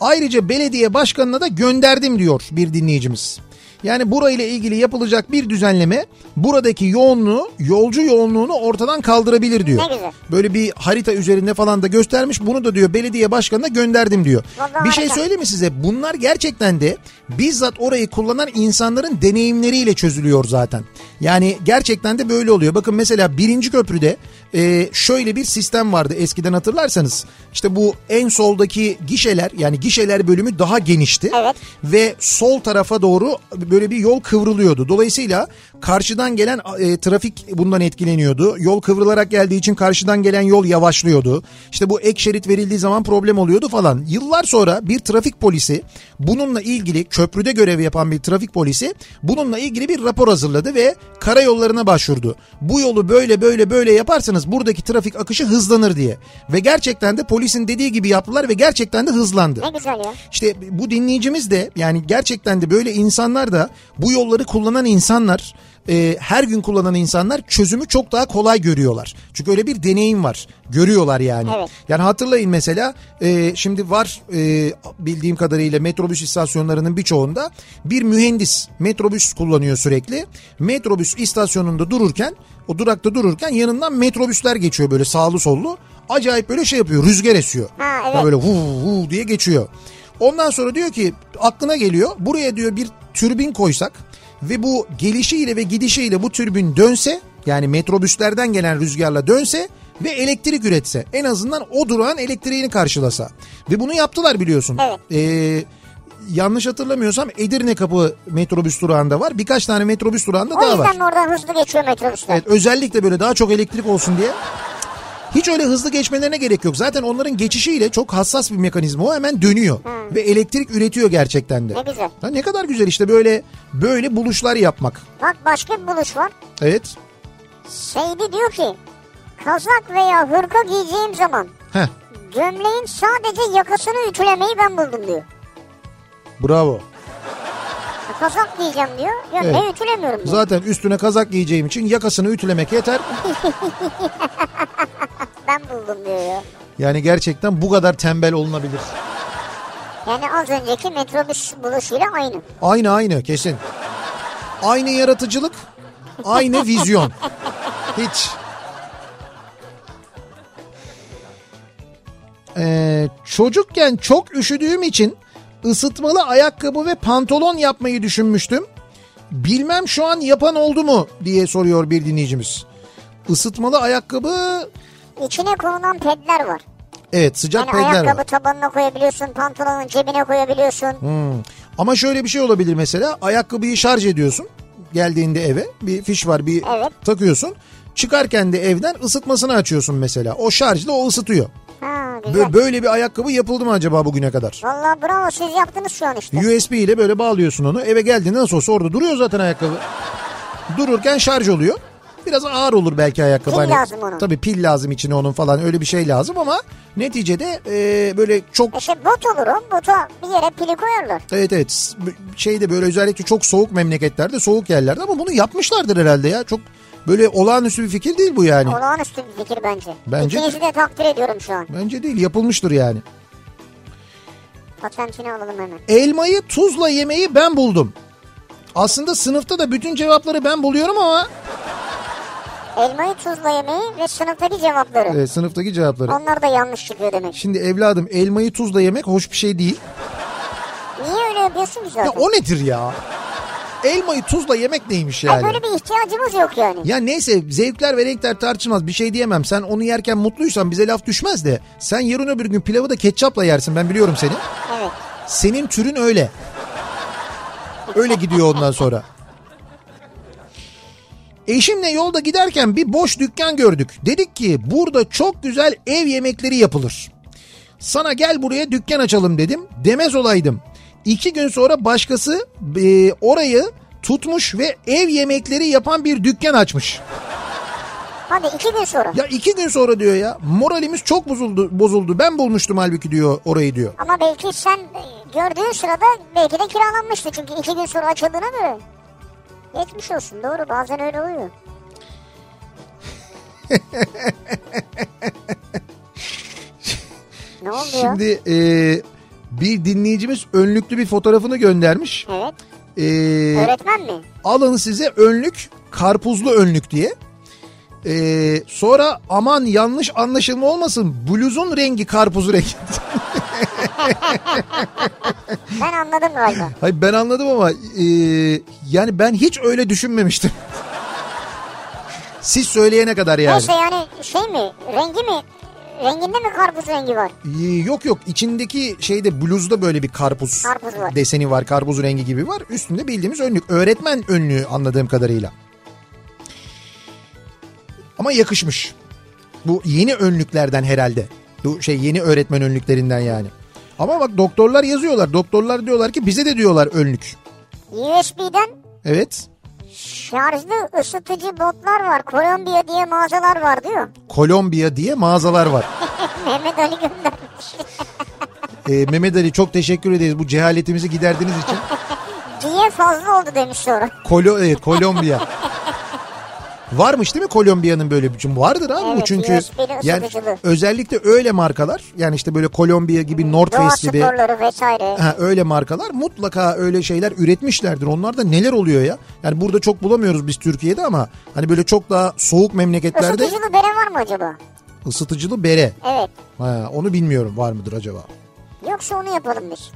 Speaker 1: Ayrıca belediye başkanına da gönderdim diyor bir dinleyicimiz. Yani burayla ilgili yapılacak bir düzenleme buradaki yoğunluğu, yolcu yoğunluğunu ortadan kaldırabilir diyor.
Speaker 2: Ne güzel.
Speaker 1: Böyle bir harita üzerinde falan da göstermiş. Bunu da diyor belediye başkanına gönderdim diyor.
Speaker 2: Vallahi
Speaker 1: bir şey
Speaker 2: harika.
Speaker 1: söyleyeyim mi size? Bunlar gerçekten de bizzat orayı kullanan insanların deneyimleriyle çözülüyor zaten. Yani gerçekten de böyle oluyor. Bakın mesela birinci köprüde e, şöyle bir sistem vardı eskiden hatırlarsanız. İşte bu en soldaki gişeler yani gişeler bölümü daha genişti. Ve sol tarafa doğru böyle bir yol kıvrılıyordu. Dolayısıyla karşıdan gelen e, trafik bundan etkileniyordu. Yol kıvrılarak geldiği için karşıdan gelen yol yavaşlıyordu. İşte bu ek şerit verildiği zaman problem oluyordu falan. Yıllar sonra bir trafik polisi bununla ilgili köprüde görev yapan bir trafik polisi bununla ilgili bir rapor hazırladı ve karayollarına başvurdu. Bu yolu böyle böyle böyle yaparsanız buradaki trafik akışı hızlanır diye. Ve gerçekten de polisin dediği gibi yaptılar ve gerçekten de hızlandı.
Speaker 2: Ne güzel ya.
Speaker 1: İşte bu dinleyicimiz de yani gerçekten de böyle insanlar da bu yolları kullanan insanlar e, her gün kullanan insanlar çözümü çok daha kolay görüyorlar. Çünkü öyle bir deneyim var. Görüyorlar yani.
Speaker 2: Evet.
Speaker 1: Yani hatırlayın mesela e, şimdi var e, bildiğim kadarıyla metrobüs istasyonlarının birçoğunda bir mühendis metrobüs kullanıyor sürekli. Metrobüs istasyonunda dururken o durakta dururken yanından metrobüsler geçiyor böyle sağlı sollu. Acayip böyle şey yapıyor rüzgar esiyor.
Speaker 2: Ha, evet.
Speaker 1: Ya Böyle hu hu diye geçiyor. Ondan sonra diyor ki aklına geliyor buraya diyor bir türbin koysak ve bu gelişiyle ve gidişiyle bu türbin dönse yani metrobüslerden gelen rüzgarla dönse ve elektrik üretse en azından o durağın elektriğini karşılasa ve bunu yaptılar biliyorsun. Ee, yanlış hatırlamıyorsam Edirne Kapı metrobüs durağında var birkaç tane metrobüs durağında
Speaker 2: O
Speaker 1: daha var.
Speaker 2: yüzden oradan hızlı geçiyor metrobüsler.
Speaker 1: Evet özellikle böyle daha çok elektrik olsun diye. Hiç öyle hızlı geçmelerine gerek yok. Zaten onların geçişiyle çok hassas bir mekanizma o hemen dönüyor. Ve elektrik üretiyor gerçekten de.
Speaker 2: Hmm. Ne güzel.
Speaker 1: Ha, ne kadar güzel işte böyle böyle buluşlar yapmak.
Speaker 2: Bak başka bir buluş var.
Speaker 1: Evet.
Speaker 2: Seydi diyor ki kazak veya hırka giyeceğim zaman
Speaker 1: Heh,
Speaker 2: gömleğin sadece yakasını ütülemeyi ben buldum diyor.
Speaker 1: bravo.
Speaker 2: Kazak giyeceğim diyor. Gömleği
Speaker 1: Evet.
Speaker 2: ütülemiyorum diyor.
Speaker 1: Zaten üstüne kazak giyeceğim için yakasını ütülemek yeter.
Speaker 2: Ben buldum diyor ya.
Speaker 1: Yani gerçekten bu kadar tembel olunabilir.
Speaker 2: Yani az önceki metrobüs buluşuyla aynı.
Speaker 1: Aynı aynı kesin. Aynı yaratıcılık, aynı vizyon. Hiç. Ee, çocukken çok üşüdüğüm için ısıtmalı ayakkabı ve pantolon yapmayı düşünmüştüm. Bilmem şu an yapan oldu mu diye soruyor bir dinleyicimiz. Isıtmalı ayakkabı
Speaker 2: İçine konulan pedler var.
Speaker 1: evet sıcak
Speaker 2: Yani
Speaker 1: pedler
Speaker 2: ayakkabı
Speaker 1: var.
Speaker 2: tabanına koyabiliyorsun, pantolonun cebine koyabiliyorsun.
Speaker 1: Hmm. Ama şöyle bir şey olabilir mesela ayakkabıyı şarj ediyorsun geldiğinde eve bir fiş var bir
Speaker 2: Evet.
Speaker 1: takıyorsun çıkarken de evden ısıtmasını açıyorsun mesela o şarjla o ısıtıyor.
Speaker 2: Ha
Speaker 1: Bö-
Speaker 2: güzel.
Speaker 1: Böyle bir ayakkabı yapıldı mı acaba bugüne kadar?
Speaker 2: Vallahi bravo siz yaptınız şu an işte.
Speaker 1: USB ile böyle bağlıyorsun onu eve geldiğinde nasıl olsa orada duruyor zaten ayakkabı. Dururken şarj oluyor. Biraz ağır olur belki ayakkabı. Hani
Speaker 2: Pil lazım onun.
Speaker 1: Tabii pil lazım içine onun falan öyle bir şey lazım ama neticede e, böyle çok
Speaker 2: İşte şey, bot olur o. Bota bir yere pili koyarlar.
Speaker 1: Evet evet S- b- şeyde böyle özellikle çok soğuk memleketlerde soğuk yerlerde ama bunu yapmışlardır herhalde ya çok böyle olağanüstü bir fikir değil bu yani.
Speaker 2: Olağanüstü bir fikir bence.
Speaker 1: Bence
Speaker 2: İkinizi de takdir ediyorum şu an.
Speaker 1: Bence değil yapılmıştır yani.
Speaker 2: Patentini alalım hemen.
Speaker 1: Elmayı tuzla yemeyi ben buldum. Aslında sınıfta da bütün cevapları ben buluyorum ama
Speaker 2: Elmayı tuzla yemeği ve sınıftaki cevapları.
Speaker 1: Evet, e, sınıftaki cevapları.
Speaker 2: Onlar da yanlış çıkıyor demek.
Speaker 1: Şimdi evladım elmayı tuzla yemek hoş bir şey değil.
Speaker 2: Niye öyle yapıyorsun ki zaten?
Speaker 1: Ya o nedir ya? Elmayı tuzla yemek neymiş
Speaker 2: Ay,
Speaker 1: yani?
Speaker 2: böyle bir ihtiyacımız yok yani.
Speaker 1: Ya neyse zevkler ve renkler tartışılmaz bir şey diyemem. Sen onu yerken mutluysan bize laf düşmez de sen yarın öbür gün pilavı da ketçapla yersin ben biliyorum seni.
Speaker 2: Evet.
Speaker 1: Senin türün öyle. Öyle gidiyor ondan sonra. Eşimle yolda giderken bir boş dükkan gördük. Dedik ki burada çok güzel ev yemekleri yapılır. Sana gel buraya dükkan açalım dedim. Demez olaydım. İki gün sonra başkası e, orayı tutmuş ve ev yemekleri yapan bir dükkan açmış.
Speaker 2: Hadi iki gün sonra.
Speaker 1: Ya iki gün sonra diyor ya moralimiz çok bozuldu. bozuldu. Ben bulmuştum halbuki diyor orayı diyor.
Speaker 2: Ama belki sen e, gördüğün sırada belki de kiralanmıştı. Çünkü iki gün sonra açıldığına göre. Geçmiş olsun doğru bazen öyle oluyor. ne oldu ya?
Speaker 1: Şimdi e, bir dinleyicimiz önlüklü bir fotoğrafını göndermiş.
Speaker 2: Evet.
Speaker 1: E,
Speaker 2: Öğretmen mi?
Speaker 1: alın size önlük karpuzlu önlük diye. E, sonra aman yanlış anlaşılma olmasın bluzun rengi karpuzu rengi.
Speaker 2: Ben anladım galiba.
Speaker 1: Hayır ben anladım ama e, yani ben hiç öyle düşünmemiştim. Siz söyleyene kadar yani.
Speaker 2: Neyse yani şey mi rengi mi renginde mi karpuz rengi var?
Speaker 1: Ee, Yok yok içindeki şeyde bluzda böyle bir karpuz,
Speaker 2: Karpuz var.
Speaker 1: deseni var. Karpuz rengi gibi var. Üstünde bildiğimiz önlük. Öğretmen önlüğü anladığım kadarıyla. Ama yakışmış. Bu yeni önlüklerden herhalde. Bu şey yeni öğretmen önlüklerinden yani. Ama bak doktorlar yazıyorlar. Doktorlar diyorlar ki bize de diyorlar önlük.
Speaker 2: USB'den
Speaker 1: Evet.
Speaker 2: şarjlı ısıtıcı botlar var. Kolombiya diye mağazalar var diyor.
Speaker 1: Kolombiya diye mağazalar var.
Speaker 2: Mehmet Ali göndermiş.
Speaker 1: Ee, Mehmet Ali çok teşekkür ederiz bu cehaletimizi giderdiğiniz için.
Speaker 2: diye fazla oldu demiş sonra.
Speaker 1: Kolo, evet, Kolombiya. Varmış değil mi Kolombiya'nın böyle bir çünkü vardır abi bu
Speaker 2: Evet,
Speaker 1: çünkü
Speaker 2: USB'li
Speaker 1: yani
Speaker 2: ısıtıcılı.
Speaker 1: özellikle öyle markalar yani işte böyle Kolombiya gibi North
Speaker 2: Doğa
Speaker 1: Face gibi
Speaker 2: sporları vesaire.
Speaker 1: ha, öyle markalar mutlaka öyle şeyler üretmişlerdir. Onlarda neler oluyor ya? Yani burada çok bulamıyoruz biz Türkiye'de ama hani böyle çok daha soğuk memleketlerde
Speaker 2: Isıtıcılı bere var mı acaba?
Speaker 1: ısıtıcılı bere.
Speaker 2: Evet.
Speaker 1: Ha, onu bilmiyorum var mıdır acaba?
Speaker 2: Yoksa onu yapalım biz.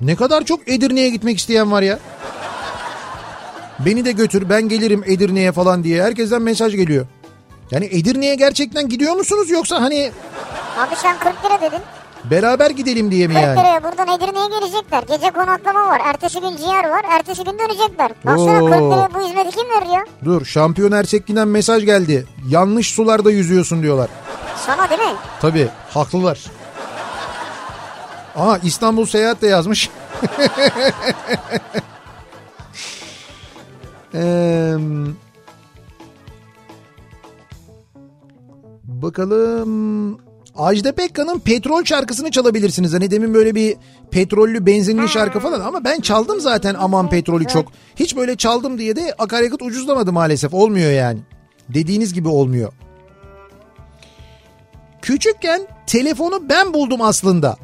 Speaker 1: Ne kadar çok Edirne'ye gitmek isteyen var ya. Beni de götür ben gelirim Edirne'ye falan diye herkesten mesaj geliyor. Yani Edirne'ye gerçekten gidiyor musunuz yoksa hani
Speaker 2: Abi sen 40 lira dedin.
Speaker 1: beraber gidelim diye
Speaker 2: 40
Speaker 1: mi yani?
Speaker 2: liraya buradan Edirne'ye gelecekler. Gece konaklama var. Ertesi gün ciğer var. Ertesi gün dönecekler. Baksana
Speaker 1: Oo.
Speaker 2: 40 liraya bu hizmeti kim veriyor?
Speaker 1: Dur şampiyon ersekliğinden mesaj geldi. Yanlış sularda yüzüyorsun diyorlar.
Speaker 2: Sana değil mi?
Speaker 1: Tabii haklılar. Aa İstanbul Seyahat de yazmış. Eee, bakalım. Ajda Pekkan'ın Petrol şarkısını çalabilirsiniz. Hani demin böyle bir petrollü benzinli şarkı falan ama ben çaldım zaten aman petrolü çok. Hiç böyle çaldım diye de akaryakıt ucuzlamadı maalesef. Olmuyor yani. Dediğiniz gibi olmuyor. Küçükken telefonu ben buldum aslında.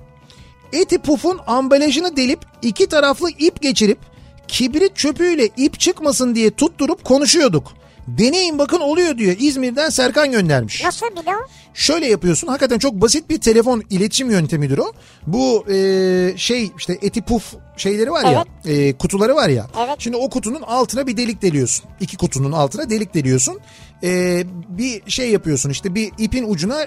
Speaker 1: Eti pufun ambalajını delip iki taraflı ip geçirip kibrit çöpüyle ip çıkmasın diye tutturup konuşuyorduk. Deneyin bakın oluyor diyor İzmir'den Serkan göndermiş.
Speaker 2: Nasıl bir de o?
Speaker 1: Şöyle yapıyorsun hakikaten çok basit bir telefon iletişim yöntemidir o. Bu e, şey işte eti puf şeyleri var ya e, kutuları var ya. Şimdi o kutunun altına bir delik deliyorsun. İki kutunun altına delik deliyorsun. E, bir şey yapıyorsun işte bir ipin ucuna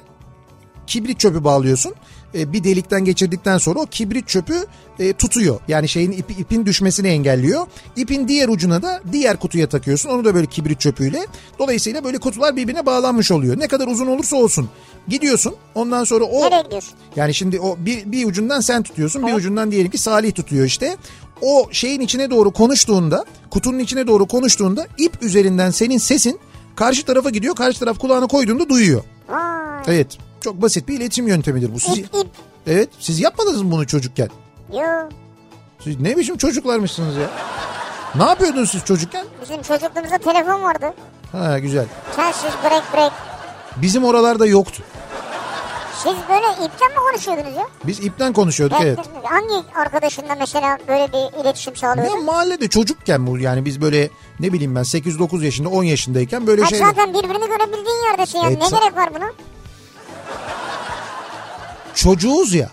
Speaker 1: kibrit çöpü bağlıyorsun. E, bir delikten geçirdikten sonra o kibrit çöpü e, tutuyor. Yani şeyin ipi, ipin düşmesini engelliyor. İpin diğer ucuna da diğer kutuya takıyorsun. Onu da böyle kibrit çöpüyle. Dolayısıyla böyle kutular birbirine bağlanmış oluyor. Ne kadar uzun olursa olsun. Gidiyorsun. Ondan sonra o
Speaker 2: Nereye gidiyorsun?
Speaker 1: yani şimdi o bir, bir ucundan sen tutuyorsun bir ucundan diyelim ki Salih tutuyor işte. O şeyin içine doğru konuştuğunda kutunun içine doğru konuştuğunda ip üzerinden senin sesin karşı tarafa gidiyor. Karşı taraf kulağına koyduğunda duyuyor.
Speaker 2: Vay.
Speaker 1: Evet çok basit bir iletişim yöntemidir bu. Siz,
Speaker 2: İp ip.
Speaker 1: Evet siz yapmadınız mı bunu çocukken?
Speaker 2: Yo.
Speaker 1: Siz ne biçim çocuklarmışsınız ya? Ne yapıyordunuz siz çocukken?
Speaker 2: Bizim çocukluğumuzda telefon vardı.
Speaker 1: Ha güzel.
Speaker 2: Telsiz break break.
Speaker 1: Bizim oralarda yoktu.
Speaker 2: Siz böyle ipten mi konuşuyordunuz ya?
Speaker 1: Biz ipten konuşuyorduk
Speaker 2: Ben-
Speaker 1: evet.
Speaker 2: Hangi arkadaşınla mesela böyle bir iletişim
Speaker 1: Ya
Speaker 2: sağlıyordun?
Speaker 1: mahallede çocukken bu yani biz böyle ne bileyim ben 8-9 yaşında 10 yaşındayken böyle
Speaker 2: Ha,
Speaker 1: şeyler.
Speaker 2: zaten birbirini görebildiğin yerdesin yani.
Speaker 1: Evet,
Speaker 2: ne
Speaker 1: E, sa-
Speaker 2: gerek var buna?
Speaker 1: Çocuğuz ya.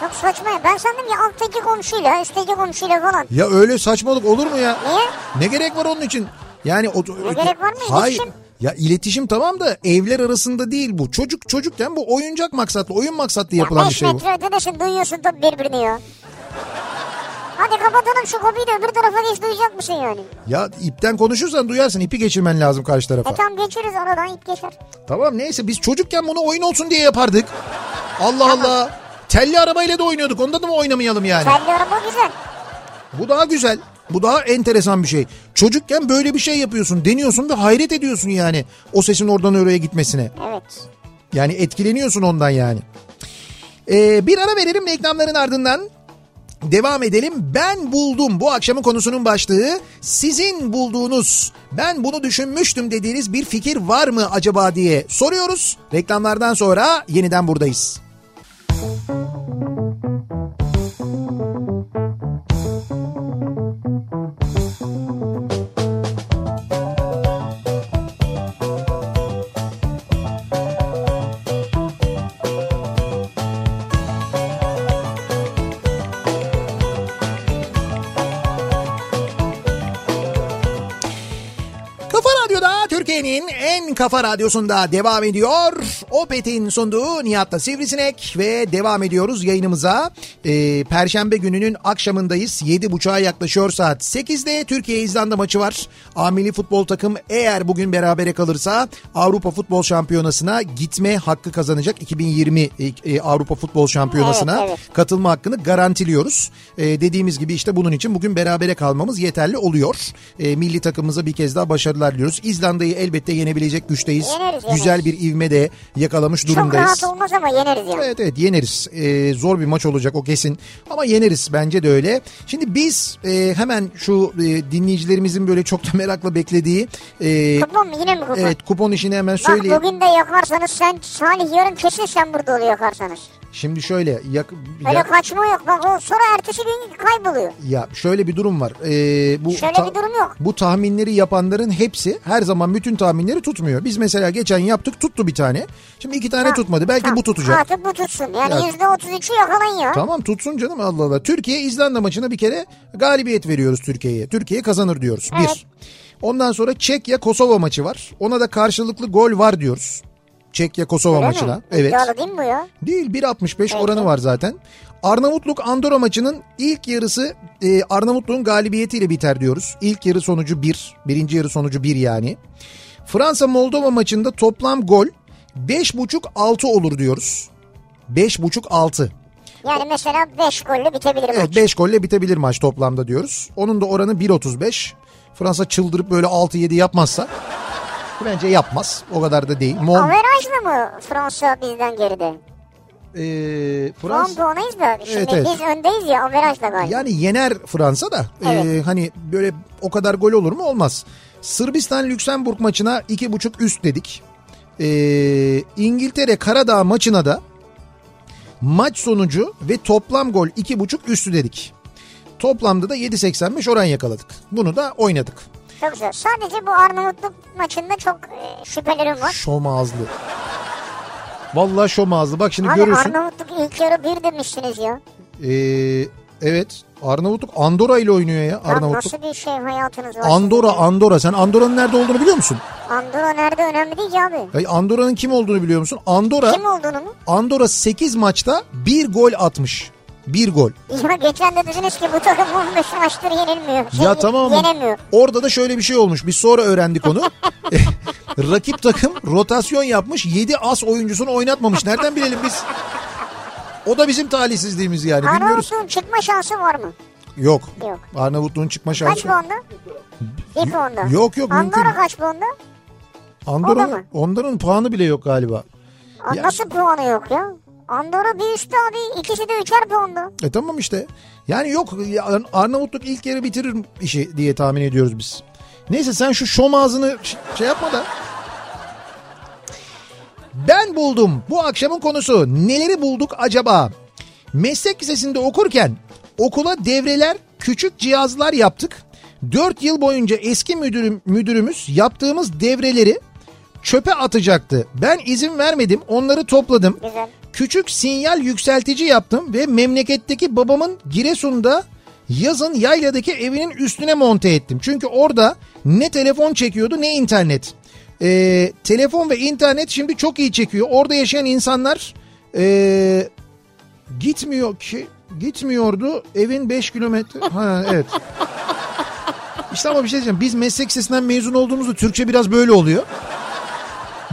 Speaker 2: Çok saçma ya. Ben sandım ya alttaki komşuyla, üstteki komşuyla falan.
Speaker 1: Ya öyle saçmalık olur mu ya?
Speaker 2: Niye?
Speaker 1: Ne gerek var onun için? Yani o,
Speaker 2: Ne gerek var mı?
Speaker 1: Hayır.
Speaker 2: İletişim.
Speaker 1: Ya iletişim tamam da evler arasında değil bu. Çocuk çocukken bu oyuncak maksatlı, oyun maksatlı yapılan bir
Speaker 2: 5
Speaker 1: şey bu.
Speaker 2: metre ötedesin duyuyorsun da birbirini ya. Hadi kapatalım şu kapıyı da öbür tarafa geç duyacak mısın yani? E,
Speaker 1: Ya ipten konuşursan duyarsın. ipi geçirmen lazım karşı tarafa.
Speaker 2: E tam geçeriz aradan ip geçer.
Speaker 1: Tamam neyse biz çocukken bunu oyun olsun diye yapardık. Allah Allah. Telli arabayla da oynuyorduk. Onda da mı oynamayalım yani?
Speaker 2: Telli araba güzel.
Speaker 1: Bu daha güzel. Bu daha enteresan bir şey. Çocukken böyle bir şey yapıyorsun, deniyorsun ve hayret ediyorsun yani o sesin oradan oraya gitmesine.
Speaker 2: Evet.
Speaker 1: Yani etkileniyorsun ondan yani. Ee, bir ara verelim reklamların ardından devam edelim. Ben buldum bu akşamın konusunun başlığı. Sizin bulduğunuz ben bunu düşünmüştüm dediğiniz bir fikir var mı acaba diye soruyoruz. Reklamlardan sonra yeniden buradayız. Türkiye'nin en kafa radyosunda devam ediyor. Opet'in sunduğu Nihat'la Sivrisinek ve devam ediyoruz yayınımıza. Ee, Perşembe gününün akşamındayız. 7.30'a yaklaşıyor saat 8'de Türkiye-İzlanda maçı var. Amili futbol takım eğer bugün berabere kalırsa Avrupa Futbol Şampiyonası'na gitme hakkı kazanacak. 2020 e, Avrupa Futbol Şampiyonası'na
Speaker 2: Evet, evet.
Speaker 1: katılma hakkını garantiliyoruz. Ee, dediğimiz gibi işte bunun için bugün berabere kalmamız yeterli oluyor. Ee, milli takımımıza bir kez daha başarılar diliyoruz. İzlanda'yı elbette yenebilecek güçteyiz.
Speaker 2: Yeneriz, yeneriz.
Speaker 1: Güzel bir ivme de yakalamış
Speaker 2: Çok
Speaker 1: durumdayız.
Speaker 2: rahat olmaz ama yeneriz yani.
Speaker 1: Evet evet yeneriz. Ee, zor bir maç olacak o kesin. Ama yeneriz bence de öyle. Şimdi biz e, hemen şu e, dinleyicilerimizin böyle çok da merakla beklediği e,
Speaker 2: Kupon mu yine mi kupon?
Speaker 1: evet kupon işini hemen söyleyeyim.
Speaker 2: Bak bugün de yakarsanız sen Salih yarın kesin sen burada oluyor yakarsanız.
Speaker 1: Şimdi şöyle yak,
Speaker 2: Öyle
Speaker 1: ya-
Speaker 2: kaçma yok bak o sonra ertesi gün kayboluyor.
Speaker 1: ya şöyle bir durum var. Ee, bu
Speaker 2: Şöyle bir durum yok.
Speaker 1: Bu tahminleri yapanların hepsi her zaman bütün tahminleri tutmuyor. Biz mesela geçen yaptık tuttu bir tane. Şimdi iki tane
Speaker 2: Ha,
Speaker 1: tutmadı. Belki
Speaker 2: ha,
Speaker 1: bu tutacak.
Speaker 2: Artık bu tutsun yani
Speaker 1: Ya-
Speaker 2: yüzde otuz üçü yakalanıyor.
Speaker 1: Tamam tutsun canım Allah Allah. Türkiye İzlanda maçına bir kere galibiyet veriyoruz Türkiye'ye. Türkiye kazanır diyoruz.
Speaker 2: Evet.
Speaker 1: Bir. Ondan sonra Çekya Kosova maçı var. Ona da karşılıklı gol var diyoruz. Çekya Kosova
Speaker 2: Öyle mi?
Speaker 1: maçına. Evet.
Speaker 2: İddialı değil mi bu ya?
Speaker 1: Değil 1.65 oranı var zaten. Arnavutluk Andorra maçının ilk yarısı e, Arnavutluğun galibiyetiyle biter diyoruz. İlk yarı sonucu 1. Birinci yarı sonucu 1 yani. Fransa Moldova maçında toplam gol 5.5-6 olur diyoruz. 5.5-6.
Speaker 2: Yani mesela 5 golle bitebilir maç.
Speaker 1: Evet 5 golle bitebilir maç toplamda diyoruz. Onun da oranı 1.35. Fransa çıldırıp böyle 6-7 yapmazsa bence yapmaz. O kadar da değil. Mon,
Speaker 2: Averajla mı Fransa bizden geride?
Speaker 1: e,
Speaker 2: Fransa.
Speaker 1: Fransa
Speaker 2: Şu anda onayız da. Şimdi
Speaker 1: Evet, evet.
Speaker 2: biz öndeyiz ya averajla galiba.
Speaker 1: Yani yener Fransa da. Ee,
Speaker 2: Evet.
Speaker 1: hani böyle o kadar gol olur mu? Olmaz. Sırbistan-Lüksemburg maçına 2.5 üst dedik. Ee, İngiltere-Karadağ maçına da maç sonucu ve toplam gol 2.5 üstü dedik. Toplamda da 7.85 oran yakaladık. Bunu da oynadık.
Speaker 2: Çok güzel. Sadece bu Arnavutluk maçında çok e, şüphelerim var.
Speaker 1: Şom ağızlı. Vallahi şom ağızlı. Bak şimdi
Speaker 2: Abi
Speaker 1: görüyorsun.
Speaker 2: Arnavutluk ilk yarı bir demiştiniz ya.
Speaker 1: Ee, evet. Arnavutluk Andorra ile oynuyor ya.
Speaker 2: Lan
Speaker 1: Arnavutluk.
Speaker 2: Nasıl bir şey hayatınız var?
Speaker 1: Andorra, Andorra. Sen Andorra'nın nerede olduğunu biliyor musun?
Speaker 2: Andorra nerede önemli değil ki abi.
Speaker 1: Ya Andorra'nın kim olduğunu biliyor musun? Andorra
Speaker 2: Kim olduğunu mu?
Speaker 1: Andorra 8 maçta 1 gol atmış. 1 gol.
Speaker 2: Ya geçen de dediniz ki bu takım 15 maçtır yenilmiyor. Şey,
Speaker 1: ya tamam ama
Speaker 2: Yenemiyor.
Speaker 1: orada da şöyle bir şey olmuş. Biz sonra öğrendik onu. Rakip takım rotasyon yapmış. 7 as oyuncusunu oynatmamış. Nereden bilelim biz? O da bizim talihsizliğimiz yani. Bilmiyoruz.
Speaker 2: Arnavutluğun çıkma şansı var mı?
Speaker 1: Yok.
Speaker 2: Yok.
Speaker 1: Arnavutluğun çıkma
Speaker 2: Kaç
Speaker 1: şansı.
Speaker 2: puanda? Bir puanda.
Speaker 1: yok, yok, mümkün
Speaker 2: Andorra
Speaker 1: değil.
Speaker 2: kaç puanda? O da
Speaker 1: Andorra
Speaker 2: mı?
Speaker 1: onların puanı bile yok galiba.
Speaker 2: Aa,
Speaker 1: Ya-
Speaker 2: Nasıl puanı yok ya? Andorra bir üstü abi. ikisi de üçer puanda.
Speaker 1: E tamam işte. Yani yok ya Arnavutluk ilk yarı bitirir işi diye tahmin ediyoruz biz. Neyse sen şu şom ağzını ş- şey yapma da. Ben buldum. Bu akşamın konusu. Neleri bulduk acaba? Meslek lisesinde okurken okula devreler, küçük cihazlar yaptık. 4 yıl boyunca eski müdürüm, müdürümüz yaptığımız devreleri çöpe atacaktı. Ben izin vermedim. Onları topladım.
Speaker 2: Güzel.
Speaker 1: Küçük sinyal yükseltici yaptım ve memleketteki babamın Giresun'da yazın yayladaki evinin üstüne monte ettim. Çünkü orada ne telefon çekiyordu ne internet. Ee, telefon ve internet şimdi çok iyi çekiyor. Orada yaşayan insanlar ee, gitmiyor ki gitmiyordu evin 5 kilometre. Ha evet. İşte ama bir şey diyeceğim. Biz meslek lisesinden mezun olduğumuzda Türkçe biraz böyle oluyor.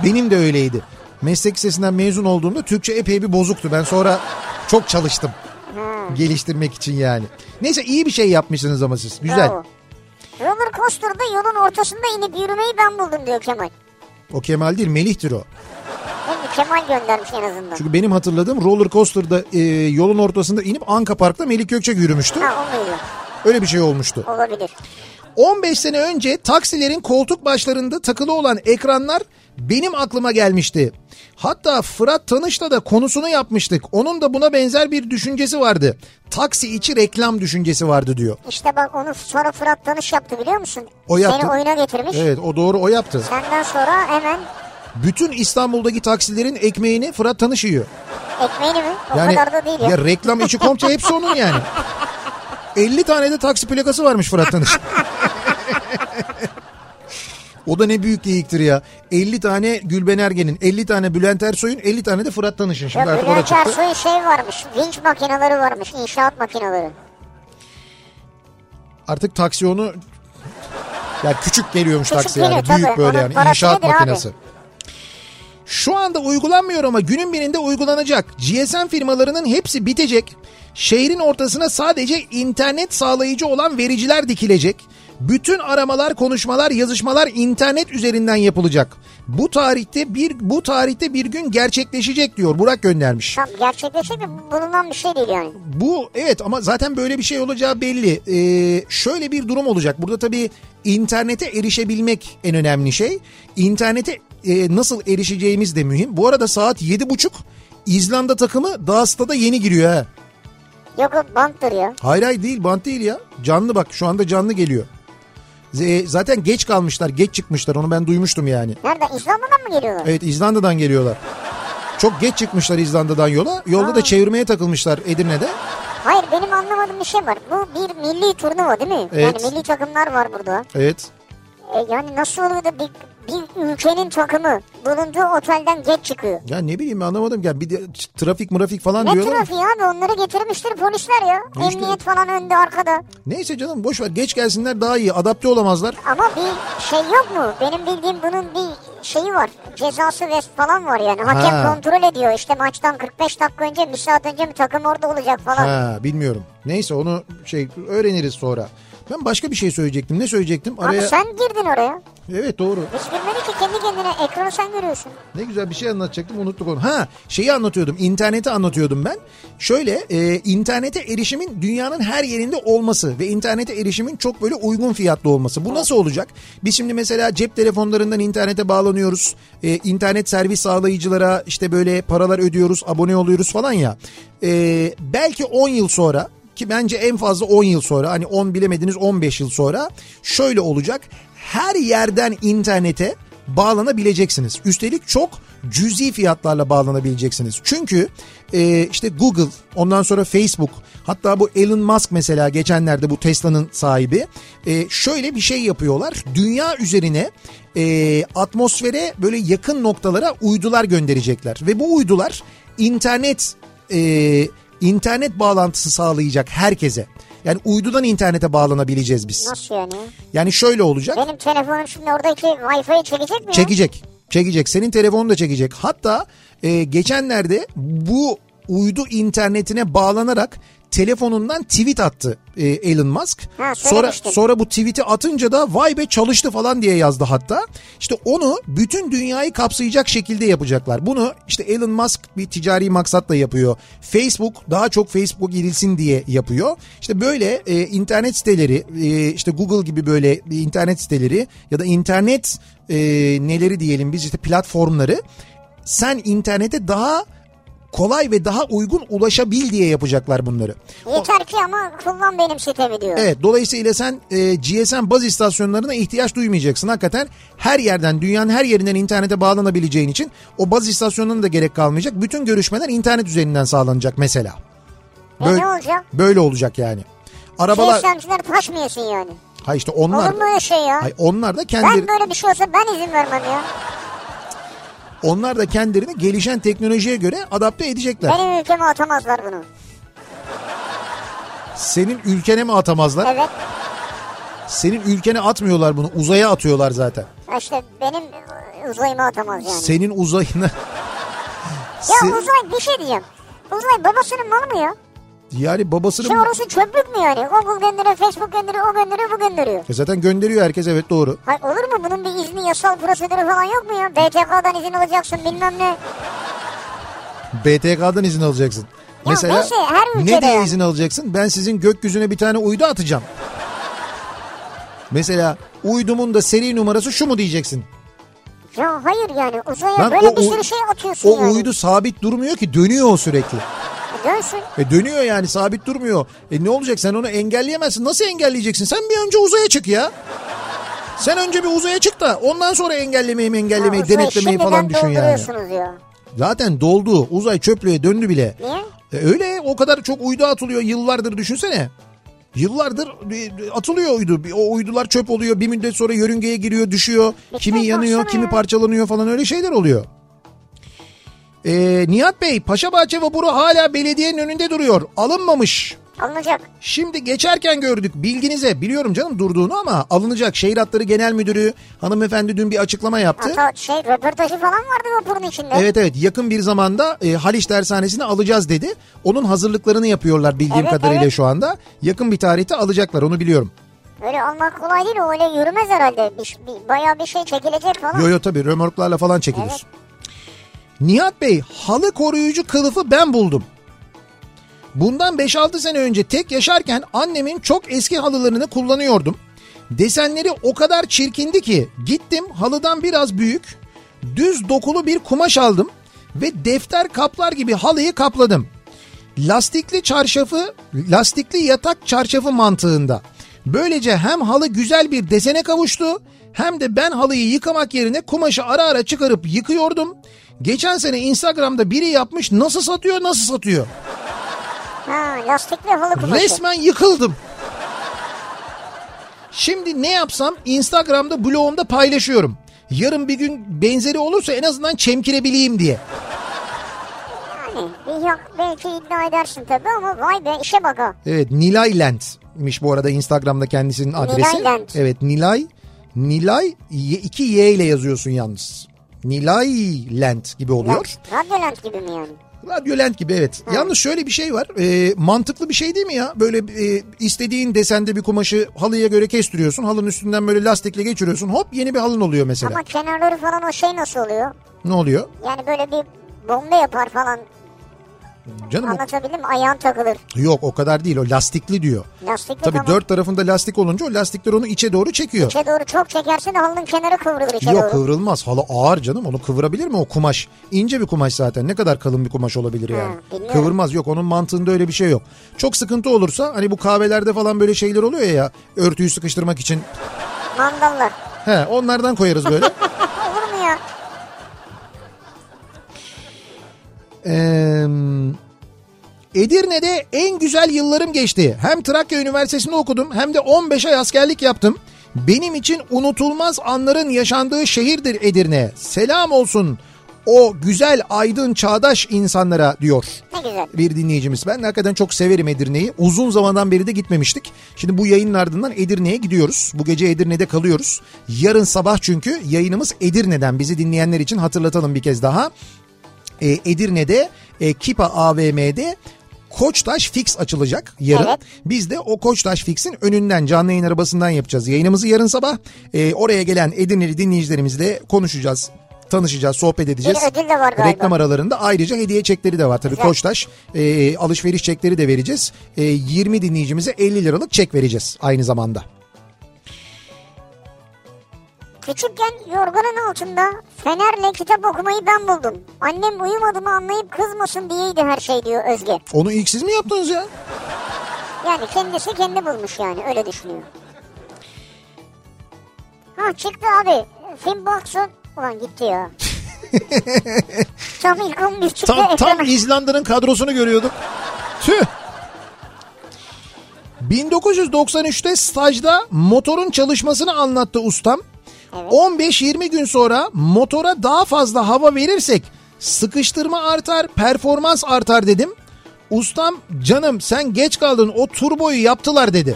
Speaker 1: Benim de öyleydi. Meslek lisesinden mezun olduğumda Türkçe epey bir bozuktu. Ben sonra çok çalıştım.
Speaker 2: Hmm.
Speaker 1: Geliştirmek için yani. Neyse iyi bir şey yapmışsınız ama siz. Güzel.
Speaker 2: Bravo. Roller coaster'da yolun ortasında inip yürümeyi ben buldum diyor Kemal.
Speaker 1: O Kemal değil Melih'tir o.
Speaker 2: Değil mi? Kemal göndermiş en azından.
Speaker 1: Çünkü benim hatırladığım roller coaster'da e, yolun ortasında inip Anka Park'ta Melih Gökçek yürümüştü.
Speaker 2: Ha o muydu?
Speaker 1: Öyle bir şey olmuştu.
Speaker 2: Olabilir.
Speaker 1: 15 sene önce taksilerin koltuk başlarında takılı olan ekranlar benim aklıma gelmişti. Hatta Fırat Tanış'la da konusunu yapmıştık. Onun da buna benzer bir düşüncesi vardı. Taksi içi reklam düşüncesi vardı diyor.
Speaker 2: İşte bak onu sonra Fırat Tanış yaptı biliyor musun?
Speaker 1: O yaptı.
Speaker 2: Seni oyuna getirmiş.
Speaker 1: Evet o doğru o yaptı.
Speaker 2: Senden sonra hemen
Speaker 1: Bütün İstanbul'daki taksilerin ekmeğini Fırat Tanış yiyor.
Speaker 2: ekmeğini mi? O kadar da değil ya.
Speaker 1: ya reklam içi komple hepsi onun yani. 50 tane de taksi plakası varmış Fırat Tanış. O da ne büyük geyiktir ya. 50 tane Gülben Ergen'in, 50 tane Bülent Ersoy'un, 50 tane de Fırat Tanış'ın. Şimdi
Speaker 2: Yok
Speaker 1: artık o da
Speaker 2: Bülent
Speaker 1: çıktı.
Speaker 2: Ersoy'un şey varmış. Vinç makineleri varmış. inşaat makineleri.
Speaker 1: Artık taksiyonu ya küçük geliyormuş
Speaker 2: Küçük
Speaker 1: taksi yani.
Speaker 2: geliyor tabii.
Speaker 1: Büyük böyle
Speaker 2: Onun
Speaker 1: yani
Speaker 2: parası
Speaker 1: inşaat
Speaker 2: nedir abi?
Speaker 1: makinesi. Şu anda uygulanmıyor ama günün birinde uygulanacak. GSM firmalarının hepsi bitecek. Şehrin ortasına sadece internet sağlayıcı olan vericiler dikilecek. Bütün aramalar, konuşmalar, yazışmalar internet üzerinden yapılacak. Bu tarihte bir bu tarihte bir gün gerçekleşecek diyor. Burak göndermiş.
Speaker 2: Tam gerçekleşecek mi? Bulunan bir şey değil yani.
Speaker 1: Bu evet ama zaten böyle bir şey olacağı belli. Ee, şöyle bir durum olacak. Burada tabii internete erişebilmek en önemli şey. İnternete e, nasıl erişeceğimiz de mühim. Bu arada saat yedi buçuk İzlanda takımı Dağısta'da yeni giriyor ha.
Speaker 2: Yok o banttır ya.
Speaker 1: Hayır hayır değil bant değil ya. Canlı bak şu anda canlı geliyor. Z- zaten geç kalmışlar geç çıkmışlar onu ben duymuştum yani.
Speaker 2: Nereden? İzlanda'dan mı geliyorlar?
Speaker 1: Evet İzlanda'dan geliyorlar. Çok geç çıkmışlar İzlanda'dan yola. Yolda da çevirmeye takılmışlar Edirne'de.
Speaker 2: Hayır benim anlamadığım bir şey var. Bu bir milli turnuva değil mi?
Speaker 1: Evet.
Speaker 2: Yani milli takımlar var burada.
Speaker 1: Evet.
Speaker 2: E, yani nasıl oluyor da bir, bir ülkenin takımı bulunduğu otelden geç çıkıyor?
Speaker 1: Ya ne bileyim ben anlamadım ya bir de trafik mırafik falan
Speaker 2: Ne
Speaker 1: diyorlar.
Speaker 2: trafiği abi onları getirmiştir polisler ya.
Speaker 1: Polisler.
Speaker 2: Emniyet falan önde arkada.
Speaker 1: Neyse canım boş ver geç gelsinler daha iyi adapte olamazlar.
Speaker 2: Ama bir şey yok mu? Benim bildiğim bunun bir şeyi var. Cezası ve falan var yani. Hakem
Speaker 1: Ha.
Speaker 2: kontrol ediyor. İşte maçtan 45 dakika önce bir saat önce bir takım orada olacak falan.
Speaker 1: Ha bilmiyorum. Neyse onu şey öğreniriz sonra. Ben başka bir şey söyleyecektim. Ne söyleyecektim?
Speaker 2: Abi sen girdin oraya.
Speaker 1: Evet doğru.
Speaker 2: Biz girmedik ki kendi kendine ekranı sen görüyorsun.
Speaker 1: Ne güzel bir şey anlatacaktım unuttuk onu. Ha şeyi anlatıyordum interneti anlatıyordum ben. Şöyle e, internete erişimin dünyanın her yerinde olması ve internete erişimin çok böyle uygun fiyatlı olması. Bu nasıl olacak? Biz şimdi mesela cep telefonlarından internete bağlanıyoruz. E, internet servis sağlayıcılara işte böyle paralar ödüyoruz abone oluyoruz falan ya. E, belki 10 yıl sonra ki bence en fazla 10 yıl sonra hani 10 bilemediniz 15 yıl sonra şöyle olacak. Her yerden internete bağlanabileceksiniz. Üstelik çok cüzi fiyatlarla bağlanabileceksiniz. Çünkü e, işte Google, ondan sonra Facebook, hatta bu Elon Musk mesela geçenlerde bu Tesla'nın sahibi e, şöyle bir şey yapıyorlar. Dünya üzerine e, atmosfere böyle yakın noktalara uydular gönderecekler ve bu uydular internet e, internet bağlantısı sağlayacak herkese. Yani uydudan internete bağlanabileceğiz biz.
Speaker 2: Nasıl yani?
Speaker 1: Yani şöyle olacak.
Speaker 2: Benim telefonum şimdi oradaki Wi-Fi'yi çekecek mi? ya?
Speaker 1: Çekecek. Çekecek. Senin telefonunu da çekecek. Hatta e, geçenlerde bu uydu internetine bağlanarak telefonundan tweet attı e, Elon Musk.
Speaker 2: Ha,
Speaker 1: sonra
Speaker 2: söylemiştin.
Speaker 1: sonra bu tweet'i atınca da vay be çalıştı falan diye yazdı hatta. İşte onu bütün dünyayı kapsayacak şekilde yapacaklar. Bunu işte Elon Musk bir ticari maksatla yapıyor. Facebook daha çok Facebook girilsin diye yapıyor. İşte böyle e, internet siteleri e, işte Google gibi böyle bir internet siteleri ya da internet e, neleri diyelim biz işte platformları sen internete daha kolay ve daha uygun ulaşabil diye yapacaklar bunları.
Speaker 2: Yeter ki ama kullan benim sitemi diyor.
Speaker 1: Evet dolayısıyla sen e, GSM baz istasyonlarına ihtiyaç duymayacaksın. Hakikaten her yerden dünyanın her yerinden internete bağlanabileceğin için o baz istasyonlarına da gerek kalmayacak. Bütün görüşmeler internet üzerinden sağlanacak mesela.
Speaker 2: E
Speaker 1: Böyle,
Speaker 2: ne olacak?
Speaker 1: böyle olacak yani.
Speaker 2: Arabalar...
Speaker 1: Arabalar
Speaker 2: Şey işlemciler taşmıyorsun yani.
Speaker 1: ha işte onlar
Speaker 2: Olur mu öyle şey ya?
Speaker 1: Ay onlar da kendileri
Speaker 2: Ben böyle bir şey olsa ben izin vermem ya.
Speaker 1: onlar da kendilerini gelişen teknolojiye göre adapte edecekler.
Speaker 2: Benim ülkeme atamazlar bunu.
Speaker 1: Senin ülkene mi atamazlar?
Speaker 2: Evet.
Speaker 1: Senin ülkene atmıyorlar bunu. Uzaya atıyorlar zaten.
Speaker 2: Ya İşte benim uzayıma atamaz yani.
Speaker 1: Senin uzayına
Speaker 2: Ya
Speaker 1: Se-
Speaker 2: uzay bir şey diyeceğim. Uzay babasının malı mı ya?
Speaker 1: yani babasının
Speaker 2: Şey orası çöplük mü yani? Google gönderiyor, Facebook gönderiyor, o gönderiyor, bu gönderiyor.
Speaker 1: E zaten gönderiyor herkes evet doğru.
Speaker 2: Hayır olur mu? Bunun bir izni yasal prosedürü falan yok mu ya? BTK'dan izin alacaksın bilmem ne.
Speaker 1: BTK'dan izin alacaksın. Mesela
Speaker 2: neyse, şey, her
Speaker 1: ne
Speaker 2: ülkede
Speaker 1: diye
Speaker 2: yani.
Speaker 1: izin alacaksın? Ben sizin gökyüzüne bir tane uydu atacağım. Mesela uydumun da seri numarası şu mu diyeceksin?
Speaker 2: Ya hayır yani uzaya
Speaker 1: Lan
Speaker 2: böyle
Speaker 1: o
Speaker 2: bir
Speaker 1: uy-
Speaker 2: sürü şey atıyorsun
Speaker 1: O
Speaker 2: yani.
Speaker 1: uydu sabit durmuyor ki dönüyor o sürekli.
Speaker 2: E, Dönsün.
Speaker 1: E dönüyor yani sabit durmuyor. E ne olacak sen onu engelleyemezsin. Nasıl engelleyeceksin? Sen bir önce uzaya çık ya. Sen önce bir uzaya çık da ondan sonra engellemeyi mi engellemeyi
Speaker 2: Uzayı
Speaker 1: denetlemeyi falan
Speaker 2: şey, şimdiden
Speaker 1: düşün yani.
Speaker 2: dolduruyorsunuz ya.
Speaker 1: Zaten doldu. Uzay çöplüğe döndü bile.
Speaker 2: Niye?
Speaker 1: E öyle o kadar çok uydu atılıyor yıllardır düşünsene. Yıllardır e, atılıyor uydu. O uydular çöp oluyor. Bir müddet sonra yörüngeye giriyor, düşüyor. kimi yanıyor, kimi parçalanıyor falan öyle şeyler oluyor. Ee, Nihat Bey, Paşabahçe vapuru hala belediyenin önünde duruyor. Alınmamış.
Speaker 2: Alınacak.
Speaker 1: Şimdi geçerken gördük bilginize. Biliyorum canım durduğunu ama alınacak. Şehir Hatları Genel Müdürü hanımefendi dün bir açıklama yaptı.
Speaker 2: Hatta şey röportajı falan vardı vapurun içinde.
Speaker 1: Evet evet yakın bir zamanda e, Haliç Dershanesi'ni alacağız dedi. Onun hazırlıklarını yapıyorlar bildiğim
Speaker 2: Evet,
Speaker 1: kadarıyla
Speaker 2: evet.
Speaker 1: şu anda. Yakın bir tarihte alacaklar onu biliyorum.
Speaker 2: Öyle almak kolay değil o öyle yürümez herhalde. Bir, bir, bayağı bir şey çekilecek falan.
Speaker 1: Yo yo tabii römorklarla falan çekilir. Nihat Bey halı koruyucu kılıfı ben buldum. Bundan 5-6 sene önce tek yaşarken annemin çok eski halılarını kullanıyordum. Desenleri o kadar çirkindi ki gittim halıdan biraz büyük düz dokulu bir kumaş aldım ve defter kaplar gibi halıyı kapladım. Lastikli çarşafı, lastikli yatak çarşafı mantığında. Böylece hem halı güzel bir desene kavuştu hem de ben halıyı yıkamak yerine kumaşı ara ara çıkarıp yıkıyordum. Geçen sene Instagram'da biri yapmış nasıl satıyor nasıl satıyor.
Speaker 2: Ha, lastikli halı kumaşı.
Speaker 1: Resmen yıkıldım. Şimdi ne yapsam Instagram'da blogumda paylaşıyorum. Yarın bir gün benzeri olursa en azından çemkirebileyim diye.
Speaker 2: Yani bir yok belki iddia edersin tabii ama vay be işe bak ha.
Speaker 1: Evet Nilay Lent'miş bu arada Instagram'da kendisinin adresi.
Speaker 2: Lent.
Speaker 1: Evet Nilay. Nilay y- iki Y ile yazıyorsun yalnız. Nilay Lent gibi oluyor.
Speaker 2: Radyo lent gibi mi yani?
Speaker 1: Radyo Lent gibi evet. Yalnız şöyle bir şey var. Ee, mantıklı bir şey değil mi ya? Böyle e, istediğin desende bir kumaşı halıya göre kestiriyorsun. Halının üstünden böyle lastikle geçiriyorsun. Hop yeni bir halın oluyor mesela.
Speaker 2: Ama kenarları falan o şey nasıl oluyor?
Speaker 1: Ne oluyor?
Speaker 2: Yani böyle bir bomba yapar falan.
Speaker 1: Canım o-
Speaker 2: Anlatabildim mi? Ayağın takılır.
Speaker 1: yok o kadar değil. O lastikli diyor.
Speaker 2: Lastikli
Speaker 1: Tabii
Speaker 2: tamam.
Speaker 1: dört tarafında lastik olunca o lastikler onu içe doğru çekiyor.
Speaker 2: İçe doğru çok çekersin halının kenarı kıvrılır içe
Speaker 1: Yok
Speaker 2: doğru.
Speaker 1: kıvrılmaz. Halı ağır canım. Onu kıvırabilir mi o kumaş? İnce bir kumaş zaten. Ne kadar kalın bir kumaş olabilir yani.
Speaker 2: bilmiyorum.
Speaker 1: Kıvırmaz. Yok onun mantığında öyle bir şey yok. Çok sıkıntı olursa hani bu kahvelerde falan böyle şeyler oluyor ya. Örtüyü sıkıştırmak için.
Speaker 2: Mandallar.
Speaker 1: He onlardan koyarız böyle.
Speaker 2: Olur mu ya?
Speaker 1: Ee, Edirne'de en güzel yıllarım geçti. Hem Trakya Üniversitesi'nde okudum hem de 15 ay askerlik yaptım. Benim için unutulmaz anların yaşandığı şehirdir Edirne. Selam olsun o güzel aydın çağdaş insanlara diyor.
Speaker 2: Ne güzel.
Speaker 1: Bir dinleyicimiz. Ben de hakikaten çok severim Edirne'yi. Uzun zamandan beri de gitmemiştik. Şimdi bu yayının ardından Edirne'ye gidiyoruz. Bu gece Edirne'de kalıyoruz. Yarın sabah çünkü yayınımız Edirne'den bizi dinleyenler için hatırlatalım bir kez daha e, Edirne'de e, Kipa AVM'de Koçtaş Fix açılacak yarın. Biz de o Koçtaş Fix'in önünden canlı yayın arabasından yapacağız. Yayınımızı yarın sabah e, oraya gelen Edirne'li dinleyicilerimizle konuşacağız. Tanışacağız, sohbet edeceğiz.
Speaker 2: Bir ödül de var galiba.
Speaker 1: Reklam aralarında ayrıca hediye çekleri de var. Tabii Koçtaş e, alışveriş çekleri de vereceğiz. E, 20 dinleyicimize 50 liralık çek vereceğiz aynı zamanda.
Speaker 2: Küçükken yorganın altında fenerle kitap okumayı ben buldum. Annem uyumadığımı anlayıp kızmasın diyeydi her şey diyor Özge.
Speaker 1: Onu ilk siz mi yaptınız ya?
Speaker 2: Yani kendisi kendi bulmuş yani öyle düşünüyor. Ha çıktı abi. Finn Box'un ulan gitti ya. tam ilk 11 çıktı.
Speaker 1: Tam, tam
Speaker 2: ekrana.
Speaker 1: İzlanda'nın kadrosunu görüyorduk. Tüh. 1993'te stajda motorun çalışmasını anlattı ustam. 15-20 gün sonra motora daha fazla hava verirsek sıkıştırma artar, performans artar dedim. Ustam canım sen geç kaldın o turboyu yaptılar dedi.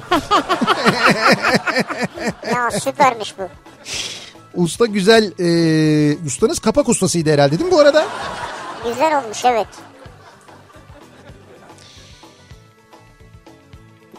Speaker 2: Ya süpermiş bu.
Speaker 1: Usta güzel, e, ustanız kapak ustasıydı herhalde değil mi bu arada?
Speaker 2: Güzel olmuş evet.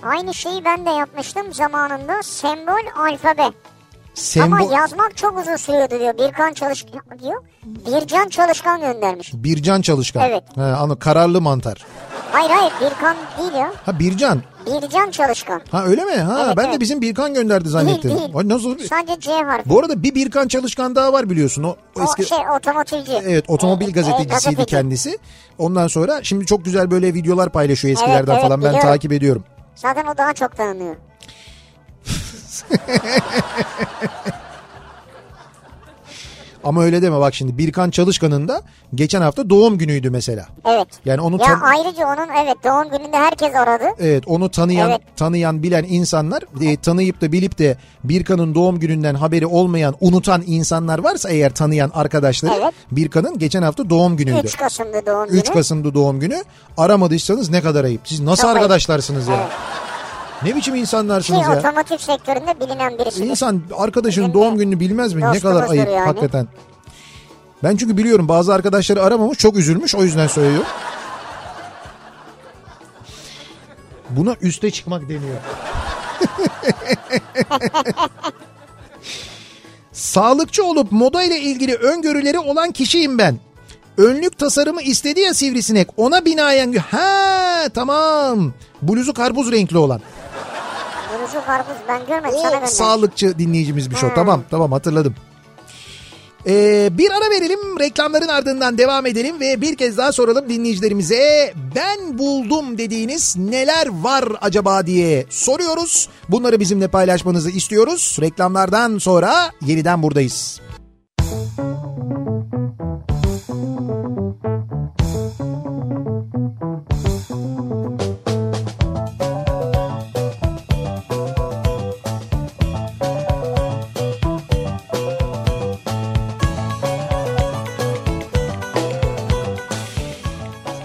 Speaker 2: Aynı şeyi ben de yapmıştım zamanında sembol alfabe. Ama
Speaker 1: Sembo-
Speaker 2: yazmak çok uzun sürüyordu diyor. Birkan Çalışkan diyor. Bircan Çalışkan göndermiş.
Speaker 1: Bircan Çalışkan.
Speaker 2: Evet.
Speaker 1: He, anı kararlı mantar.
Speaker 2: Hayır hayır Birkan değil ya.
Speaker 1: Ha Bircan.
Speaker 2: Bircan Çalışkan.
Speaker 1: Ha öyle mi? Ha
Speaker 2: Evet,
Speaker 1: ben
Speaker 2: evet.
Speaker 1: de bizim Birkan gönderdi zannettim.
Speaker 2: Değil değil.
Speaker 1: Ay, Nasıl?
Speaker 2: Sadece C harfi.
Speaker 1: Bu arada bir Birkan Çalışkan daha var biliyorsun. O,
Speaker 2: o
Speaker 1: eski
Speaker 2: şey otomotivci.
Speaker 1: evet otomobil
Speaker 2: Evet,
Speaker 1: gazetecisiydi
Speaker 2: gazeteci.
Speaker 1: kendisi. Ondan sonra şimdi çok güzel böyle videolar paylaşıyor eskilerden
Speaker 2: evet,
Speaker 1: falan. Ben
Speaker 2: biliyorum.
Speaker 1: takip ediyorum.
Speaker 2: Zaten o daha çok tanınıyor.
Speaker 1: Ama öyle deme bak şimdi Birkan Çalışkan'ın da geçen hafta doğum günüydü mesela.
Speaker 2: Evet.
Speaker 1: Yani onu
Speaker 2: ya
Speaker 1: tam-
Speaker 2: ayrıca onun evet doğum gününde herkes aradı.
Speaker 1: Evet onu tanıyan
Speaker 2: Evet.
Speaker 1: tanıyan bilen insanlar e, tanıyıp da bilip de Birkan'ın doğum gününden haberi olmayan unutan insanlar varsa eğer tanıyan arkadaşları
Speaker 2: Evet.
Speaker 1: Birkan'ın geçen hafta doğum günüydü.
Speaker 2: 3 Kasım'da doğum günü.
Speaker 1: 3 Kasım'da doğum günü aramadıysanız ne kadar ayıp. Siz nasıl
Speaker 2: Çok ayıp. Şey,
Speaker 1: arkadaşlarsınız ya? Ne biçim
Speaker 2: Ki
Speaker 1: insanlarsınız ya?
Speaker 2: otomotiv sektöründe bilinen şey. birisi.
Speaker 1: İnsan arkadaşının doğum gününü bilmez mi? Ne
Speaker 2: Dostumuzdur
Speaker 1: kadar ayıp
Speaker 2: yani.
Speaker 1: hakikaten. Ben çünkü biliyorum bazı arkadaşları aramamış çok üzülmüş o yüzden söylüyorum. Buna üste çıkmak deniyor. Sağlıkçı olup moda ile ilgili öngörüleri olan kişiyim ben. Önlük tasarımı istedi ya sivrisinek. Ona binaen... Ha tamam. Bluzu karpuz renkli olan.
Speaker 2: Vurucu karpuz ben görmedim sana
Speaker 1: O
Speaker 2: gönderdim.
Speaker 1: sağlıkçı dinleyicimizmiş o. Tamam tamam hatırladım. Ee, bir ara verelim reklamların ardından devam edelim ve bir kez daha soralım dinleyicilerimize ben buldum dediğiniz neler var acaba diye soruyoruz. Bunları bizimle paylaşmanızı istiyoruz. Reklamlardan sonra yeniden buradayız.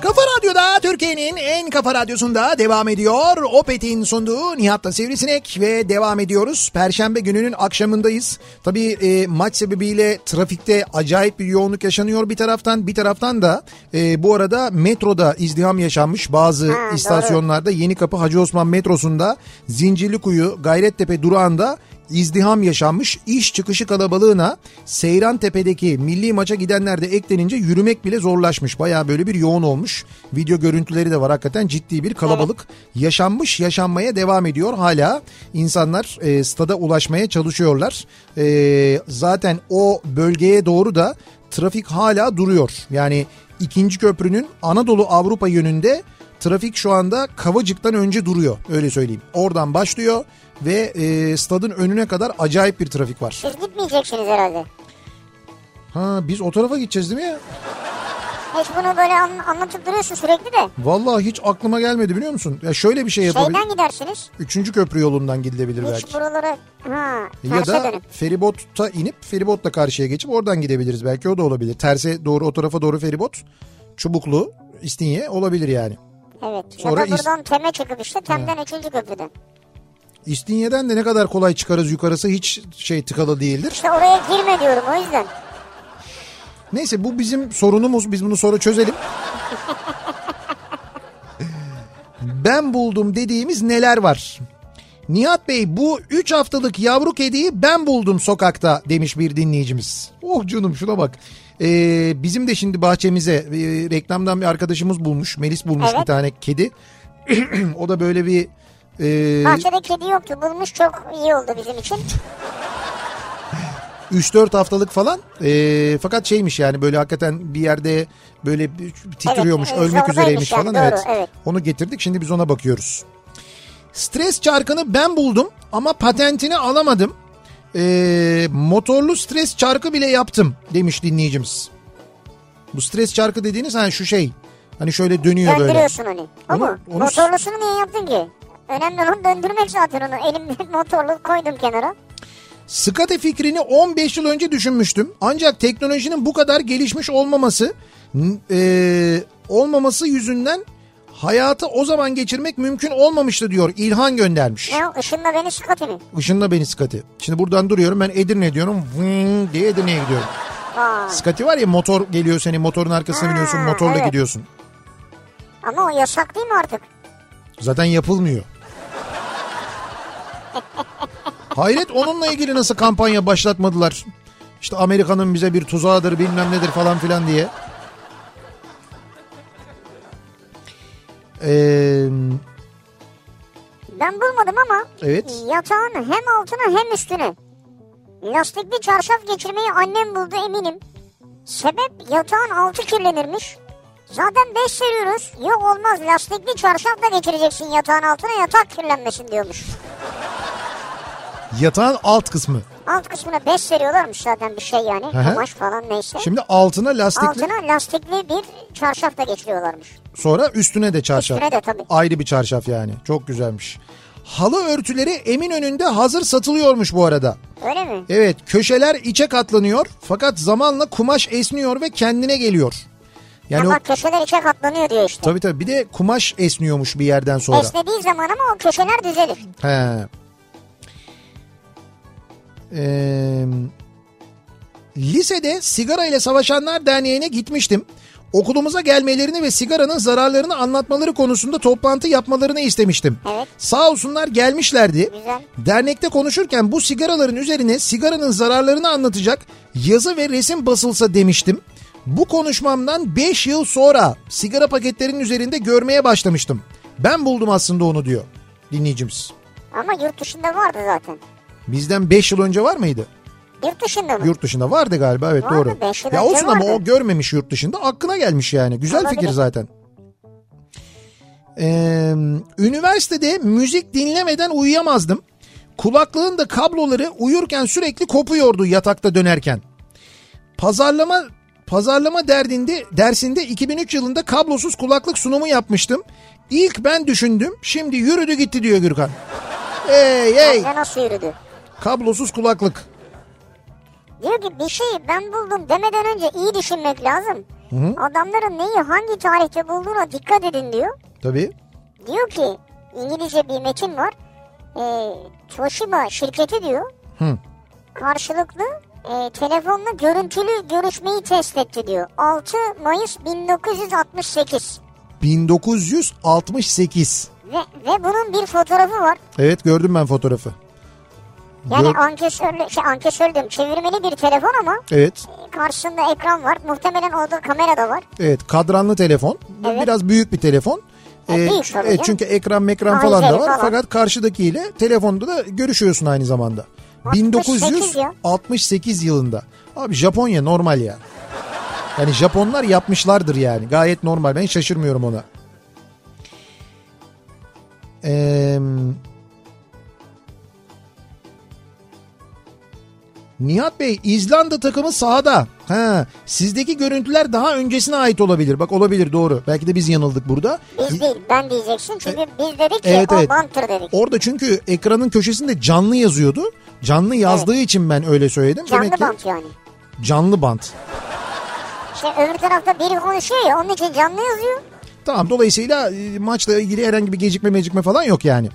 Speaker 1: Kafa Radyo'da Türkiye'nin en kafa radyosunda devam ediyor. Opet'in sunduğu Nihat'la Sivrisinek ve devam ediyoruz. Perşembe gününün akşamındayız. Tabii e, maç sebebiyle trafikte acayip bir yoğunluk yaşanıyor bir taraftan. Bir taraftan da e, bu arada metroda izdiham yaşanmış bazı istasyonlarda. Yeni Kapı Hacı Osman metrosunda Zincirlikuyu Gayrettepe durağında izdiham yaşanmış. İş çıkışı kalabalığına Seyran Tepe'deki milli maça gidenler de eklenince yürümek bile zorlaşmış. Bayağı böyle bir yoğun olmuş. Video görüntüleri de var hakikaten ciddi bir kalabalık yaşanmış yaşanmaya devam ediyor. Hala insanlar e, stada ulaşmaya çalışıyorlar. E, zaten o bölgeye doğru da trafik hala duruyor. Yani ikinci köprünün Anadolu Avrupa yönünde Trafik şu anda Kavacık'tan önce duruyor öyle söyleyeyim. Oradan başlıyor ve e, stadın önüne kadar acayip bir trafik var.
Speaker 2: Siz gitmeyeceksiniz herhalde.
Speaker 1: Ha biz o tarafa gideceğiz değil mi ya?
Speaker 2: Hiç bunu böyle an- anlatıp duruyorsun sürekli de.
Speaker 1: Vallahi hiç aklıma gelmedi biliyor musun? Ya şöyle bir şey yapabilir.
Speaker 2: Şeyden gidersiniz.
Speaker 1: Üçüncü köprü yolundan gidilebilir belki.
Speaker 2: Hiç buralara ha,
Speaker 1: Ya
Speaker 2: terse
Speaker 1: da
Speaker 2: dönüp.
Speaker 1: feribota inip feribotla karşıya geçip oradan gidebiliriz belki o da olabilir. Terse doğru o tarafa doğru feribot. Çubuklu, İstinye olabilir yani.
Speaker 2: Evet.
Speaker 1: Sonra
Speaker 2: ya da
Speaker 1: is-
Speaker 2: buradan teme çıkıp işte temden 3. köprüden.
Speaker 1: İstinye'den de ne kadar kolay çıkarız yukarısı hiç şey tıkalı değildir.
Speaker 2: İşte oraya girme diyorum o yüzden.
Speaker 1: Neyse bu bizim sorunumuz. Biz bunu sonra çözelim. ben buldum dediğimiz neler var? Nihat Bey bu 3 haftalık yavru kediyi ben buldum sokakta demiş bir dinleyicimiz. Oh canım şuna bak. Ee, bizim de şimdi bahçemize e, reklamdan bir arkadaşımız bulmuş. Melis bulmuş
Speaker 2: Evet.
Speaker 1: bir tane kedi. o da böyle bir... e,
Speaker 2: Bahçede kedi yoktu bulmuş çok iyi oldu bizim için.
Speaker 1: 3-4 haftalık falan. Ee, fakat şeymiş yani böyle hakikaten bir yerde böyle bir- titriyormuş,
Speaker 2: Evet,
Speaker 1: ölmek
Speaker 2: zordaymış
Speaker 1: üzereymiş
Speaker 2: yani,
Speaker 1: falan.
Speaker 2: doğru,
Speaker 1: evet.
Speaker 2: evet.
Speaker 1: Onu getirdik. Şimdi biz ona bakıyoruz. Stres çarkını ben buldum ama patentini alamadım. Ee, motorlu stres çarkı bile yaptım demiş dinleyicimiz. Bu stres çarkı dediğiniz hani şu şey. Hani şöyle dönüyor böyle.
Speaker 2: Döndürüyorsun onu. O
Speaker 1: Onu-
Speaker 2: mu?
Speaker 1: onu-
Speaker 2: Motorlusunu niye yaptın ki? Önemli olan döndürmek zaten onu. Elimde motorlu koydum kenara.
Speaker 1: Skate fikrini 15 yıl önce düşünmüştüm. Ancak teknolojinin bu kadar gelişmiş olmaması n- e, olmaması yüzünden hayatı o zaman geçirmek mümkün olmamıştı diyor. İlhan göndermiş.
Speaker 2: Ne o? Işınla beni sıkatı mı?
Speaker 1: Işınla beni skati. Şimdi buradan duruyorum ben Edirne diyorum. Vın diye Edirne'ye gidiyorum.
Speaker 2: Aa.
Speaker 1: Skati var ya motor geliyor seni motorun arkasına biniyorsun motorla
Speaker 2: evet.
Speaker 1: gidiyorsun.
Speaker 2: Ama o yasak değil mi artık?
Speaker 1: Zaten yapılmıyor. Hayret onunla ilgili nasıl kampanya başlatmadılar. İşte Amerika'nın bize bir tuzağıdır bilmem nedir falan filan diye. Ee,
Speaker 2: Ben bulmadım ama
Speaker 1: Evet.
Speaker 2: yatağın hem altına hem üstüne. Lastikli çarşaf geçirmeyi annem buldu eminim. Sebep yatağın altı kirlenirmiş. Zaten beş seriyoruz. Yok olmaz lastikli çarşaf da geçireceksin yatağın altına yatak kirlenmesin diyormuş.
Speaker 1: yatağın alt kısmı.
Speaker 2: Alt kısmına bez veriyorlarmış zaten bir şey yani.
Speaker 1: Hı hı.
Speaker 2: Kumaş falan neyse.
Speaker 1: Şimdi altına lastikli
Speaker 2: Altına lastikli bir çarşaf da geçiriyorlarmış.
Speaker 1: sonra üstüne de çarşaf.
Speaker 2: Üstüne de tabii.
Speaker 1: Ayrı bir çarşaf yani. Çok güzelmiş. Halı örtüleri Eminönü'nde hazır satılıyormuş bu arada.
Speaker 2: Öyle mi?
Speaker 1: Evet köşeler içe katlanıyor fakat zamanla kumaş esniyor ve kendine geliyor. Yani o,
Speaker 2: Ama köşeler içe katlanıyor diyor işte.
Speaker 1: tabii tabii bir de kumaş esniyormuş bir yerden sonra.
Speaker 2: Esnediği zaman ama o köşeler düzelir.
Speaker 1: He. Ee, lisede Sigara ile Savaşanlar Derneği'ne gitmiştim. Okulumuza gelmelerini ve sigaranın zararlarını anlatmaları konusunda toplantı yapmalarını istemiştim. Sağ olsunlar gelmişlerdi. Dernekte konuşurken bu sigaraların üzerine sigaranın zararlarını anlatacak yazı ve resim basılsa demiştim. Bu konuşmamdan 5 yıl sonra sigara paketlerinin üzerinde görmeye başlamıştım. Ben buldum aslında onu diyor dinleyicimiz.
Speaker 2: Ama yurt dışında vardı zaten.
Speaker 1: Bizden 5 yıl önce var mıydı?
Speaker 2: Yurt dışında mı?
Speaker 1: Yurt dışında vardı galiba evet
Speaker 2: Vardı,
Speaker 1: doğru.
Speaker 2: beş yıl
Speaker 1: Ya
Speaker 2: önce
Speaker 1: olsun ama
Speaker 2: vardı.
Speaker 1: o görmemiş yurt dışında aklına gelmiş yani. Güzel
Speaker 2: Olabilir.
Speaker 1: fikir zaten. Ee, üniversitede müzik dinlemeden uyuyamazdım. Kulaklığın da kabloları uyurken sürekli kopuyordu yatakta dönerken. Pazarlama pazarlama derdinde dersinde 2003 yılında kablosuz kulaklık sunumu yapmıştım. İlk ben düşündüm. Şimdi yürüdü gitti diyor Gürkan. Hey hey.
Speaker 2: Bende nasıl yürüdü?
Speaker 1: Kablosuz kulaklık.
Speaker 2: Diyor ki bir şeyi ben buldum demeden önce iyi düşünmek lazım.
Speaker 1: Hı hı.
Speaker 2: Adamların neyi hangi tarihte bulduğuna dikkat edin diyor.
Speaker 1: Tabii.
Speaker 2: Diyor ki İngilizce bir metin var. Ee, Toshiba şirketi diyor.
Speaker 1: Hı.
Speaker 2: Karşılıklı e, telefonla görüntülü görüşmeyi test etti diyor. 6 Mayıs 1968.
Speaker 1: 1968.
Speaker 2: Ve, ve bunun bir fotoğrafı var.
Speaker 1: Evet gördüm ben fotoğrafı.
Speaker 2: Yani
Speaker 1: Gör-
Speaker 2: ankesörlü, şey ankesörlü diyorum, çevirmeli bir telefon ama e,
Speaker 1: Evet.
Speaker 2: karşısında ekran var. Muhtemelen orada kamera da var.
Speaker 1: Evet kadranlı telefon. Bu
Speaker 2: Evet.
Speaker 1: Biraz büyük bir telefon.
Speaker 2: Ya,
Speaker 1: Ee,
Speaker 2: büyük tabii
Speaker 1: evet,
Speaker 2: canım.
Speaker 1: çünkü ekran mekran
Speaker 2: Daha
Speaker 1: falan da
Speaker 2: üzeri
Speaker 1: var.
Speaker 2: falan.
Speaker 1: Fakat karşıdakiyle telefonda da görüşüyorsun aynı zamanda.
Speaker 2: 68
Speaker 1: 1968 yılında. Abi Japonya normal ya. Yani Japonlar yapmışlardır yani. Gayet normal. Ben şaşırmıyorum ona. Eee... Nihat Bey İzlanda takımı sahada. Ha, sizdeki görüntüler daha öncesine ait olabilir. Bak olabilir doğru. Belki de biz yanıldık burada.
Speaker 2: Biz değil ben diyeceksin çünkü biz dedik ki
Speaker 1: E, Evet
Speaker 2: o
Speaker 1: evet.
Speaker 2: bantır dedik.
Speaker 1: Orada çünkü ekranın köşesinde canlı yazıyordu. Canlı yazdığı için ben öyle söyledim.
Speaker 2: Canlı
Speaker 1: Demek ki
Speaker 2: bant yani.
Speaker 1: canlı bant.
Speaker 2: İşte öbür tarafta biri konuşuyor ya onun için canlı yazıyor.
Speaker 1: Tamam dolayısıyla e, maçla ilgili herhangi bir gecikme mecikme falan yok yani.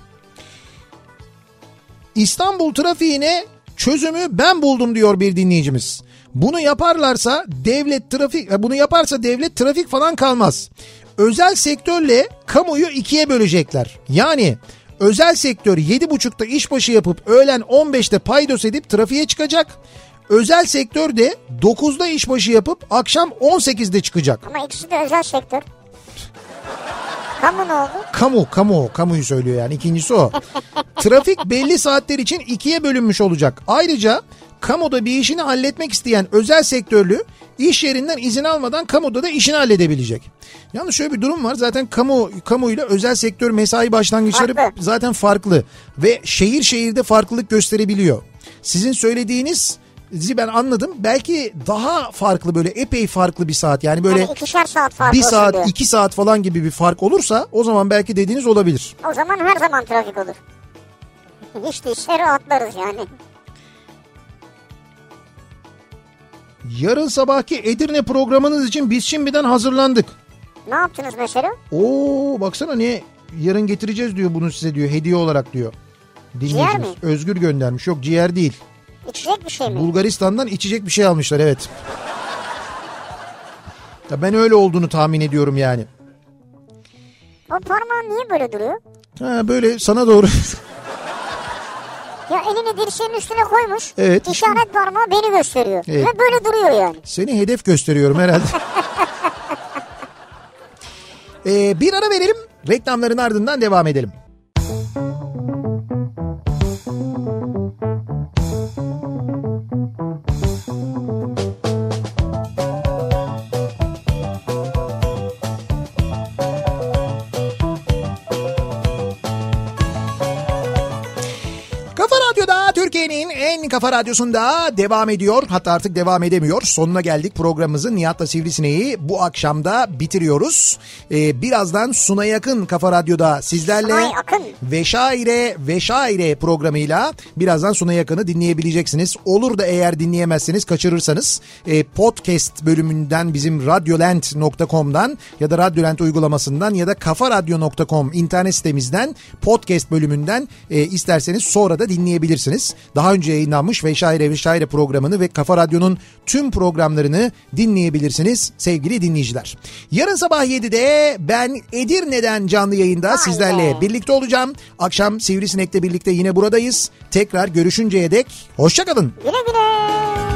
Speaker 1: İstanbul trafiğine çözümü ben buldum diyor bir dinleyicimiz. Bunu yaparlarsa devlet trafik e, bunu yaparsa devlet trafik falan kalmaz. Özel sektörle kamuyu ikiye bölecekler. Yani özel sektör 7.30'da işbaşı yapıp öğlen 15'te paydos edip trafiğe çıkacak. Özel sektör de 9'da işbaşı yapıp akşam 18'de çıkacak.
Speaker 2: Ama ikisi de özel sektör. Kamu ne oldu?
Speaker 1: Kamu, kamu, kamuyu söylüyor yani. İkincisi o. Trafik belli saatler için ikiye bölünmüş olacak. Ayrıca kamuda bir işini halletmek isteyen özel sektörlü iş yerinden izin almadan kamuda da işini halledebilecek. Yalnız şöyle bir durum var. Zaten kamu kamuyla özel sektör mesai başlangıçları zaten farklı ve şehir şehirde farklılık gösterebiliyor. Sizin söylediğiniz ben anladım. Belki daha farklı böyle epey farklı bir saat. Yani böyle
Speaker 2: Yani Hani ikişer saat fark
Speaker 1: bir
Speaker 2: olsun diyor.
Speaker 1: saat iki saat falan gibi bir fark olursa o zaman belki dediğiniz olabilir.
Speaker 2: O zaman her zaman trafik olur. Hiç değilse rahatlarız yani.
Speaker 1: Yarın sabahki Edirne programınız için biz şimdiden hazırlandık.
Speaker 2: Ne yaptınız mesela?
Speaker 1: Oo baksana ne yarın getireceğiz diyor bunu size diyor hediye olarak diyor. Dinleyicimiz.
Speaker 2: mi?
Speaker 1: Özgür göndermiş yok ciğer değil.
Speaker 2: İçecek bir şey mi?
Speaker 1: Bulgaristan'dan içecek bir şey almışlar evet. Ya ben öyle olduğunu tahmin ediyorum yani.
Speaker 2: O parmağın niye böyle duruyor?
Speaker 1: Ha, böyle sana doğru.
Speaker 2: Ya elini dirseğinin üstüne koymuş.
Speaker 1: Evet.
Speaker 2: İşaret parmağı beni gösteriyor.
Speaker 1: Evet.
Speaker 2: Ve böyle duruyor yani.
Speaker 1: Seni hedef gösteriyorum herhalde. Ee, bir ara verelim. Reklamların ardından devam edelim. Kafa Radyo'da Türkiye'nin en kafa radyosunda devam ediyor. Hatta artık devam edemiyor. Sonuna geldik programımızın Nihat'la Sivrisineği bu akşamda bitiriyoruz. Ee, birazdan Suna Yakın Kafa Radyo'da sizlerle
Speaker 2: Sunay Akın.
Speaker 1: ve şaire ve şaire programıyla birazdan Suna Yakın'ı dinleyebileceksiniz. Olur da eğer dinleyemezseniz kaçırırsanız e, podcast bölümünden bizim radyolent.com'dan ya da radyolent uygulamasından ya da kafaradyo.com internet sitemizden podcast bölümünden e, isterseniz sonra da dinleyebilirsiniz. Daha önce yayınlanmış ve şaire ve şaire programını ve Kafa Radyo'nun tüm programlarını dinleyebilirsiniz sevgili dinleyiciler. Yarın sabah 7'de ben Edirne'den canlı yayında sizlerle birlikte olacağım. Akşam Sivrisinek'le birlikte yine buradayız. Tekrar görüşünceye dek hoşçakalın.
Speaker 2: Güle güle.